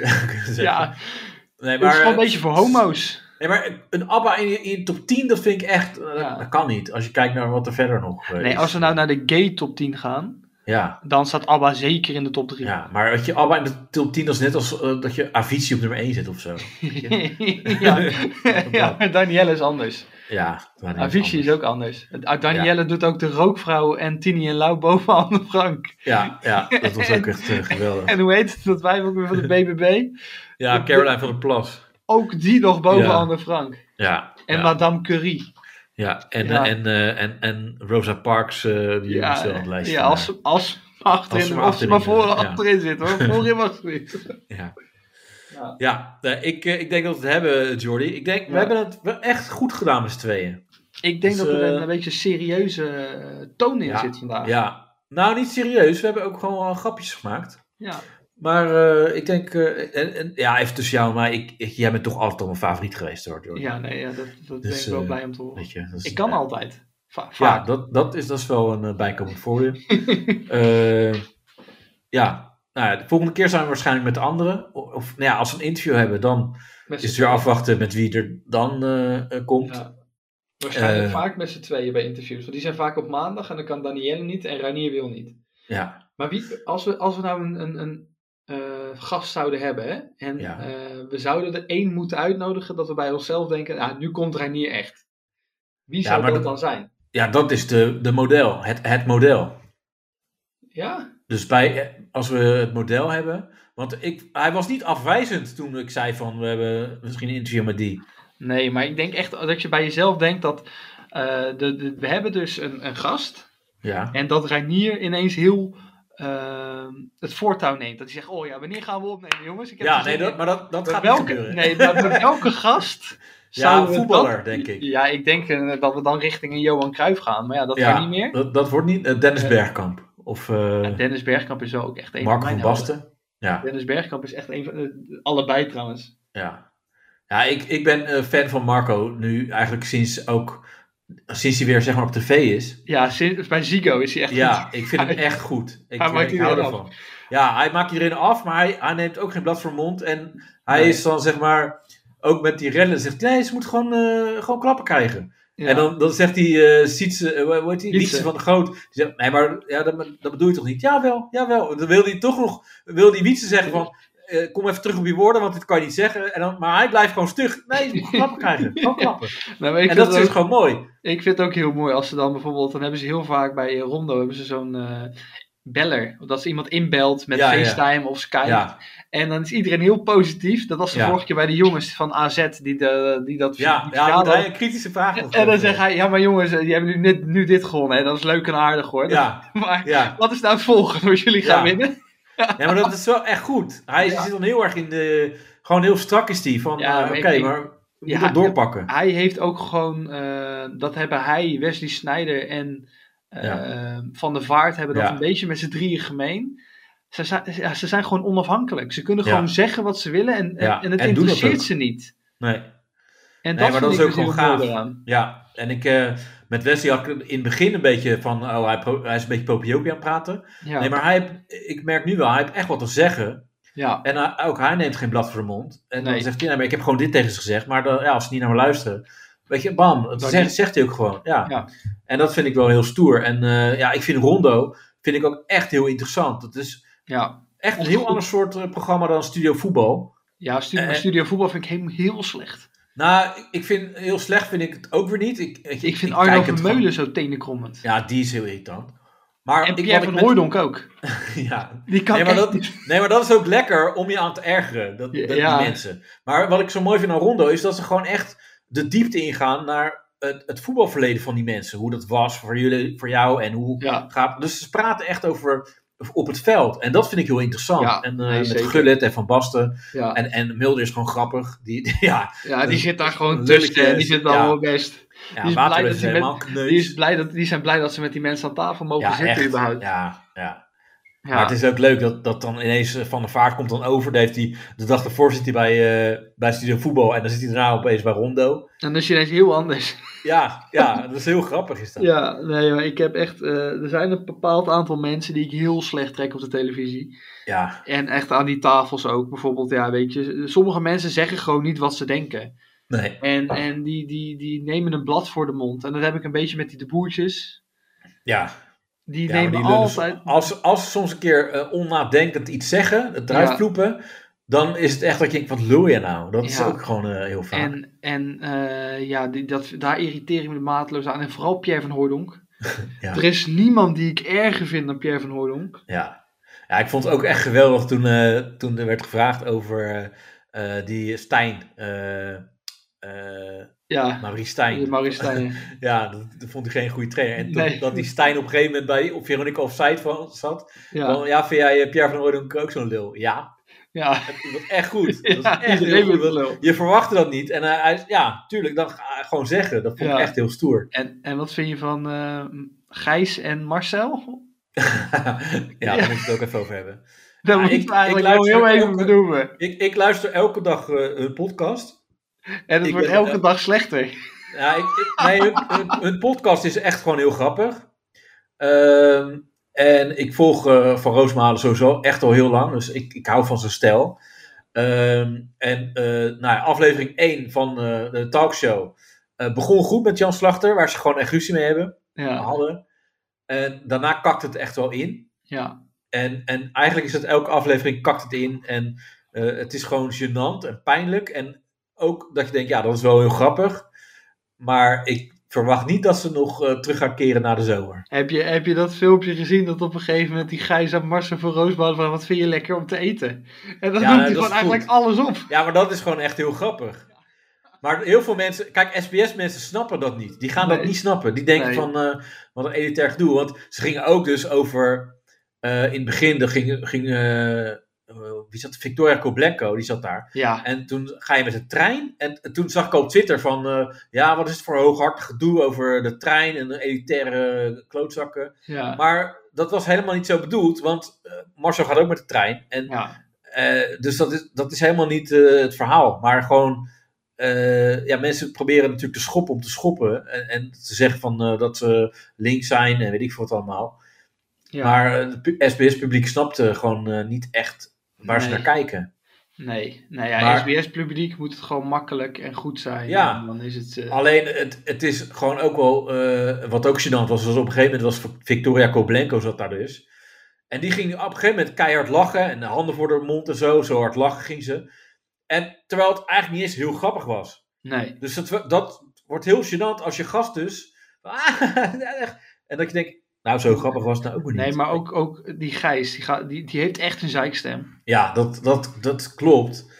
[SPEAKER 3] Ja,
[SPEAKER 2] nee,
[SPEAKER 3] het is
[SPEAKER 2] maar, eh,
[SPEAKER 3] gewoon een beetje voor homo's.
[SPEAKER 2] nee, maar een ABBA in, in top 10, dat vind ik echt, eh,
[SPEAKER 3] Ja.
[SPEAKER 2] dat kan niet. Als je kijkt naar wat er verder nog eh,
[SPEAKER 3] Nee,
[SPEAKER 2] is.
[SPEAKER 3] als nou- we nou naar de gay top 10 gaan,
[SPEAKER 2] Ja,
[SPEAKER 3] dan staat ABBA zeker in de top 3.
[SPEAKER 2] ja, maar dat je ABBA in de top 10, dat is net als eh, dat je Avicii op nummer 1 zit of
[SPEAKER 3] [laughs]
[SPEAKER 2] zo.
[SPEAKER 3] [laughs]
[SPEAKER 2] [laughs]
[SPEAKER 3] ja. ja, Danielle is anders.
[SPEAKER 2] Ja, dat is
[SPEAKER 3] Avicii is ook anders. Eh, ah, Danielle doet ook de rookvrouw en Tini en Lau boven Anne Frank.
[SPEAKER 2] Ja, ja, dat was ook echt
[SPEAKER 3] [laughs]
[SPEAKER 2] eh, geweldig.
[SPEAKER 3] En hoe heet het, dat wij ook weer van de BBB?
[SPEAKER 2] Ja, Caroline van der Plas.
[SPEAKER 3] Ook die nog boven
[SPEAKER 2] Ja.
[SPEAKER 3] Anne Frank.
[SPEAKER 2] Ja,
[SPEAKER 3] En
[SPEAKER 2] ja,
[SPEAKER 3] Madame Curie.
[SPEAKER 2] ja. En,
[SPEAKER 3] Ja.
[SPEAKER 2] eh, En, eh, en, en Rosa Parks, eh, die ja,
[SPEAKER 3] Ja,
[SPEAKER 2] op het lijstje.
[SPEAKER 3] ja als, ze- als ze maar achterin,
[SPEAKER 2] Als ze maar
[SPEAKER 3] of ze maar
[SPEAKER 2] achterin,
[SPEAKER 3] voor,
[SPEAKER 2] ja.
[SPEAKER 3] achterin zit hoor. Voorin was het
[SPEAKER 2] [laughs]
[SPEAKER 3] niet.
[SPEAKER 2] ja.
[SPEAKER 3] Ja.
[SPEAKER 2] Ja, nee, ik, eh, ik denk dat we het hebben, Jordi. Ik denk, we
[SPEAKER 3] Ja.
[SPEAKER 2] hebben het wel echt goed gedaan met z'n tweeën.
[SPEAKER 3] Ik denk
[SPEAKER 2] Dus,
[SPEAKER 3] dat er
[SPEAKER 2] eh,
[SPEAKER 3] een, een beetje serieuze eh, toon in
[SPEAKER 2] Ja,
[SPEAKER 3] zit vandaag. Ja.
[SPEAKER 2] Ja, nou niet serieus. We hebben ook gewoon wel grapjes gemaakt. Maar eh, ik denk, eh, en, en- ja, even tussen jou en mij, ik, ik- jij bent toch altijd al mijn favoriet geweest hoor, Jordi.
[SPEAKER 3] Ja, nee, ja, dat, dat ben
[SPEAKER 2] Dus,
[SPEAKER 3] ik wel
[SPEAKER 2] eh,
[SPEAKER 3] blij om te horen.
[SPEAKER 2] Weet je, dat is-
[SPEAKER 3] Ik kan
[SPEAKER 2] ja.
[SPEAKER 3] altijd. Va-
[SPEAKER 2] Ja,
[SPEAKER 3] vaak.
[SPEAKER 2] dat, dat, is, dat is wel een eh, bijkomend voordeel.
[SPEAKER 3] [laughs]
[SPEAKER 2] Eh, ja. Nou ja, de volgende keer zijn we waarschijnlijk met de anderen. Of, of nou ja, als we een interview hebben, dan
[SPEAKER 3] Met
[SPEAKER 2] is het
[SPEAKER 3] z'n
[SPEAKER 2] weer afwachten met wie er dan eh, eh, komt.
[SPEAKER 3] Ja. Waarschijnlijk
[SPEAKER 2] Eh.
[SPEAKER 3] vaak met z'n tweeën bij interviews. Want die zijn vaak op maandag en dan kan Danielle niet en Ranier wil niet.
[SPEAKER 2] ja.
[SPEAKER 3] Maar wie, als, we, als we nou een, een, een eh, gast zouden hebben hè, en
[SPEAKER 2] Ja.
[SPEAKER 3] eh, we zouden er één moeten uitnodigen dat we bij onszelf denken, ah, nu komt Reinier echt. Wie
[SPEAKER 2] Ja,
[SPEAKER 3] zou
[SPEAKER 2] maar
[SPEAKER 3] dat
[SPEAKER 2] dat-
[SPEAKER 3] dan zijn?
[SPEAKER 2] Ja, dat is de, de model, het, het model.
[SPEAKER 3] Ja?
[SPEAKER 2] Dus bij, eh, als we het model hebben. Want ik, hij was niet afwijzend toen ik zei van we hebben misschien een interview met die.
[SPEAKER 3] Nee, maar ik denk echt dat je bij jezelf denkt dat eh, de, de- we hebben dus een, een gast
[SPEAKER 2] Ja,
[SPEAKER 3] en dat Reinier ineens heel eh, het voortouw neemt. Dat hij zegt, oh ja, wanneer gaan we opnemen jongens? Ik heb
[SPEAKER 2] ja
[SPEAKER 3] er zin
[SPEAKER 2] nee, dat,
[SPEAKER 3] in."
[SPEAKER 2] maar dat, dat
[SPEAKER 3] Met
[SPEAKER 2] gaat niet
[SPEAKER 3] welke,
[SPEAKER 2] gebeuren.
[SPEAKER 3] nee, maar
[SPEAKER 2] [laughs]
[SPEAKER 3] met welke gast
[SPEAKER 2] ja,
[SPEAKER 3] zouden
[SPEAKER 2] een
[SPEAKER 3] we
[SPEAKER 2] voetballer,
[SPEAKER 3] dat-
[SPEAKER 2] denk ik.
[SPEAKER 3] Ja, ik denk eh, dat we dan richting een Johan Cruijff gaan, maar ja, dat
[SPEAKER 2] ja,
[SPEAKER 3] kan niet meer.
[SPEAKER 2] Dat, dat wordt niet eh, Dennis
[SPEAKER 3] Eh,
[SPEAKER 2] Bergkamp of eh,
[SPEAKER 3] Ja, Dennis Bergkamp is wel ook echt een
[SPEAKER 2] Marco
[SPEAKER 3] van
[SPEAKER 2] van
[SPEAKER 3] mijn helden.
[SPEAKER 2] Basten. Ja.
[SPEAKER 3] Dennis Bergkamp is echt een van... eh, allebei trouwens.
[SPEAKER 2] Ja, ja ik, ik ben eh, fan van Marco nu eigenlijk sinds ook sinds hij weer zeg maar op tv is.
[SPEAKER 3] Ja, sinds, bij Zigo is hij echt goed. [laughs]
[SPEAKER 2] Ja, ik vind hem echt goed. Ik,
[SPEAKER 3] Hij
[SPEAKER 2] eh,
[SPEAKER 3] maakt
[SPEAKER 2] ik hou
[SPEAKER 3] iedereen
[SPEAKER 2] ervan. Ja, hij maakt iedereen af, maar hij, hij neemt ook geen blad voor mond. En hij
[SPEAKER 3] Nee.
[SPEAKER 2] is dan zeg maar ook met die rellen zegt nee, ze moet gewoon, eh, gewoon klappen krijgen.
[SPEAKER 3] Ja.
[SPEAKER 2] En dan, dan zegt die eh Sietse, eh, hoe heet die?
[SPEAKER 3] Sietse.
[SPEAKER 2] Wietse van de Groot. Die zegt, nee, maar ja, dat, dat bedoel je toch niet? Jawel, jawel. Dan wil hij toch nog, wil die Wietse zeggen van, eh, kom even terug op je woorden, want dit kan je niet zeggen. En dan, maar hij blijft gewoon stug. Nee, je moet klappen krijgen.
[SPEAKER 3] [laughs]
[SPEAKER 2] Gewoon klappen.
[SPEAKER 3] Nou, maar ik,
[SPEAKER 2] en
[SPEAKER 3] vind
[SPEAKER 2] dat is
[SPEAKER 3] het
[SPEAKER 2] dus
[SPEAKER 3] ook-
[SPEAKER 2] gewoon mooi.
[SPEAKER 3] ik vind het ook heel mooi als ze dan bijvoorbeeld, dan hebben ze heel vaak bij Rondo hebben ze zo'n eh, beller. Dat ze iemand inbelt met
[SPEAKER 2] Ja, ja.
[SPEAKER 3] FaceTime of Skype.
[SPEAKER 2] Ja,
[SPEAKER 3] En dan is iedereen heel positief. Dat was de
[SPEAKER 2] Ja.
[SPEAKER 3] vorige keer bij de jongens van AZ die, de, die dat
[SPEAKER 2] ja,
[SPEAKER 3] die
[SPEAKER 2] ja,
[SPEAKER 3] gedaan
[SPEAKER 2] moet hij
[SPEAKER 3] hadden.
[SPEAKER 2] een kritische vraag nog
[SPEAKER 3] [laughs] En dan
[SPEAKER 2] stellen.
[SPEAKER 3] zegt hij, ja maar jongens, eh, die hebben nu, net, nu dit gewonnen. En dat is leuk en aardig hoor.
[SPEAKER 2] Ja,
[SPEAKER 3] [laughs] Maar
[SPEAKER 2] ja.
[SPEAKER 3] wat is nou het volgende wat jullie gaan
[SPEAKER 2] Ja.
[SPEAKER 3] winnen?
[SPEAKER 2] ja, maar dat is wel echt goed. Hij
[SPEAKER 3] Ja.
[SPEAKER 2] zit dan heel erg in de, gewoon heel strak is die. Van,
[SPEAKER 3] Ja,
[SPEAKER 2] eh,
[SPEAKER 3] maar
[SPEAKER 2] oké,
[SPEAKER 3] ik denk-
[SPEAKER 2] maar we
[SPEAKER 3] Ja,
[SPEAKER 2] moeten het doorpakken.
[SPEAKER 3] Hij heeft ook gewoon, eh, dat hebben hij, Wesley Sneijder en eh, Van der Vaart hebben dat
[SPEAKER 2] Ja.
[SPEAKER 3] een beetje met z'n drieën gemeen. Ze zijn, ja, ze zijn gewoon onafhankelijk. Ze kunnen
[SPEAKER 2] Ja.
[SPEAKER 3] gewoon zeggen wat ze willen en, en-
[SPEAKER 2] Ja,
[SPEAKER 3] en het
[SPEAKER 2] en doen dat
[SPEAKER 3] interesseert
[SPEAKER 2] ook.
[SPEAKER 3] ze niet.
[SPEAKER 2] Nee.
[SPEAKER 3] En
[SPEAKER 2] Nee,
[SPEAKER 3] dat,
[SPEAKER 2] maar
[SPEAKER 3] vind
[SPEAKER 2] dat
[SPEAKER 3] ik
[SPEAKER 2] is
[SPEAKER 3] dus
[SPEAKER 2] ook
[SPEAKER 3] heel
[SPEAKER 2] gewoon
[SPEAKER 3] mooi
[SPEAKER 2] gaaf.
[SPEAKER 3] eraan.
[SPEAKER 2] Ja, en ik, eh, met Wesley had ik in het begin een beetje van, oh, hij, pro- hij is een beetje popiopi aan het praten.
[SPEAKER 3] Ja,
[SPEAKER 2] Nee, maar hij, heeft- ik merk nu wel, hij heeft echt wat te zeggen.
[SPEAKER 3] ja,
[SPEAKER 2] En hij- ook hij neemt geen blad voor de mond. En
[SPEAKER 3] Nee.
[SPEAKER 2] dan zegt hij, nee, maar ik heb gewoon dit tegen ze gezegd. Maar dan, ja, als ze niet naar me luisteren, weet je, bam, dat
[SPEAKER 3] Dan
[SPEAKER 2] zegt,
[SPEAKER 3] niet.
[SPEAKER 2] zegt hij ook gewoon. Ja.
[SPEAKER 3] Ja.
[SPEAKER 2] En dat vind ik wel heel stoer. En eh, ja, ik vind Rondo, vind ik ook echt heel interessant. Het is
[SPEAKER 3] ja.
[SPEAKER 2] echt een heel ander soort eh, programma dan Studio Voetbal.
[SPEAKER 3] ja studio,
[SPEAKER 2] Eh,
[SPEAKER 3] studio voetbal vind ik heel, heel slecht.
[SPEAKER 2] Nou, ik- ik vind, heel slecht vind ik het ook weer niet. Ik, weet je,
[SPEAKER 3] Ik vind
[SPEAKER 2] kijk
[SPEAKER 3] Arno
[SPEAKER 2] het
[SPEAKER 3] van
[SPEAKER 2] gewoon-
[SPEAKER 3] Meulen zo tenenkrommend.
[SPEAKER 2] Ja, die is heel irritant. Maar
[SPEAKER 3] en
[SPEAKER 2] ik,
[SPEAKER 3] Pierre
[SPEAKER 2] wat ik
[SPEAKER 3] van
[SPEAKER 2] met-
[SPEAKER 3] Hooijdonk ook.
[SPEAKER 2] [laughs] Ja.
[SPEAKER 3] Die kan
[SPEAKER 2] Nee, maar
[SPEAKER 3] echt
[SPEAKER 2] dat,
[SPEAKER 3] niet.
[SPEAKER 2] nee, maar dat is ook lekker om je aan te ergeren, dat,
[SPEAKER 3] Ja.
[SPEAKER 2] dat die mensen. Maar wat ik zo mooi vind aan Rondo is dat ze gewoon echt de diepte ingaan naar het, het voetbalverleden van die mensen. Hoe dat was voor jullie, voor jou en hoe
[SPEAKER 3] Ja.
[SPEAKER 2] gaat. Dus ze praten echt over op het veld. En dat vind ik heel interessant.
[SPEAKER 3] Ja,
[SPEAKER 2] en eh,
[SPEAKER 3] nee,
[SPEAKER 2] met
[SPEAKER 3] zeker.
[SPEAKER 2] Gullit en Van Basten.
[SPEAKER 3] Ja,
[SPEAKER 2] En, en Mulder is gewoon grappig. Die, [laughs] die- ja,
[SPEAKER 3] ja die
[SPEAKER 2] dus-
[SPEAKER 3] zit daar gewoon
[SPEAKER 2] een
[SPEAKER 3] tussen.
[SPEAKER 2] lulletje,
[SPEAKER 3] en Die zit daar
[SPEAKER 2] ja.
[SPEAKER 3] wel best. Die
[SPEAKER 2] ja
[SPEAKER 3] is blij
[SPEAKER 2] water
[SPEAKER 3] dat
[SPEAKER 2] is
[SPEAKER 3] hij met-
[SPEAKER 2] helemaal
[SPEAKER 3] Die, is
[SPEAKER 2] kneus.
[SPEAKER 3] blij dat, die zijn blij dat ze met die mensen aan tafel mogen
[SPEAKER 2] Ja,
[SPEAKER 3] zitten
[SPEAKER 2] echt.
[SPEAKER 3] überhaupt.
[SPEAKER 2] Ja, ja.
[SPEAKER 3] Ja.
[SPEAKER 2] Maar het is ook leuk dat, dat dan ineens eh, Van der Vaart komt dan over. Dan heeft hij, de dag ervoor zit hij bij, eh, bij Studio Voetbal en dan zit hij daarna opeens bij Rondo.
[SPEAKER 3] En dat is ineens heel anders.
[SPEAKER 2] Ja, ja dat is heel grappig is dat.
[SPEAKER 3] [laughs] Ja, nee, maar ik heb echt... eh, er zijn een bepaald aantal mensen die ik heel slecht trek op de televisie.
[SPEAKER 2] Ja,
[SPEAKER 3] En echt aan die tafels ook. Bijvoorbeeld, ja, weet je... Sommige mensen zeggen gewoon niet wat ze denken.
[SPEAKER 2] nee.
[SPEAKER 3] En, en die, die, die nemen een blad voor de mond. En dat heb ik een beetje met die de boertjes.
[SPEAKER 2] Ja,
[SPEAKER 3] Die
[SPEAKER 2] ja, maar
[SPEAKER 3] nemen
[SPEAKER 2] die lullen so-
[SPEAKER 3] altijd...
[SPEAKER 2] Als, als ze soms een keer eh, onnadenkend iets zeggen, het eruit
[SPEAKER 3] Ja.
[SPEAKER 2] ploepen, dan is het echt dat je denkt, wat lul je nou? Dat is
[SPEAKER 3] Ja.
[SPEAKER 2] ook gewoon eh, heel vaak.
[SPEAKER 3] En, en eh, ja, die, dat, daar irriteer ik me mateloos aan. En vooral Pierre van Hooydonk.
[SPEAKER 2] Ja.
[SPEAKER 3] Er is niemand die ik erger vind dan Pierre van Hooydonk.
[SPEAKER 2] Ja. ja, ik vond het ook echt geweldig toen, eh, toen er werd gevraagd over eh, eh, die Stijn, eh eh,
[SPEAKER 3] Ja,
[SPEAKER 2] Maurice Stijn.
[SPEAKER 3] Maurice
[SPEAKER 2] [laughs]
[SPEAKER 3] Stijn.
[SPEAKER 2] Ja, dat, dat vond ik geen goede trainer. En toen-
[SPEAKER 3] Nee.
[SPEAKER 2] dat die Stijn op een gegeven moment bij, op Veronica Offside van, zat.
[SPEAKER 3] Ja,
[SPEAKER 2] Van, ja, vind jij eh, Pierre van Hooydonk ook zo'n lul? Ja,
[SPEAKER 3] ja.
[SPEAKER 2] dat was echt goed.
[SPEAKER 3] [laughs] ja
[SPEAKER 2] Dat was echt heel
[SPEAKER 3] iedereen
[SPEAKER 2] goed.
[SPEAKER 3] wil een lul.
[SPEAKER 2] Je verwachtte dat niet. En eh, hij, ja, tuurlijk, dan ga ik gewoon zeggen. Dat vond ik
[SPEAKER 3] Ja.
[SPEAKER 2] echt heel stoer. [laughs]
[SPEAKER 3] En, en wat vind je van eh, Gijs en Marcel? [laughs]
[SPEAKER 2] ja, daar
[SPEAKER 3] Ja.
[SPEAKER 2] moet ik het ook even over hebben.
[SPEAKER 3] Dat
[SPEAKER 2] Ja,
[SPEAKER 3] moet
[SPEAKER 2] ik-
[SPEAKER 3] ik eigenlijk
[SPEAKER 2] ik
[SPEAKER 3] wel heel
[SPEAKER 2] luister
[SPEAKER 3] even
[SPEAKER 2] ook-
[SPEAKER 3] benoemen.
[SPEAKER 2] Ik, ik luister elke dag eh, hun podcast.
[SPEAKER 3] En het
[SPEAKER 2] ik
[SPEAKER 3] wordt
[SPEAKER 2] ben-
[SPEAKER 3] elke dag slechter.
[SPEAKER 2] Ja, ik, ik- nee, hun, hun- hun podcast is echt gewoon heel grappig. Ehm, en ik volg eh, Van Roosmalen sowieso echt al heel lang. Dus ik, ik hou van zijn stijl. Ehm, en eh, nou ja, aflevering 1 van eh, de talkshow eh, begon goed met Jan Slachter. Waar ze gewoon echt ruzie mee hebben,
[SPEAKER 3] Ja,
[SPEAKER 2] hadden. En daarna kakt het echt wel in.
[SPEAKER 3] ja,
[SPEAKER 2] En, en eigenlijk is het elke aflevering kakt het in. En eh, het is gewoon gênant en pijnlijk. En ook dat je denkt, ja, dat is wel heel grappig. Maar ik verwacht niet dat ze nog eh, terug gaan keren naar de zomer.
[SPEAKER 3] Heb, je, heb je dat filmpje gezien dat op een gegeven moment die Gijs aan Marcel van Roosbouw van wat vind je lekker om te eten? En dan
[SPEAKER 2] Ja, dat
[SPEAKER 3] noemt hij
[SPEAKER 2] is
[SPEAKER 3] gewoon
[SPEAKER 2] goed.
[SPEAKER 3] eigenlijk alles op.
[SPEAKER 2] Ja, maar dat is gewoon echt heel grappig. Maar heel veel mensen, kijk, SBS-mensen snappen dat niet. Die gaan dat
[SPEAKER 3] Nee.
[SPEAKER 2] niet snappen. Die denken
[SPEAKER 3] Nee.
[SPEAKER 2] van, eh, wat een elitair gedoe. Want ze gingen ook dus over, eh, in het begin, er ging, ging eh, eh, wie zat, Victoria Koblenko, die zat daar.
[SPEAKER 3] Ja,
[SPEAKER 2] En toen ga je met de trein. En toen zag ik op Twitter van... eh, ja, wat is het voor hooghartig gedoe over de trein en de elitaire klootzakken.
[SPEAKER 3] ja,
[SPEAKER 2] Maar dat was helemaal niet zo bedoeld. Want eh, Marcel gaat ook met de trein. En
[SPEAKER 3] ja.
[SPEAKER 2] Eh, dus dat is, dat is helemaal niet eh, het verhaal. Maar gewoon, eh, ja, mensen proberen natuurlijk te schoppen om te schoppen. En, en te zeggen van, eh, dat ze links zijn en weet ik veel wat allemaal.
[SPEAKER 3] Ja.
[SPEAKER 2] Maar eh, het pu- SBS-publiek snapte gewoon eh, niet echt waar ze
[SPEAKER 3] Nee.
[SPEAKER 2] naar kijken.
[SPEAKER 3] Nee, nou ja,
[SPEAKER 2] Maar-
[SPEAKER 3] SBS-publiek moet het gewoon makkelijk en goed zijn.
[SPEAKER 2] Ja.
[SPEAKER 3] En dan is het... eh,
[SPEAKER 2] Alleen, het, het is gewoon ook wel, eh, wat ook gênant was, was op een gegeven moment was Victoria Koblenko zat daar dus. En die ging op een gegeven moment keihard lachen en de handen voor de mond en zo, zo hard lachen ging ze. En terwijl het eigenlijk niet eens heel grappig was.
[SPEAKER 3] nee,
[SPEAKER 2] Dus dat, dat wordt heel gênant als je gast dus. [laughs] Ah, echt. en dat je denkt, nou zo grappig was het nou ook weer niet.
[SPEAKER 3] nee, maar ook, ook die Gijs, die, gaat, die, die heeft echt een zeikstem.
[SPEAKER 2] Ja, dat, dat, dat klopt.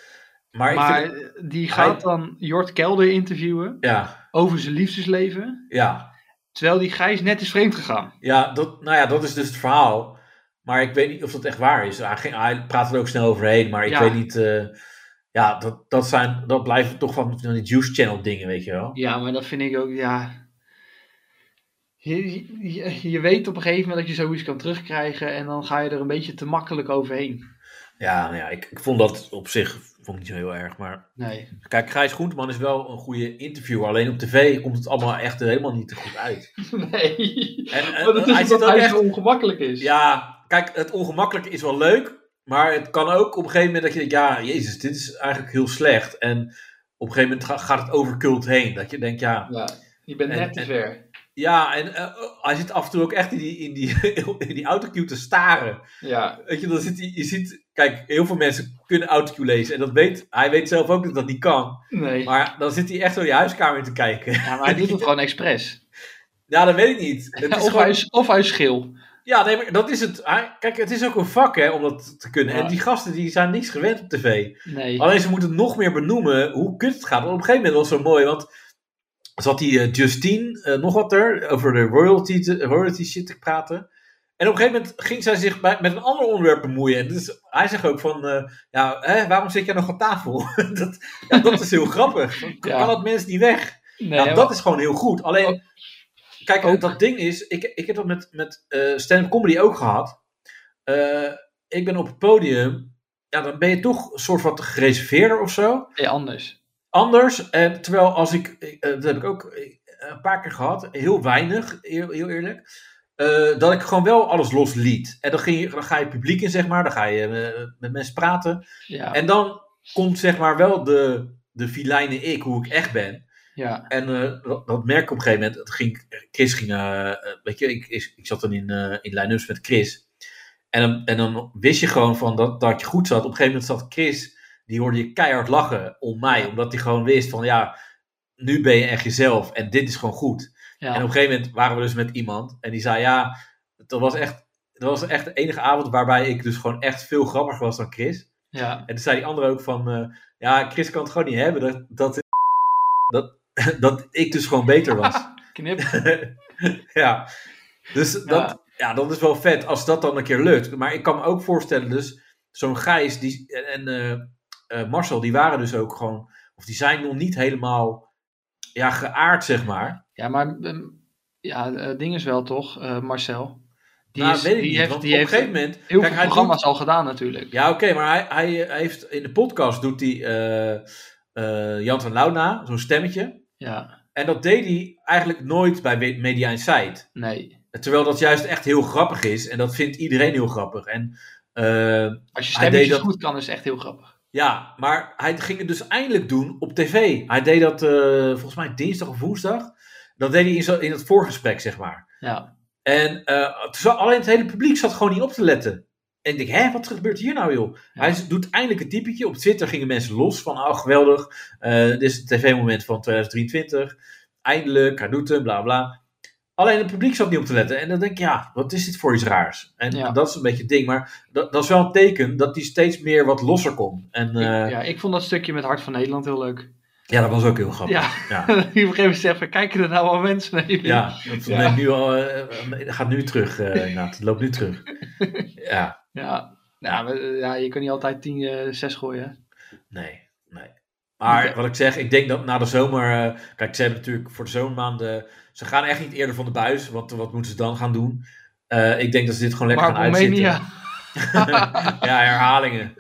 [SPEAKER 2] Maar,
[SPEAKER 3] maar
[SPEAKER 2] ik vind,
[SPEAKER 3] eh, die gaat dan Jort Kelder interviewen
[SPEAKER 2] ja,
[SPEAKER 3] over zijn liefdesleven,
[SPEAKER 2] ja,
[SPEAKER 3] terwijl die Gijs net is vreemd gegaan.
[SPEAKER 2] ja, dat, nou ja, dat is dus het verhaal. Maar ik weet niet of dat echt waar is. Hij, ging, hij praat er ook snel overheen, maar ik
[SPEAKER 3] Ja.
[SPEAKER 2] weet niet... eh, ja, dat, dat, zijn, dat blijven toch van, van die Juice Channel dingen, weet je wel.
[SPEAKER 3] Ja, maar dat vind ik ook, ja... Je, je, je weet op een gegeven moment dat je zoiets kan terugkrijgen en dan ga je er een beetje te makkelijk overheen.
[SPEAKER 2] Ja, nou ja ik, ik vond dat op zich vond ik niet zo heel erg, maar...
[SPEAKER 3] Nee,
[SPEAKER 2] Kijk, Gijs Groenteman is wel een goede interviewer. Alleen op tv komt het allemaal echt helemaal niet goed uit.
[SPEAKER 3] [laughs] nee.
[SPEAKER 2] En, en
[SPEAKER 3] [laughs] Maar dat is
[SPEAKER 2] hij
[SPEAKER 3] omdat
[SPEAKER 2] zit ook
[SPEAKER 3] hij
[SPEAKER 2] echt...
[SPEAKER 3] zo ongemakkelijk is.
[SPEAKER 2] Dus Ja, kijk, het ongemakkelijke is wel leuk. Maar het kan ook op een gegeven moment dat je denkt... Ja, jezus, dit is eigenlijk heel slecht. En op een gegeven moment ga- gaat het over cult heen. Dat je denkt, ja...
[SPEAKER 3] Ja, je bent
[SPEAKER 2] En-
[SPEAKER 3] net te
[SPEAKER 2] en-
[SPEAKER 3] ver.
[SPEAKER 2] Ja, en eh, hij zit af en toe ook echt in die, in die, [laughs] in die autocue te staren.
[SPEAKER 3] Ja,
[SPEAKER 2] Weet je, dan zit hij... Je ziet... Kijk, heel veel mensen kunnen autocue lezen. En dat weet... Hij weet zelf ook dat dat niet kan.
[SPEAKER 3] nee.
[SPEAKER 2] Maar dan zit hij echt zo in je huiskamer in te kijken. [laughs]
[SPEAKER 3] Ja, maar hij doet het gewoon expres.
[SPEAKER 2] Ja, dat weet ik niet. [laughs] Het
[SPEAKER 3] Ja,
[SPEAKER 2] is
[SPEAKER 3] of,
[SPEAKER 2] gewoon-
[SPEAKER 3] hij is, of hij is geel.
[SPEAKER 2] Ja, nee, maar dat is het. Hij- Kijk, het is ook een vak hè, om dat te kunnen.
[SPEAKER 3] Ja.
[SPEAKER 2] En die gasten die zijn niks gewend op tv.
[SPEAKER 3] Nee.
[SPEAKER 2] Alleen ze moeten nog meer benoemen hoe kut het gaat. Want op een gegeven moment was het zo mooi, want zat die eh, Justine eh, nog wat er over de royalty, te- royalty shit te praten. En op een gegeven moment ging zij zich bij- met een ander onderwerp bemoeien. En dus hij zegt ook van, eh, ja, hè, waarom zit jij nog aan tafel? [laughs] dat, ja, dat is heel grappig.
[SPEAKER 3] Ja.
[SPEAKER 2] Kan dat mens niet weg?
[SPEAKER 3] nee,
[SPEAKER 2] ja, Nou, dat is gewoon heel goed. Alleen,
[SPEAKER 3] Ook-
[SPEAKER 2] kijk,
[SPEAKER 3] ook-
[SPEAKER 2] dat ding is, ik, ik heb dat met, met eh, stand-up comedy ook gehad. Eh, ik ben op het podium, ja, dan ben je toch een soort van gereserveerder of zo.
[SPEAKER 3] ja, anders.
[SPEAKER 2] Anders, en terwijl als ik, ik, eh, dat heb ik ook eh, een paar keer gehad, heel weinig, heel, heel eerlijk. eh, dat ik gewoon wel alles losliet. En dan, ging je, dan ga je het publiek in, zeg maar. Dan ga je eh, met mensen praten.
[SPEAKER 3] Ja,
[SPEAKER 2] En dan komt, zeg maar, wel de, de filijne ik, hoe ik echt ben.
[SPEAKER 3] ja,
[SPEAKER 2] En eh, dat, dat merk ik op een gegeven moment. Het ging, Chris ging, eh, eh, weet je, ik, ik, ik zat dan in, eh, in line-ups met Chris. En dan, en dan wist je gewoon van dat, dat je goed zat. Op een gegeven moment zat Chris, die hoorde je keihard lachen om mij. Omdat hij gewoon wist van ja, nu ben je echt jezelf en dit is gewoon goed.
[SPEAKER 3] ja.
[SPEAKER 2] En op een gegeven moment waren we dus met iemand en die zei ja, dat was echt, dat was echt de enige avond waarbij ik dus gewoon echt veel grappiger was dan Chris.
[SPEAKER 3] ja.
[SPEAKER 2] En toen zei die andere ook van, eh, ja, Chris kan het gewoon niet hebben dat, dat, dat, [laughs] dat ik dus gewoon beter
[SPEAKER 3] [laughs]
[SPEAKER 2] was. [laughs]
[SPEAKER 3] Knip.
[SPEAKER 2] ja. Dus Dat, ja, dat is wel vet als dat dan een keer lukt. Maar ik kan me ook voorstellen, dus zo'n Gijs die, en eh, eh, Marcel, die waren dus ook gewoon, of die zijn nog niet helemaal ja, geaard, zeg maar.
[SPEAKER 3] Ja, maar ehm, ja, eh, ding is wel toch, eh, Marcel. Die,
[SPEAKER 2] nou,
[SPEAKER 3] is,
[SPEAKER 2] weet ik
[SPEAKER 3] die
[SPEAKER 2] niet,
[SPEAKER 3] heeft,
[SPEAKER 2] want
[SPEAKER 3] die
[SPEAKER 2] op
[SPEAKER 3] heeft
[SPEAKER 2] een gegeven moment...
[SPEAKER 3] heel
[SPEAKER 2] kijk,
[SPEAKER 3] veel
[SPEAKER 2] hij doet-
[SPEAKER 3] programma's al gedaan natuurlijk.
[SPEAKER 2] Ja, oké, maar hij, hij eh, heeft in de podcast doet hij eh, eh, Jan van Launa, zo'n stemmetje.
[SPEAKER 3] Ja,
[SPEAKER 2] En dat deed hij eigenlijk nooit bij We- Media Insight.
[SPEAKER 3] nee.
[SPEAKER 2] Terwijl dat juist echt heel grappig is. En dat vindt iedereen heel grappig. En eh,
[SPEAKER 3] Als je
[SPEAKER 2] Hij deed
[SPEAKER 3] stemmetjes
[SPEAKER 2] dat-
[SPEAKER 3] goed kan, is het echt heel grappig.
[SPEAKER 2] ja, maar hij ging het dus eindelijk doen op tv. Hij deed dat eh, volgens mij dinsdag of woensdag. Dat deed hij in, zo, in het voorgesprek, zeg maar.
[SPEAKER 3] Ja,
[SPEAKER 2] En eh, toen zat- alleen het hele publiek zat gewoon niet op te letten. En ik denk, hè, wat gebeurt hier nou, joh? Hij z- doet eindelijk een typetje. Op Twitter gingen mensen los van, oh, geweldig. eh, dit is het tv-moment van 2023. Eindelijk, hij doet hem, bla, bla. Alleen het publiek zat niet op te letten. En dan denk ik, ja, wat is dit voor iets raars? En
[SPEAKER 3] Ja.
[SPEAKER 2] dat is een beetje het ding. Maar dat, dat is wel een teken dat hij steeds meer wat losser komt. En eh,
[SPEAKER 3] ik,
[SPEAKER 2] ja.
[SPEAKER 3] ja, ik vond dat stukje met Hart van Nederland heel leuk.
[SPEAKER 2] dat was ook heel grappig.
[SPEAKER 3] Ja,
[SPEAKER 2] Ja.
[SPEAKER 3] die [laughs] op een gegeven moment zegt, van, kijken er nou al mensen naar jullie?
[SPEAKER 2] Ja, dat
[SPEAKER 3] Ja.
[SPEAKER 2] neemt Nu al, eh, gaat nu terug, eh inderdaad. Het loopt nu
[SPEAKER 3] [laughs]
[SPEAKER 2] terug. Ja,
[SPEAKER 3] Ja, ja, maar, eh, ja je kan niet altijd 10, eh 6 gooien. hè?
[SPEAKER 2] nee, nee. Maar
[SPEAKER 3] Oké.
[SPEAKER 2] wat ik zeg, ik denk dat na de zomer... eh, kijk, ze hebben natuurlijk voor de zomermaanden... Ze gaan echt niet eerder van de buis, want wat moeten ze dan gaan doen? Eh, ik denk dat ze dit gewoon lekker
[SPEAKER 3] Maar
[SPEAKER 2] gaan uitzitten.
[SPEAKER 3] Roemenië,
[SPEAKER 2] [laughs] ja,
[SPEAKER 3] [laughs]
[SPEAKER 2] herhalingen.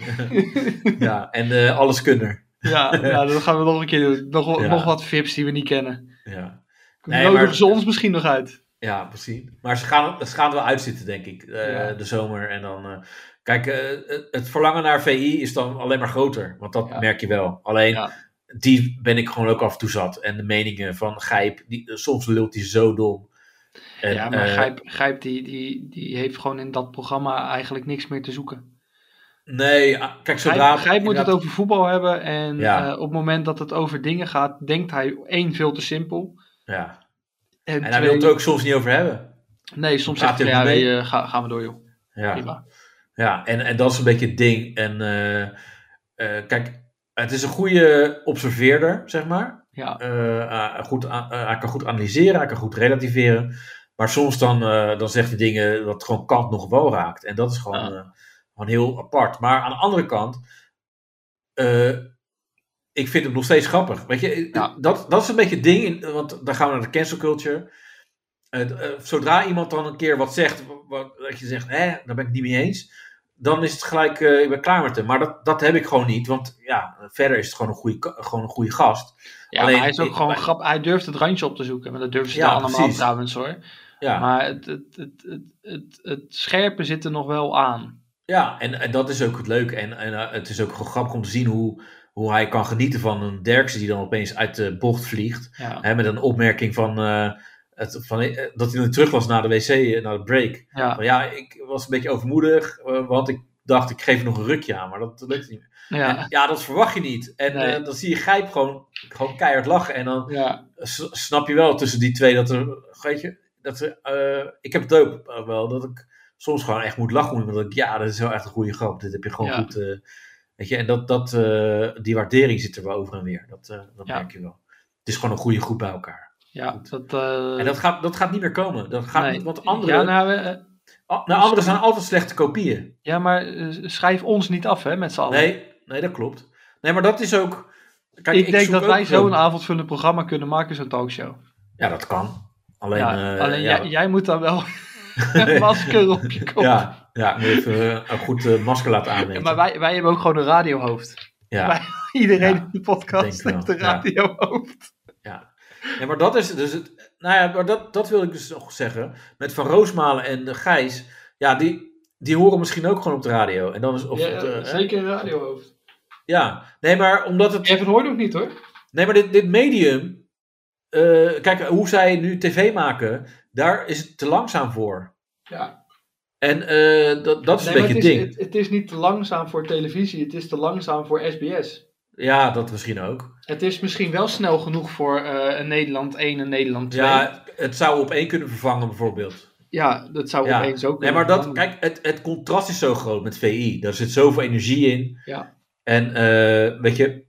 [SPEAKER 2] ja, en eh alleskunner. [laughs]
[SPEAKER 3] Ja, ja, dat gaan we nog een keer doen. Nog, wel-
[SPEAKER 2] Ja.
[SPEAKER 3] nog wat vips die we niet kennen.
[SPEAKER 2] Ja. Nee,
[SPEAKER 3] Nodigen
[SPEAKER 2] maar-
[SPEAKER 3] ze ons misschien nog uit.
[SPEAKER 2] ja, precies. Maar ze gaan, ze gaan er wel uitzitten, denk ik, eh,
[SPEAKER 3] Ja.
[SPEAKER 2] de zomer. En dan, eh, kijk, eh, het verlangen naar VI is dan alleen maar groter. Want dat
[SPEAKER 3] Ja.
[SPEAKER 2] merk je wel. Alleen,
[SPEAKER 3] Ja.
[SPEAKER 2] die ben ik gewoon ook af en toe zat. En de meningen van Gijp, die, eh, soms lult hij zo dom. En,
[SPEAKER 3] ja, maar
[SPEAKER 2] eh,
[SPEAKER 3] Gijp, Gijp die, die, die heeft gewoon in dat programma eigenlijk niks meer te zoeken.
[SPEAKER 2] Nee, ah, kijk,
[SPEAKER 3] Gijp,
[SPEAKER 2] zodra...
[SPEAKER 3] Gijp moet het
[SPEAKER 2] inderdaad-
[SPEAKER 3] over voetbal hebben. En
[SPEAKER 2] Ja.
[SPEAKER 3] eh, op het moment dat het over dingen gaat, denkt hij één veel te simpel.
[SPEAKER 2] Ja.
[SPEAKER 3] En,
[SPEAKER 2] En hij
[SPEAKER 3] twee-
[SPEAKER 2] wil het ook soms niet over hebben.
[SPEAKER 3] Nee, soms
[SPEAKER 2] Praat
[SPEAKER 3] zegt hij,
[SPEAKER 2] hij
[SPEAKER 3] ja,
[SPEAKER 2] er niet
[SPEAKER 3] nee, eh, ga, gaan we door joh.
[SPEAKER 2] Ja.
[SPEAKER 3] Prima.
[SPEAKER 2] Ja, en, en dat is een beetje het ding. En eh, eh, kijk, het is een goede observeerder, zeg maar.
[SPEAKER 3] Ja.
[SPEAKER 2] Eh, ah, goed, a- eh, hij kan goed analyseren, hij kan goed relativeren. Maar soms dan, eh, dan zegt hij dingen dat gewoon Kant nog wel raakt. En dat is gewoon, eh, gewoon heel apart. Maar aan de andere kant, eh, ik vind hem nog steeds grappig. Weet je,
[SPEAKER 3] Ja.
[SPEAKER 2] dat, dat is een beetje het ding, in- want dan gaan we naar de cancel culture. Eh, d- eh, zodra iemand dan een keer wat zegt, wa- wa- dat je zegt, hè, daar ben ik het niet mee eens, dan is het gelijk, eh, ik ben klaar met hem. Maar dat, dat heb ik gewoon niet, want ja, verder is het gewoon een goede, ka- gewoon een goede gast.
[SPEAKER 3] Ja,
[SPEAKER 2] Alleen,
[SPEAKER 3] maar hij is ook
[SPEAKER 2] ik-
[SPEAKER 3] gewoon
[SPEAKER 2] maar-
[SPEAKER 3] grappig. Hij durft het randje op te zoeken. Maar dat durven ze
[SPEAKER 2] Ja,
[SPEAKER 3] daar allemaal
[SPEAKER 2] precies.
[SPEAKER 3] trouwens hoor.
[SPEAKER 2] Ja,
[SPEAKER 3] Maar het, het, het, het, het, het scherpe zit er nog wel aan.
[SPEAKER 2] ja en, en dat is ook het leuke. En, en eh, het is ook gewoon grappig om te zien hoe, hoe hij kan genieten van een Derksen die dan opeens uit de bocht vliegt.
[SPEAKER 3] Ja,
[SPEAKER 2] Hè, met een opmerking van, eh, het, van eh, dat hij dan terug was naar de wc, eh, naar de break.
[SPEAKER 3] ja,
[SPEAKER 2] Van, ja, ik was een beetje overmoedig, eh, want ik dacht ik geef nog een rukje aan, maar dat, dat lukt niet meer.
[SPEAKER 3] ja.
[SPEAKER 2] En, ja, dat verwacht je niet. En
[SPEAKER 3] Nee.
[SPEAKER 2] eh, dan zie je Gijp gewoon, gewoon keihard lachen en dan
[SPEAKER 3] ja.
[SPEAKER 2] s- snap je wel tussen die twee dat er, weet je, dat er, eh, ik heb het ook eh, wel, dat ik soms gewoon echt moet lachen, omdat ik, ja, dat is wel echt een goede grap, dit heb je gewoon
[SPEAKER 3] Ja.
[SPEAKER 2] goed, eh, weet je, en dat, dat, eh, die waardering zit er wel over en weer, dat, eh, dat
[SPEAKER 3] Ja.
[SPEAKER 2] merk je wel. Het is gewoon een goede groep bij elkaar.
[SPEAKER 3] ja dat, eh,
[SPEAKER 2] En dat gaat, dat gaat niet meer komen. Dat gaat
[SPEAKER 3] nee.
[SPEAKER 2] niet, want anderen,
[SPEAKER 3] Ja, nou, eh,
[SPEAKER 2] a- nou, anderen zijn altijd slechte kopieën.
[SPEAKER 3] ja maar eh, schrijf ons niet af, hè, met z'n allen.
[SPEAKER 2] Nee, nee, dat klopt. Nee, maar dat is ook. Kijk,
[SPEAKER 3] ik, denk
[SPEAKER 2] zoek
[SPEAKER 3] dat
[SPEAKER 2] ook
[SPEAKER 3] wij
[SPEAKER 2] wel-
[SPEAKER 3] zo'n avondvullend programma kunnen maken, zo'n talkshow.
[SPEAKER 2] Ja, dat kan. Alleen.
[SPEAKER 3] ja,
[SPEAKER 2] eh,
[SPEAKER 3] alleen
[SPEAKER 2] ja,
[SPEAKER 3] jij, jij moet dan
[SPEAKER 2] [laughs]
[SPEAKER 3] wel een masker op je kop.
[SPEAKER 2] ja, ja, moet even eh, een goed eh, masker laten
[SPEAKER 3] Ja,
[SPEAKER 2] aannemen.
[SPEAKER 3] maar wij, wij hebben ook gewoon een radiohoofd. [laughs]
[SPEAKER 2] ja,
[SPEAKER 3] wij- Iedereen
[SPEAKER 2] Ja,
[SPEAKER 3] in de podcast
[SPEAKER 2] denk wel,
[SPEAKER 3] heeft een
[SPEAKER 2] ja.
[SPEAKER 3] radiohoofd.
[SPEAKER 2] ja. Nee, maar dat is dus het. Nou ja, maar dat, dat wil ik dus nog zeggen. Met Van Roosmalen en eh, Gijs. Ja, die, die horen misschien ook gewoon op de radio. En dan is. Of op de- hè?
[SPEAKER 3] een radiohoofd.
[SPEAKER 2] Ja, nee, maar omdat het.
[SPEAKER 3] Kevin hoort ook niet hoor.
[SPEAKER 2] Nee, maar dit, dit medium. eh, kijk, hoe zij nu tv maken, daar is het te langzaam voor.
[SPEAKER 3] Ja,
[SPEAKER 2] En eh, dat, dat is
[SPEAKER 3] Nee,
[SPEAKER 2] een
[SPEAKER 3] maar
[SPEAKER 2] beetje het
[SPEAKER 3] het, is,
[SPEAKER 2] ding.
[SPEAKER 3] het, het is niet te langzaam voor televisie, het is te langzaam voor SBS.
[SPEAKER 2] Ja, dat misschien ook.
[SPEAKER 3] Het is misschien wel snel genoeg voor eh, een Nederland 1 en Nederland 2. Ja,
[SPEAKER 2] Ja, het zou op één kunnen vervangen, bijvoorbeeld.
[SPEAKER 3] dat zou
[SPEAKER 2] Ja.
[SPEAKER 3] opeens ook
[SPEAKER 2] Nee,
[SPEAKER 3] kunnen.
[SPEAKER 2] maar dat, kijk, het, het contrast is zo groot met VI. Daar zit zoveel energie in.
[SPEAKER 3] Ja.
[SPEAKER 2] En eh, weet je,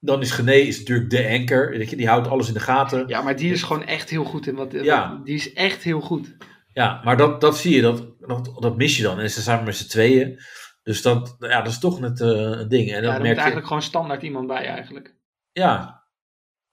[SPEAKER 2] dan is Gené is natuurlijk de anker. Weet je, die houdt alles in de gaten.
[SPEAKER 3] Ja, maar die is gewoon echt heel goed in. Wat,
[SPEAKER 2] Ja.
[SPEAKER 3] Die is echt heel goed.
[SPEAKER 2] Ja, maar dat, dat zie je, dat, dat, dat mis je dan. En ze zijn maar met z'n tweeën. Dus dat, ja, dat is toch net eh, een ding. En
[SPEAKER 3] Ja,
[SPEAKER 2] dat
[SPEAKER 3] daar moet
[SPEAKER 2] merk je.
[SPEAKER 3] eigenlijk gewoon standaard iemand bij eigenlijk.
[SPEAKER 2] Ja,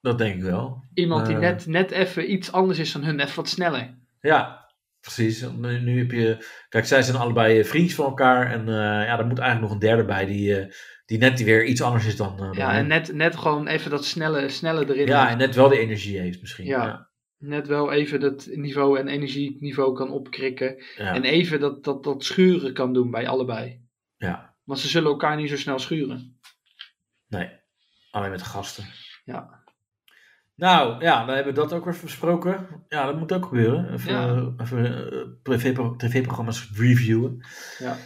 [SPEAKER 2] dat denk ik wel.
[SPEAKER 3] Iemand die
[SPEAKER 2] Eh.
[SPEAKER 3] net, net even iets anders is dan hun, even wat sneller.
[SPEAKER 2] Ja, precies. Nu, nu heb je. Kijk, zij zijn allebei eh, vriendjes van elkaar. En eh, ja, er moet eigenlijk nog een derde bij die, eh, die net weer iets anders is dan. eh, dan
[SPEAKER 3] Ja,
[SPEAKER 2] hen.
[SPEAKER 3] en net, net gewoon even dat snelle, snelle erin.
[SPEAKER 2] ja, en net wel de energie heeft misschien.
[SPEAKER 3] Ja.
[SPEAKER 2] ja.
[SPEAKER 3] Net wel even dat niveau en energieniveau kan opkrikken.
[SPEAKER 2] ja.
[SPEAKER 3] En even dat, dat, dat schuren kan doen bij allebei.
[SPEAKER 2] Ja.
[SPEAKER 3] Want ze zullen elkaar niet zo snel schuren.
[SPEAKER 2] Nee, alleen met de gasten.
[SPEAKER 3] Ja.
[SPEAKER 2] Nou, ja, dan hebben we dat ook weer besproken. Ja, dat moet ook gebeuren. Even,
[SPEAKER 3] Ja.
[SPEAKER 2] eh, even eh, tv-pro- tv-programma's reviewen.
[SPEAKER 3] Ja.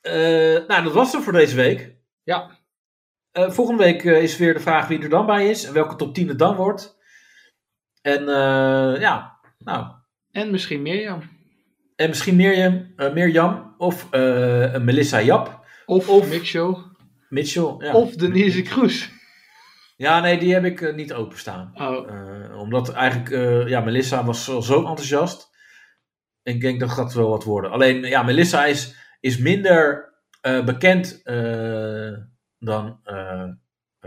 [SPEAKER 2] Eh, nou, dat was het voor deze week.
[SPEAKER 3] Ja.
[SPEAKER 2] Eh, volgende week eh, is weer de vraag wie er dan bij is en welke top 10 het dan wordt. En eh, ja, nou,
[SPEAKER 3] En misschien Mirjam.
[SPEAKER 2] en misschien Mirjam, eh, Mirjam of eh, Melissa Jap,
[SPEAKER 3] Of, of Big Show.
[SPEAKER 2] Mitchell. Ja,
[SPEAKER 3] Of Denise Kroes.
[SPEAKER 2] ja nee, die heb ik eh, niet openstaan.
[SPEAKER 3] Oh,
[SPEAKER 2] Eh, omdat eigenlijk, eh, ja, Melissa was al zo enthousiast. Ik denk dat gaat wel wat worden. Alleen, ja, Melissa is, is minder eh, bekend eh, dan eh,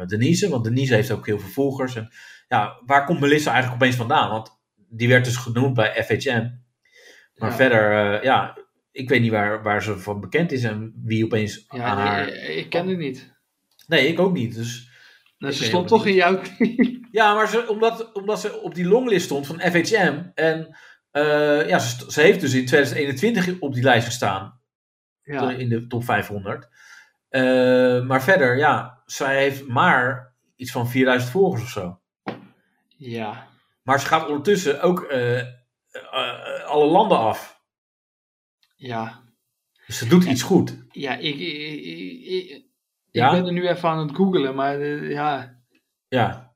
[SPEAKER 2] Denise. Want Denise heeft ook heel veel volgers. En, ja, waar komt Melissa eigenlijk opeens vandaan? Want die werd dus genoemd bij FHM. Maar
[SPEAKER 3] Ja.
[SPEAKER 2] verder, eh, ja, ik weet niet waar, waar ze van bekend is en wie opeens
[SPEAKER 3] Ja, eh,
[SPEAKER 2] aan haar...
[SPEAKER 3] ik, ik ken het niet.
[SPEAKER 2] Nee, ik ook niet. Dus,
[SPEAKER 3] Nou,
[SPEAKER 2] eh, oh, Ik
[SPEAKER 3] ze
[SPEAKER 2] weet het
[SPEAKER 3] stond toch in jouw
[SPEAKER 2] ja, maar ze, omdat, omdat ze op die longlist stond van FHM. En eh, ja, ze, st- ze heeft dus in 2021 op die lijst gestaan.
[SPEAKER 3] [laughs] Ja.
[SPEAKER 2] in de top 500. Eh, maar verder, ja, zij heeft maar iets van 4000 volgers of zo.
[SPEAKER 3] ja.
[SPEAKER 2] Maar ze gaat ondertussen ook eh, eh, eh, alle landen af.
[SPEAKER 3] Ja.
[SPEAKER 2] Dus ze doet iets goed.
[SPEAKER 3] Ja, ik, ik, ik- ik-
[SPEAKER 2] Ja?
[SPEAKER 3] ik ben er nu even aan het googelen, maar eh, ja.
[SPEAKER 2] Ja.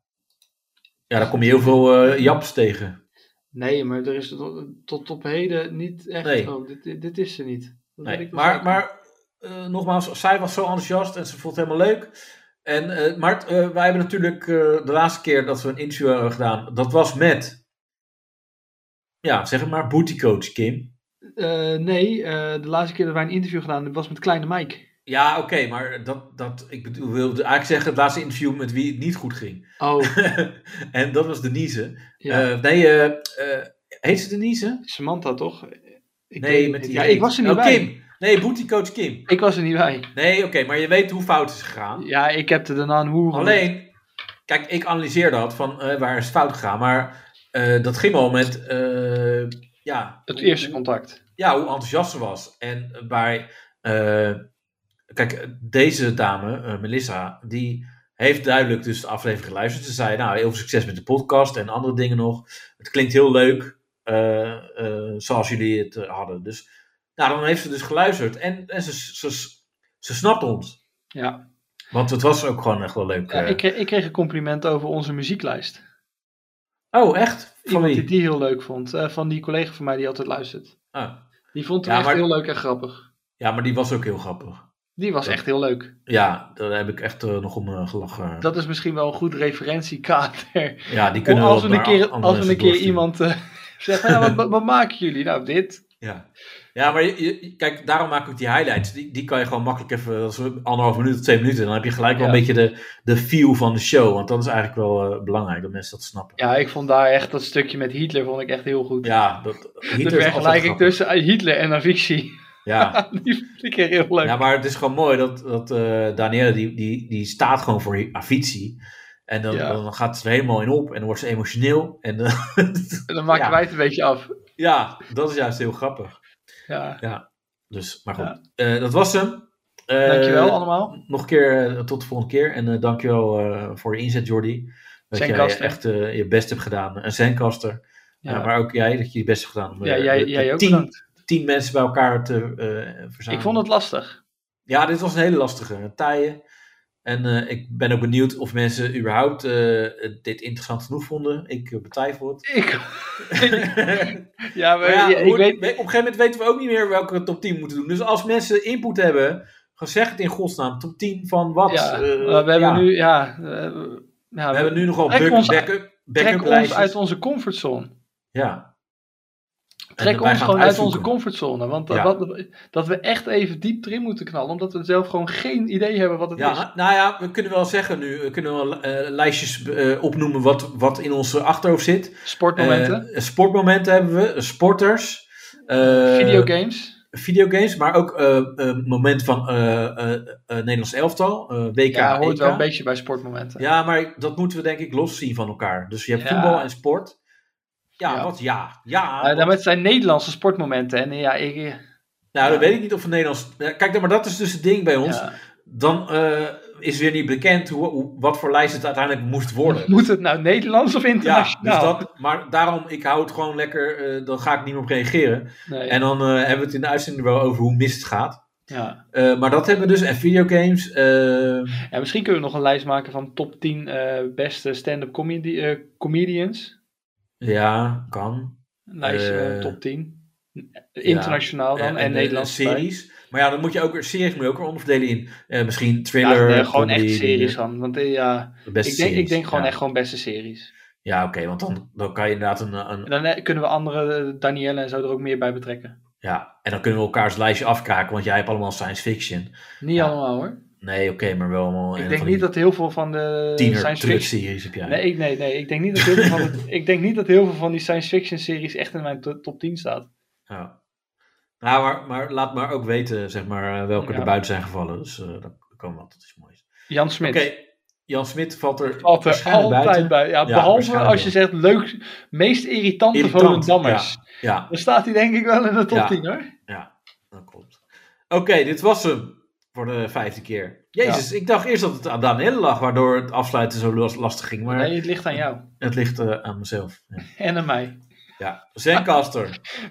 [SPEAKER 2] Ja, daar kom je heel veel eh, japs tegen.
[SPEAKER 3] Nee, maar er is tot, tot op heden niet echt.
[SPEAKER 2] Nee.
[SPEAKER 3] Oh, dit- dit, dit is ze niet. Dat weet
[SPEAKER 2] Nee,
[SPEAKER 3] ik wel
[SPEAKER 2] maar
[SPEAKER 3] zeker.
[SPEAKER 2] maar eh, nogmaals, zij was zo enthousiast en ze vond het helemaal leuk. En, eh, maar eh, wij hebben natuurlijk eh, de laatste keer dat we een interview hebben gedaan, dat was met, ja, zeg het maar, bootycoach Kim.
[SPEAKER 3] Eh, nee, eh, de laatste keer dat wij een interview gedaan was met Kleine Mike.
[SPEAKER 2] Ja, oké, maar dat, dat, ik bedoel, wilde eigenlijk zeggen het laatste interview met wie het niet goed ging. [laughs]
[SPEAKER 3] Oh,
[SPEAKER 2] en dat was Denise.
[SPEAKER 3] ja.
[SPEAKER 2] Eh, nee, eh, eh, heet ze Denise?
[SPEAKER 3] Samantha toch? Ik weet
[SPEAKER 2] nee,
[SPEAKER 3] het
[SPEAKER 2] met
[SPEAKER 3] niet.
[SPEAKER 2] die
[SPEAKER 3] ja, ik was er niet
[SPEAKER 2] oh,
[SPEAKER 3] bij.
[SPEAKER 2] Kim. Nee, bootycoach Kim.
[SPEAKER 3] Ik was er niet bij.
[SPEAKER 2] Nee, oké, maar je weet hoe fout is gegaan.
[SPEAKER 3] Ja, ik heb er daarna een hoer.
[SPEAKER 2] Alleen, kijk, ik analyseer dat van eh, waar is het fout gegaan. Maar eh, dat ging al met, eh, ja,
[SPEAKER 4] Het eerste contact.
[SPEAKER 2] ja, hoe enthousiast ze was. En bij, eh, kijk, deze dame, eh, Melissa, die heeft duidelijk dus de aflevering geluisterd. Ze zei, nou, heel veel succes met de podcast en andere dingen nog. Het klinkt heel leuk, eh, eh, zoals jullie het eh, hadden. Dus, nou, dan heeft ze dus geluisterd. En, en ze, ze, ze, snapt ons.
[SPEAKER 3] Ja.
[SPEAKER 2] Want het was ook gewoon echt wel leuk.
[SPEAKER 3] Ja,
[SPEAKER 2] eh.
[SPEAKER 3] ik, kreeg, ik kreeg een compliment over onze muzieklijst.
[SPEAKER 2] Oh, echt? Van
[SPEAKER 3] Iemand die
[SPEAKER 2] wie?
[SPEAKER 3] die heel leuk vond. eh, van die collega van mij die altijd luistert.
[SPEAKER 2] Ah.
[SPEAKER 3] Die vond hem
[SPEAKER 2] Ja,
[SPEAKER 3] echt
[SPEAKER 2] maar-
[SPEAKER 3] heel leuk en grappig.
[SPEAKER 2] Ja, maar die was ook heel grappig.
[SPEAKER 3] Die was
[SPEAKER 2] Ja.
[SPEAKER 3] echt heel leuk.
[SPEAKER 2] Ja, daar heb ik echt eh, nog om eh, gelachen.
[SPEAKER 3] Dat is misschien wel een goed referentiekader.
[SPEAKER 2] Ja, die [laughs] kunnen
[SPEAKER 3] als
[SPEAKER 2] wel
[SPEAKER 3] we een
[SPEAKER 2] naar
[SPEAKER 3] keer,
[SPEAKER 2] andere
[SPEAKER 3] als we
[SPEAKER 2] mensen
[SPEAKER 3] een keer
[SPEAKER 2] doorsturen.
[SPEAKER 3] iemand eh, [laughs] zegt, nou, wat, wat, wat maken jullie? Nou, dit.
[SPEAKER 2] Ja, ja maar je- je- kijk, daarom maak ik ook die highlights. Die, die kan je gewoon makkelijk even, dat is anderhalf minuut of twee minuten. Dan heb je gelijk wel
[SPEAKER 3] Ja.
[SPEAKER 2] een beetje de, de feel van de show. Want dat is eigenlijk wel eh, belangrijk, dat mensen dat snappen.
[SPEAKER 3] Ja, ik vond daar echt dat stukje met Hitler vond ik echt heel goed.
[SPEAKER 2] Ja, dat,
[SPEAKER 3] De
[SPEAKER 2] Hitler is altijd
[SPEAKER 3] vergelijking
[SPEAKER 2] grappig.
[SPEAKER 3] tussen eh, Hitler en een fictie.
[SPEAKER 2] Ja.
[SPEAKER 3] [laughs] Die vond ik echt heel leuk.
[SPEAKER 2] ja, maar het is gewoon mooi dat, dat eh Danielle, die, die, die staat gewoon voor Avicii. En dan,
[SPEAKER 3] Ja.
[SPEAKER 2] dan gaat ze er helemaal in op en dan wordt ze emotioneel. En eh,
[SPEAKER 3] En dan maken
[SPEAKER 2] Ja.
[SPEAKER 3] wij het een beetje af.
[SPEAKER 2] ja, dat is juist heel grappig.
[SPEAKER 3] Ja.
[SPEAKER 2] Dus, maar goed. Eh, dat was hem. Eh,
[SPEAKER 3] Dankjewel allemaal.
[SPEAKER 2] Nog een keer eh, tot de volgende keer. En eh, dankjewel eh, voor je inzet, Jordi. Dat jij
[SPEAKER 3] Zencaster.
[SPEAKER 2] echt eh, je best hebt gedaan. Een zendkaster.
[SPEAKER 3] Ja,
[SPEAKER 2] maar ook jij, dat je je best hebt gedaan. om, eh,
[SPEAKER 3] Ja, jij,
[SPEAKER 2] de- de
[SPEAKER 3] jij ook
[SPEAKER 2] tien,
[SPEAKER 3] bedankt.
[SPEAKER 2] tien mensen bij elkaar te eh, verzamelen.
[SPEAKER 3] Ik vond het lastig.
[SPEAKER 2] Ja, dit was een hele lastige. Taaien. En eh, ik ben ook benieuwd of mensen überhaupt eh, dit interessant genoeg vonden. Ik eh, betwijfel
[SPEAKER 3] [laughs]
[SPEAKER 2] het. [laughs]
[SPEAKER 3] Ik,
[SPEAKER 2] Maar
[SPEAKER 3] ja, maar,
[SPEAKER 2] ja,
[SPEAKER 3] ja,
[SPEAKER 2] hoe-
[SPEAKER 3] ik weet...
[SPEAKER 2] op een gegeven moment weten we ook niet meer welke top 10 moeten doen. Dus als mensen input hebben, dan zeg het in godsnaam. Top 10 van wat?
[SPEAKER 3] Ja,
[SPEAKER 2] Eh,
[SPEAKER 3] maar we hebben
[SPEAKER 2] ja.
[SPEAKER 3] nu... Ja, eh, we- ja,
[SPEAKER 2] We hebben nu nogal
[SPEAKER 3] Trek
[SPEAKER 2] back-
[SPEAKER 3] ons-
[SPEAKER 2] backup, backup
[SPEAKER 3] trek ons
[SPEAKER 2] lijstjes.
[SPEAKER 3] uit onze comfortzone.
[SPEAKER 2] Ja. En
[SPEAKER 3] Trek
[SPEAKER 2] wij
[SPEAKER 3] ons
[SPEAKER 2] gaan
[SPEAKER 3] gewoon uit
[SPEAKER 2] uitzoeken.
[SPEAKER 3] onze comfortzone. Want dat-
[SPEAKER 2] Ja.
[SPEAKER 3] wat, dat we echt even diep erin moeten knallen. Omdat we zelf gewoon geen idee hebben wat het
[SPEAKER 2] Ja,
[SPEAKER 3] is.
[SPEAKER 2] nou- nou ja, we kunnen wel zeggen nu, we kunnen wel eh, lijstjes eh, opnoemen wat, wat in ons achterhoofd zit.
[SPEAKER 3] Sportmomenten,
[SPEAKER 2] Eh, sportmomenten hebben we, eh, sporters. eh,
[SPEAKER 3] videogames.
[SPEAKER 2] Videogames, maar ook eh eh, moment van eh, eh, eh, Nederlands elftal, eh, WK,
[SPEAKER 3] Ja, hoort
[SPEAKER 2] EK.
[SPEAKER 3] wel een beetje bij sportmomenten.
[SPEAKER 2] Ja, maar ik- dat moeten we denk ik los zien van elkaar. Dus je hebt
[SPEAKER 3] Ja.
[SPEAKER 2] voetbal en sport. Ja,
[SPEAKER 3] Ja.
[SPEAKER 2] wat ja. Ja,
[SPEAKER 3] Eh, nou, Maar
[SPEAKER 2] wat-
[SPEAKER 3] het zijn Nederlandse sportmomenten. En ja, ik... eh,
[SPEAKER 2] nou, dat weet ik niet of het Nederlands... Ja, Kijk, maar dat is dus het ding bij ons.
[SPEAKER 3] ja.
[SPEAKER 2] Dan eh, is weer niet bekend hoe, hoe- wat voor lijst het uiteindelijk moest worden.
[SPEAKER 3] Moet het nou Nederlands of
[SPEAKER 2] Ja, dus
[SPEAKER 3] internationaal?
[SPEAKER 2] dat, maar daarom, ik hou het gewoon lekker, eh, dan ga ik niet meer op reageren.
[SPEAKER 3] Nee.
[SPEAKER 2] En dan eh, hebben we het in de uitzending wel over hoe mis het gaat.
[SPEAKER 3] ja.
[SPEAKER 2] Eh, maar dat hebben we dus, en videogames. eh,
[SPEAKER 3] Ja, misschien kunnen we nog een lijst maken van top 10 eh, beste stand-up comedi eh, comedians.
[SPEAKER 2] ja, kan.
[SPEAKER 3] Een lijstje
[SPEAKER 2] Eh,
[SPEAKER 3] van top 10. Internationaal dan en,
[SPEAKER 2] eh,
[SPEAKER 3] Nederlandse
[SPEAKER 2] eh, series. Maar ja, dan moet je ook weer series moet je ook weer onderverdelen in. eh, misschien
[SPEAKER 3] Ja,
[SPEAKER 2] thriller.
[SPEAKER 3] nee, gewoon
[SPEAKER 2] comedy,
[SPEAKER 3] echt series
[SPEAKER 2] dingen.
[SPEAKER 3] dan. Want eh, ja,
[SPEAKER 2] De beste
[SPEAKER 3] ik denk, ik
[SPEAKER 2] series,
[SPEAKER 3] denk gewoon
[SPEAKER 2] ja.
[SPEAKER 3] echt gewoon beste series.
[SPEAKER 2] Ja, oké, want dan, dan kan je inderdaad een, een.
[SPEAKER 3] En dan eh, kunnen we andere, eh, Danielle en zo, er ook meer bij betrekken.
[SPEAKER 2] Ja, en dan kunnen we elkaars lijstje afkraken, want jij hebt allemaal science fiction.
[SPEAKER 3] Niet
[SPEAKER 2] Ja.
[SPEAKER 3] allemaal hoor.
[SPEAKER 2] Nee, oké, maar wel allemaal.
[SPEAKER 3] Ik denk niet dat heel veel van de
[SPEAKER 2] Tiener
[SPEAKER 3] science
[SPEAKER 2] trut
[SPEAKER 3] fiction...
[SPEAKER 2] series heb jij.
[SPEAKER 3] Nee, ik, nee, nee. Ik denk, niet dat heel veel van [laughs] de- ik denk niet dat heel veel van die science fiction series echt in mijn to- top 10 staat.
[SPEAKER 2] Ja. Nou, maar, maar laat maar ook weten, zeg maar, eh, welke
[SPEAKER 3] Ja.
[SPEAKER 2] er buiten zijn gevallen. Dus eh dat kan wel tot iets moois.
[SPEAKER 3] Jan
[SPEAKER 2] Oké,
[SPEAKER 3] Smit.
[SPEAKER 2] Jan Smit valt er
[SPEAKER 3] Valt er
[SPEAKER 2] waarschijnlijk
[SPEAKER 3] altijd
[SPEAKER 2] buiten.
[SPEAKER 3] bij. Ja,
[SPEAKER 2] Ja,
[SPEAKER 3] behalve
[SPEAKER 2] waarschijnlijk
[SPEAKER 3] als je zegt leuk, meest irritante
[SPEAKER 2] Irritant,
[SPEAKER 3] Volendammers.
[SPEAKER 2] Ja,
[SPEAKER 3] Dan staat hij denk ik wel in de top
[SPEAKER 2] Ja.
[SPEAKER 3] 10 hoor.
[SPEAKER 2] ja, dat klopt. Oké, dit was hem voor de vijfde keer. Jezus, ik dacht eerst dat het aan Danielle lag, waardoor het afsluiten zo las- lastig ging. Maar
[SPEAKER 3] Nee, het ligt aan jou
[SPEAKER 2] het ligt eh, aan mezelf. Ja.
[SPEAKER 3] en aan mij.
[SPEAKER 2] ja. Zencaster.